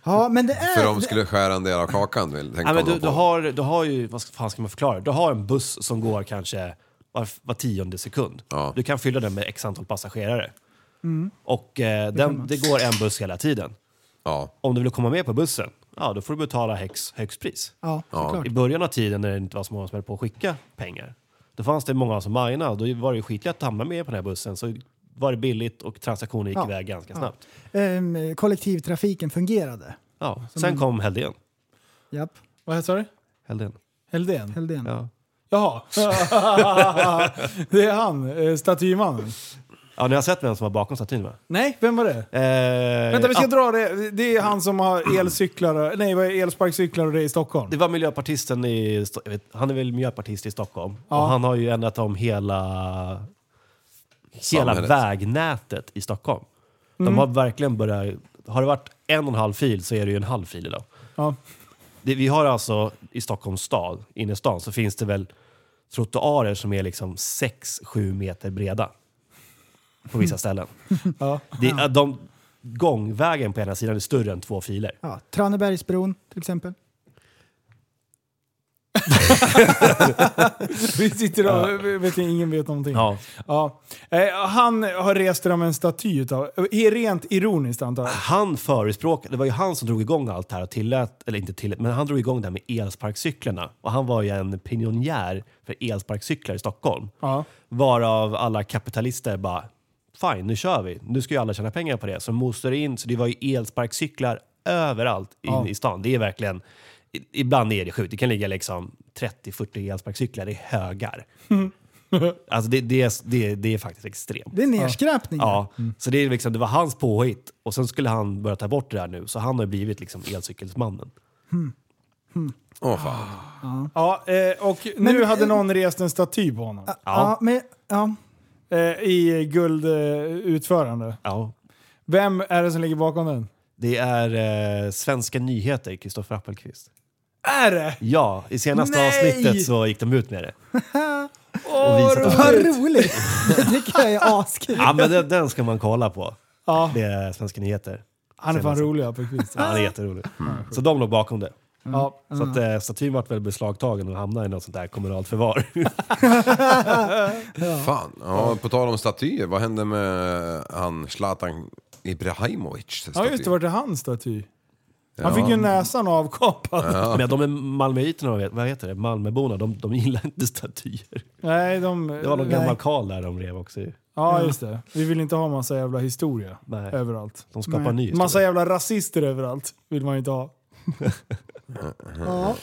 C: Ja, men det är...
E: För de skulle skära en del av kakan. vill- Tänkte
F: ja, men
E: de
F: du, du,
E: på.
F: har, du har ju, vad ska- fan ska man förklara? Du har en buss som går kanske var, var tionde sekund.
E: Ja.
F: Du kan fylla den med x antal passagerare. Och eh, den, det går en buss hela tiden.
E: Ja.
F: Om du vill komma med på bussen, ja, då får du betala högst, högst pris.
C: Ja, såklart.
F: I början av tiden när det inte var så många som höll på att skicka pengar, då fanns det många som minade. Då var det ju skitlätt att hamna med på den här bussen. Så var det billigt och transaktionen gick
C: Ja.
F: iväg ganska snabbt.
C: Ehm, kollektivtrafiken fungerade.
F: Ja. Sen kom Heldén.
C: Japp,
B: Vad sa du?
F: Heldén.
B: Heldén?
C: Heldén.
F: Ja.
B: Jaha. <laughs> det är han, eh, statymannen.
F: ja, ni har sett vem som var bakom statyn va?
B: Nej, vem var det?
F: Eh,
B: Vänta, vi ska dra
F: ja,
B: det. Det är han som har elcyklar, nej vad är elsparkcyklar och det i Stockholm.
F: Det var miljöpartisten i... Sto- jag Vet, han är väl miljöpartist i Stockholm. Och han har ju ändrat om hela... Hela
E: Samhället.
F: vägnätet i Stockholm. De
B: Mm.
F: har verkligen börjat... Har det varit en och en halv fil så är det ju en halv fil idag.
B: Ja.
F: Det, vi har alltså i Stockholms stad, innerstan, så finns det väl trottoarer som är liksom 6-7 meter breda. På vissa ställen.
B: <laughs> Ja.
F: Det, de, gångvägen på ena sidan är större än två filer.
C: Ja, Tranebergsbron till exempel.
B: <laughs> Vi sitter och vi vet, ingen vet någonting.
F: Ja.
B: Ja. Eh, han har rest dem en staty utav, eh, rent ironiskt antar jag.
F: Han förespråkade, det var ju han som drog igång allt det här och tillät, eller inte tillät, men han drog igång det här med elsparkcyklarna. Och han var ju en pionjär för elsparkcyklar i Stockholm.
B: Ja.
F: Varav alla kapitalister bara, fine nu kör vi. Nu ska ju alla tjäna pengar på det. Så mostade det in, så det var ju elsparkcyklar överallt in i stan. Det är verkligen, i- ibland är det sjukt. Det kan ligga liksom 30-40 elsparkcyklar i högar. Alltså det, det, är- det, är- det är faktiskt extremt.
C: Det är nedskräpning.
F: Ja,
B: Mm.
F: så det, är liksom, det var hans påhitt och sen skulle han börja ta bort det där nu. Så han har blivit liksom elcykelsmannen.
E: Åh fan.
F: Ah.
B: Ja, eh, och nu hade någon rest en staty på honom.
C: Ja, men, ja.
B: eh, i guldutförande.
F: Ja.
B: Vem är det som ligger bakom den?
F: Det är eh, Svenska nyheter, Kristoffer Appelqvist.
B: Är det?
F: Ja, i senaste
B: Nej!
F: avsnittet så gick de ut
B: <laughs>
F: med det.
B: Åh,
F: visat
B: vad
F: att-
C: Vad
B: roligt.
C: roligt! Det tycker
B: <laughs>
C: jag är askul.
F: Ja, men den, den ska man kolla på.
B: Ja,
F: Det är Svenska nyheter.
B: han är fan
F: Senaste.
B: rolig Appelqvist.
F: <laughs> Ja, han är jätterolig. Så de låg bakom det.
B: Ja.
F: Så att, eh, statyn vart väl beslagtagen och hamnade i något sånt där kommunalt förvar.
E: Fan, ja, på tal om statyer, vad hände med han Zlatan Ibrahimovic? staty?
B: ja, just det. Vart är hans staty? Han
E: Ja.
B: fick ju näsan avkapad. <laughs>
F: Men de är malmöiterna, vad vet- vad heter det? Malmöborna, de, de gillar inte statyer.
B: Nej, de...
F: Det var någon
B: nej.
F: gammal karl där de rev också ju.
B: Ja, just det. Vi vill inte ha massa jävla historia
F: Nej.
B: överallt.
F: De skapar ny historia.
B: Massa jävla rasister överallt vill man ju inte ha.
C: Ja.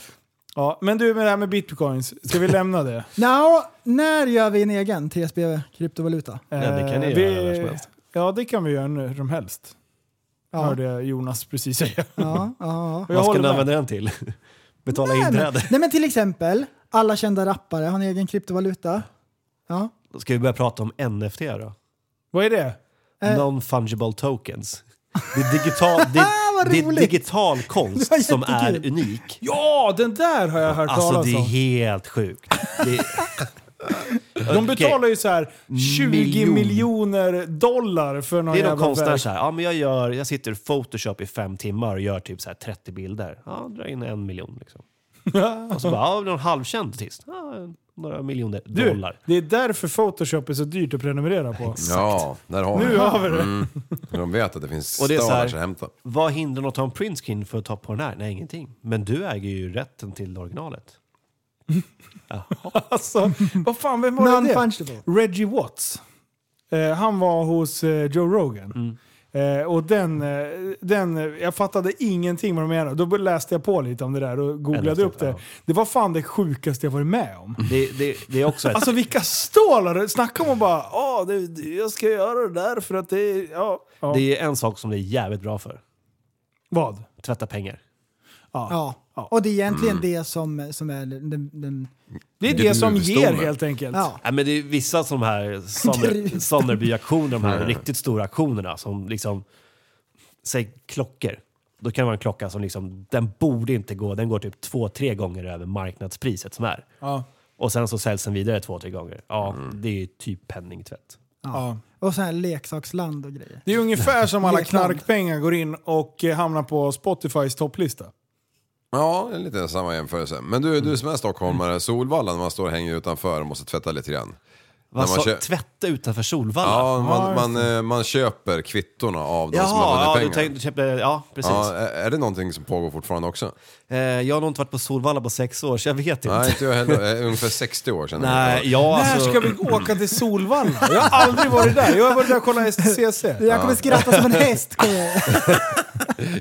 B: Ja, men du med det här med bitcoins, ska vi lämna det?
C: Nå, när gör vi en egen TSB kryptovaluta?
F: <laughs> Ja, det kan ni
B: Eh,
F: göra när som helst.
B: Ja, det kan vi göra när som helst.
C: Ja.
B: Hörde jag Jonas precis säga.
C: Ja, ja.
B: Och jag
F: Vad ska ni
B: håller med.
F: använda den till? Betala
C: Nej, men,
F: inträde?
C: nej men till exempel, alla kända rappare har en egen kryptovaluta. Ja.
F: Då Ska vi börja prata om NFT då?
B: Vad är det?
C: Eh.
F: Non-fungible tokens. Det är digital, det,
C: Vad
F: det är
C: roligt!
F: digital
C: Det var
F: konst som är
C: jättekul.
F: unik.
B: Ja, den där har jag hört
F: Alltså
B: talas
F: det är
B: om.
F: helt sjukt. Det,
B: De betalar ju så här 20
F: Miljon.
B: miljoner dollar för någon
F: Det är någon
B: jävla
F: konstnär
B: verk.
F: så här, ja, men jag, gör, jag sitter i Photoshop i fem timmar och gör typ så här 30 bilder. Ja, dra in en miljon
B: <laughs>
F: liksom. och så bara, ja, någon halvkänd artist. Ja, några miljoner
B: Du,
F: dollar.
B: det är därför Photoshop är så dyrt att prenumerera på.
E: Ja, där har
B: Nu
E: vi
B: har vi det.
E: det. De vet att det finns
F: Och det är så här-
E: stövlar att hämta.
F: Vad hindrar något att ta en printscreen för att ta på den här? Nej, ingenting. Men du äger ju rätten till originalet.
B: Alltså, vad fan, vem var det?
C: Non-fungible.
B: Reggie Watts. Eh, han var hos eh, Joe
F: Mm.
B: Rogan. Eh, och den, eh, den, eh, jag fattade ingenting vad de menade. Då läste jag på lite om det där och googlade
F: Eller
B: upp
F: typ,
B: det.
F: ja. Mm.
B: Det var fan det sjukaste jag varit med om.
F: Det, det, det är också ett...
B: Alltså vilka stålar! Snacka om att bara ja, det, det- jag ska göra det där för att det är... Ja. Ja.
F: Det är en sak som det är jävligt bra för.
B: Vad?
F: Tvätta pengar.
C: Ja. Och det är egentligen det som, som är den... den
B: Det är det,
E: Det är
B: som ger
E: huvudstommen.
B: helt enkelt.
C: ja.
F: Ja, men det är vissa som här
B: <laughs>
F: Sonner-
C: Grus.
F: Sonnerby-auktioner, de här riktigt stora auktionerna som liksom, säg klockor. Då kan det vara en klocka som liksom, den borde inte gå, den går typ två, tre gånger över marknadspriset som är.
B: Ja.
F: Och sen så säljs den vidare två, tre gånger. Ja,
E: Mm.
F: det är ju typ penningtvätt.
B: Ja.
C: Och så här leksaksland och grejer.
B: <laughs> Det är ungefär som alla
C: Lekland.
B: knarkpengar går in och eh, hamnar på Spotifys topplista.
E: Ja, det är lite samma jämförelse. Men du, du som är stockholmare, Solvalla när man står och hänger utanför och måste tvätta lite grann.
F: Vad
E: man
F: sa-
E: kö-
F: Tvätta utanför Solvalla?
E: Ja, man, man, eh, man köper kvittorna av de som har
F: Jaha, ja, du
E: vunnit pengar.
F: tänkte, du köpte, ja precis.
E: Ja, är- är det någonting som pågår fortfarande också?
F: Eh, jag har nog inte varit på Solvalla på sex år, så jag vet inte.
E: Nej, inte jag heller. Eh, Ungefär 60 år sedan.
F: Nej, ja,
B: När
F: alltså,
B: ska vi åka till Solvalla? Jag har aldrig varit där. Jag har varit där och kollat STCC. <laughs>
C: Jag kommer skratta som en häst. kommer jag.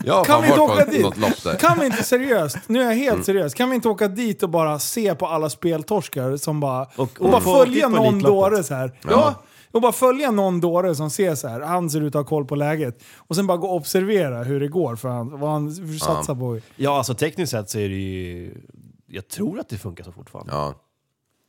E: Jag har
B: Kan
E: fan
B: vi inte åka
E: varit på något
B: dit?
E: lopp där.
B: Kan vi inte seriöst, nu är jag
F: Mm.
B: helt seriös, kan vi inte åka dit och bara se på alla speltorskar som bara... Och,
F: Och-
B: bara
F: och få-
B: följa
F: titta på
B: någon
F: Elitloppet.
B: dåre så här. Ja. Och bara följa någon dåre som ser så här, han ser ut att ha koll på läget. Och sen bara gå och observera hur det går för han, vad han satsar på.
F: ja, alltså tekniskt sett så är det ju... Jag tror att det funkar så fortfarande.
E: Ja.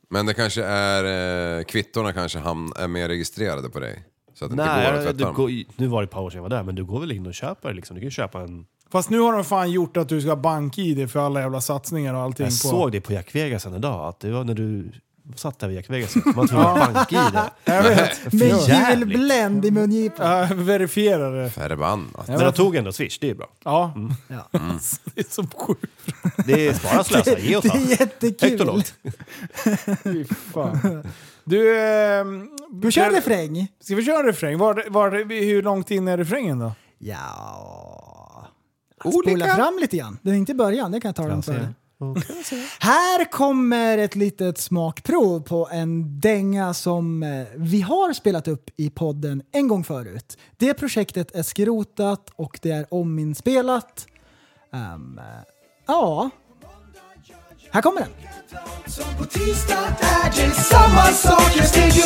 E: Men det kanske är... Eh, kvittorna kanske hamn, är mer registrerade på dig. Så att det inte går att
F: Nej,
E: tvätta
F: du
E: dem.
F: går, i- nu var det ett par år sedan jag var där, men du går väl in och köper det liksom. Du kan ju köpa en...
B: Fast nu har de fan gjort att du ska ha bank-id för alla jävla satsningar och allting.
F: Jag
B: på.
F: såg det på Jack Vegas en dag, att det var när du satt där vid Jack Vegas. Man var tvungen att banka i det.
B: Jag vet.
C: Med
F: jävligt.
C: julbländ i mungipan.
B: Jag verifierar det. Mm.
E: Förbannat.
F: Men de tog ändå Swish, det är bra.
B: Ja.
C: Ja.
B: <laughs> Det är så sjukt.
F: Det är spara slösa, ge och
C: Det
F: ta.
C: är
F: Högt och
C: jättekul.
F: lågt.
B: Fy fan. Du, ehm,
C: Du kör
B: där-
C: refräng.
B: Ska vi köra en refräng? Var, var, hur långt in är refrängen då?
C: Ja. Spola fram lite grann. Den är inte i början, det kan jag ta den
F: Jag
C: för.
F: ser.
C: Här kommer ett litet smakprov på en dänga som eh, vi har spelat upp i podden en gång förut. Det projektet är skrotat och det är ominspelat. Ehm, eh, ja. Här kommer den.
G: Som på tisdag är det samma sak Jag steg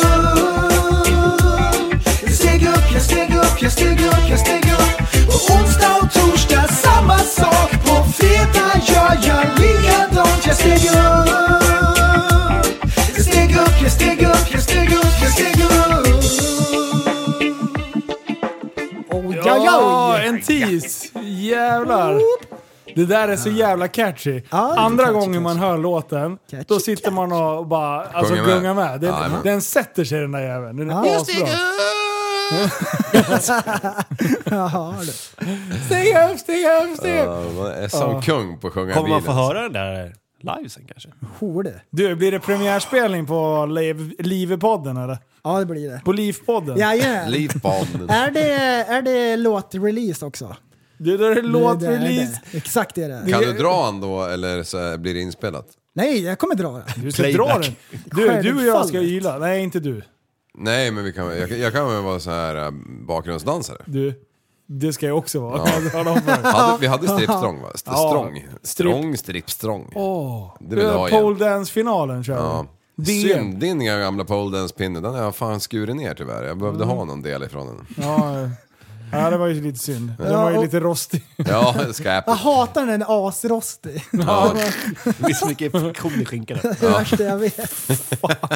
G: upp
C: <laughs>
G: Jag steg upp, jag steg upp, jag steg upp, jag steg upp Och onsdag och torsdag samma sak På fredag gör jag likadant Jag steg upp Jag steg upp, jag steg upp, jag steg upp, jag steg upp
B: jävlar! Det där är så jävla catchy.
C: Ja, det är
B: Andra
C: catchy,
B: gången man
C: catchy.
B: hör låten,
C: Catchy,
B: då sitter man och bara alltså,
E: Sjunger med.
B: gungar med. Den,
E: Jajamän.
B: den sätter sig den där jäveln. Den är
C: Ja.
B: asbra.
C: Jaha, du.
B: Stig upp, stig upp, stig upp!
E: Ja, man är som kung på att sjunga i
F: Kommer man få
E: bilen.
F: höra den där live sen kanske?
C: Horde.
B: Du, blir det premiärspelning på Liv- Live-podden eller?
C: Ja, det blir det.
B: På Liv-podden?
C: Jajamän.
E: Livbanden.
C: Är det, är det låtrelease också?
B: Det där är
C: Det är
B: låtrelease.
C: det. Exakt det är det.
E: Kan du dra han då eller så här, blir det inspelat?
C: Nej, jag kommer dra det.
B: Du ska dra den. Du, du och jag ska
C: Självfallet.
B: gilla. Nej, inte du.
E: Nej men vi kan, jag, jag kan väl vara så här äh, bakgrundsdansare.
B: Du. Det ska <laughs> jag också vara. Tala om för dig.
E: Hade, vi hade stripstrång va? St-
B: Ja,
E: Strång.
B: strip.
E: Strång, stripstrång. Det vill jag ha
B: Eh,
E: igen.
B: Pole dance-finalen kör
E: Ja.
B: vi.
E: Synd, din gamla pole dance pinne den har jag fan skurit ner tyvärr. Jag behövde ha
C: Mm.
E: någon del ifrån den.
B: Ja, eh. ja, det var ju lite synd. Den
C: Ja,
B: var ju
C: och-
B: lite rostig. <laughs>
E: Ja, <laughs> skräp.
C: Jag hatar när den är asrostig.
E: Ja.
F: Det är så mycket friktion i skinkorna.
C: <laughs> Det är det värsta jag vet.
B: <laughs>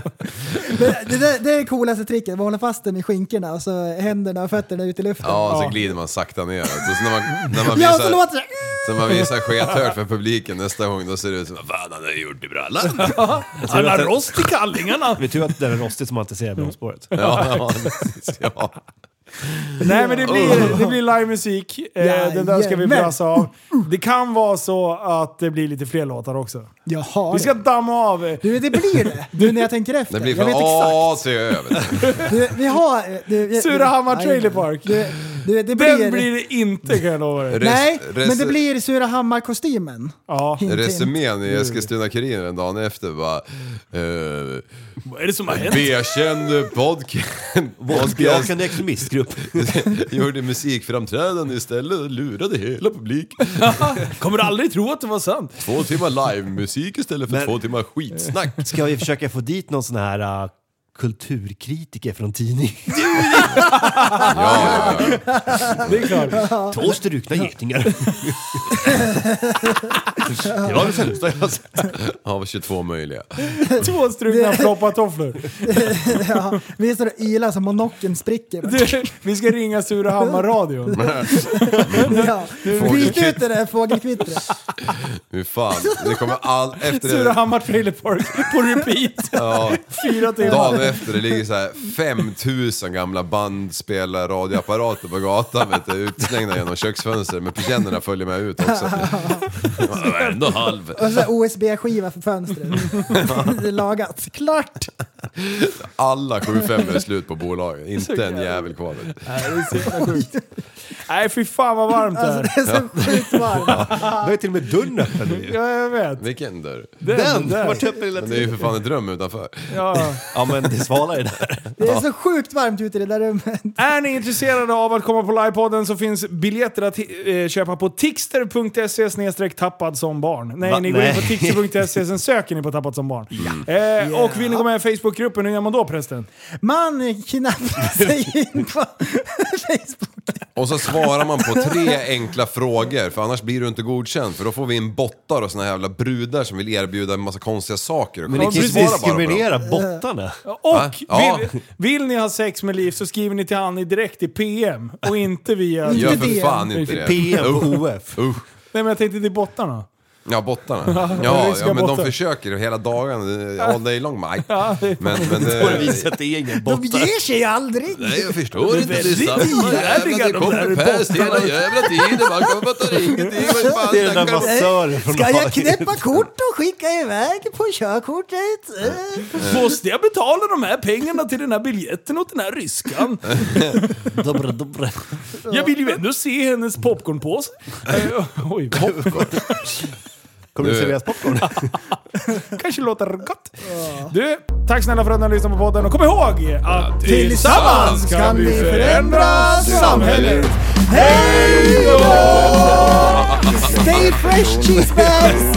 C: det, det, där- det är det coolaste tricket. Man håller fast den i skinkorna och så händerna och fötterna ut i luften.
E: Ja, så glider man sakta ner. Alltså, Så när man, när man
C: Ja, och så
E: visar,
C: låter det.
E: så man visar skethörd för publiken nästa gång, då ser det ut som Fan, han har gjort i brallan.
F: Han har
B: rost i kallingarna!
F: Vi tur att den är rostig som man inte ser bromsspåret.
E: Ja, ja, <laughs> precis, ja.
B: Nej men det blir, det blir livemusik. Eh, den där ska vi
C: Jajamän.
B: brassa av. Det kan vara så att det blir lite fler låtar också.
C: Jaha.
B: Vi ska damma av. eh,
C: Du, det blir det. Du, när jag tänker efter.
E: Det blir från
C: jag vet exakt.
E: A till Ö. vet du.
C: Du, vi har... Du,
B: Surahammar
C: Nej,
B: Trailer Park.
C: Du, du, det blir...
B: Den blir det inte kan jag lova dig.
E: Res-
C: Nej,
E: res-
C: men det blir Surahammar-kostymen.
B: Ja.
C: Hint, hint.
E: Resumén i Eskilstuna-Kuriren den dagen efter bara... Uh,
B: Vad är det som har
E: Erkänd podcast, <laughs> podcast
F: Våldsbejakande extremistgrupp.
E: gjorde musikframträdande istället och lurade hela publiken.
B: <laughs> Kommer aldrig tro att det var sant.
E: Två timmar livemusik istället för
F: Men-
E: två timmar
B: <laughs>
E: skitsnack.
F: Ska vi försöka få dit någon sån här äh, kulturkritiker från tidning?
E: Ja, <laughs> ja, ja.
B: Det är klart.
F: <laughs> Två strukna getingar. <laughs> det var det sämsta jag har sett.
E: Av 22 möjliga.
B: Två
C: <laughs>
B: strukna floppatofflor.
C: Ja, vi står och ylar så monokeln spricker.
B: Du, Vi ska ringa Surahammar-radion.
C: Ja. Byt ut det där fågelkvittret.
E: Hur fan, det kommer all... Efter det,
B: Surahammar Trailer Park på repeat.
E: ja,
B: Fyra timmar.
E: dagen efter det ligger så här 5000 gamla bandspelare, radioapparater på gatan vet du, utslängda genom köksfönstret. Men persiennerna följer med ut också. Det var ändå halv.
C: Och så OSB-skiva för <laughs> fönstret. Det är Lagat. Klart!
E: Alla 75 är slut på bolaget, inte en jävel kvar. vet du.
B: Nej fy fan vad varmt det
C: Alltså
B: är.
C: det är så sjukt varmt.
F: Då är till och med dörren öppen nu.
B: Ja jag vet.
E: Vilken dörr.
B: Den! där.
F: Vart öppen hela
E: Men det är ju
F: tiden.
E: för fan ett rum utanför.
B: Ja.
F: Ja men det svalar ju där.
C: Det är så sjukt varmt ute i det där rummet.
B: Är ni intresserade av att komma på livepodden så finns biljetter att eh, köpa på tixter.se snedstreck tappad som barn. Nej,
F: Va?
B: ni går in på
F: Nej.
B: tixter.se sen söker ni på tappad som barn. Eh, Och vill ni gå med i Facebookgruppen, hur gör man då prästen?
C: Man kidnappar sig in på Facebook.
E: Och så svarar man på tre enkla frågor, för annars blir du inte godkänd. För då får vi in bottar och såna här jävla brudar som vill erbjuda en massa konstiga saker. Och
F: Men ni
E: skit.
F: kan ju
E: Svara bara på dem.
F: diskriminera bottarna.
E: Va?
B: Och
E: Ja.
B: vill, vill ni ha sex med Liv så skriver ni till han i direkt i PM och inte via...
E: Gör
C: Inte
E: för
C: det.
E: fan inte det.
F: PM på
E: Usch, usch.
F: OF.
B: Nej men jag tänkte till bottarna.
E: Ja, bottarna. Ja,
B: ryska
E: ja men de
B: bottar.
E: försöker hela dagen, eh, all day long, Mike. Men, men
F: På det
E: det,
F: viset, det är ingen
C: De
F: bottar.
C: ger sig aldrig!
E: Nej, jag förstår inte. Det är samma
B: ihärdiga
E: jävla...
B: de
E: Det
B: där
E: kommer päls hela
B: bottarna.
E: jävla tiden. Man kommer på att ingenting. Vad fan
F: Det är den där
E: snackar du om?
F: massören från
C: Ska jag
F: Norge.
C: knäppa kort och skicka iväg på körkortet? Eh,
B: Måste jag betala de här pengarna till den här biljetten åt den här
F: <laughs>
B: ryskan?
F: Dobra, dobra.
B: Jag vill ju ändå se hennes popcornpåse. Eh, Oj, popcorn.
F: Kommer det
E: Nu-
F: serveras popcorn?
B: kanske låter gott. Du, tack snälla för att ni har lyssnat på podden och kom ihåg att
C: Tillsammans kan vi förändra samhället. Hej då! Stay fresh cheese bags!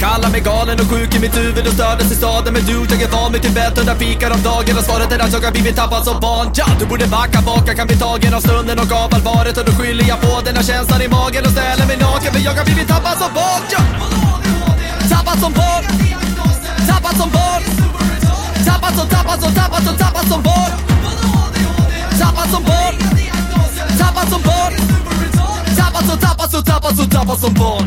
D: Kallar mig galen och sjuk i mitt huvud och stördes i staden Men du, jag är van vid Tibet och där fikar om dagen Och svaret är att jag har blivit tappad som barn ja, Du borde backa bak, jag kan bli tagen av stunden och av allvaret Och då skyller jag på den här känslan i magen och ställer mig naken För jag har blivit tappad som barn ja. Tappad som barn Tappad som barn Tappad som, tappad som, tappad som, tappad som barn Tappad som barn Tappad som barn födas och tappas som barn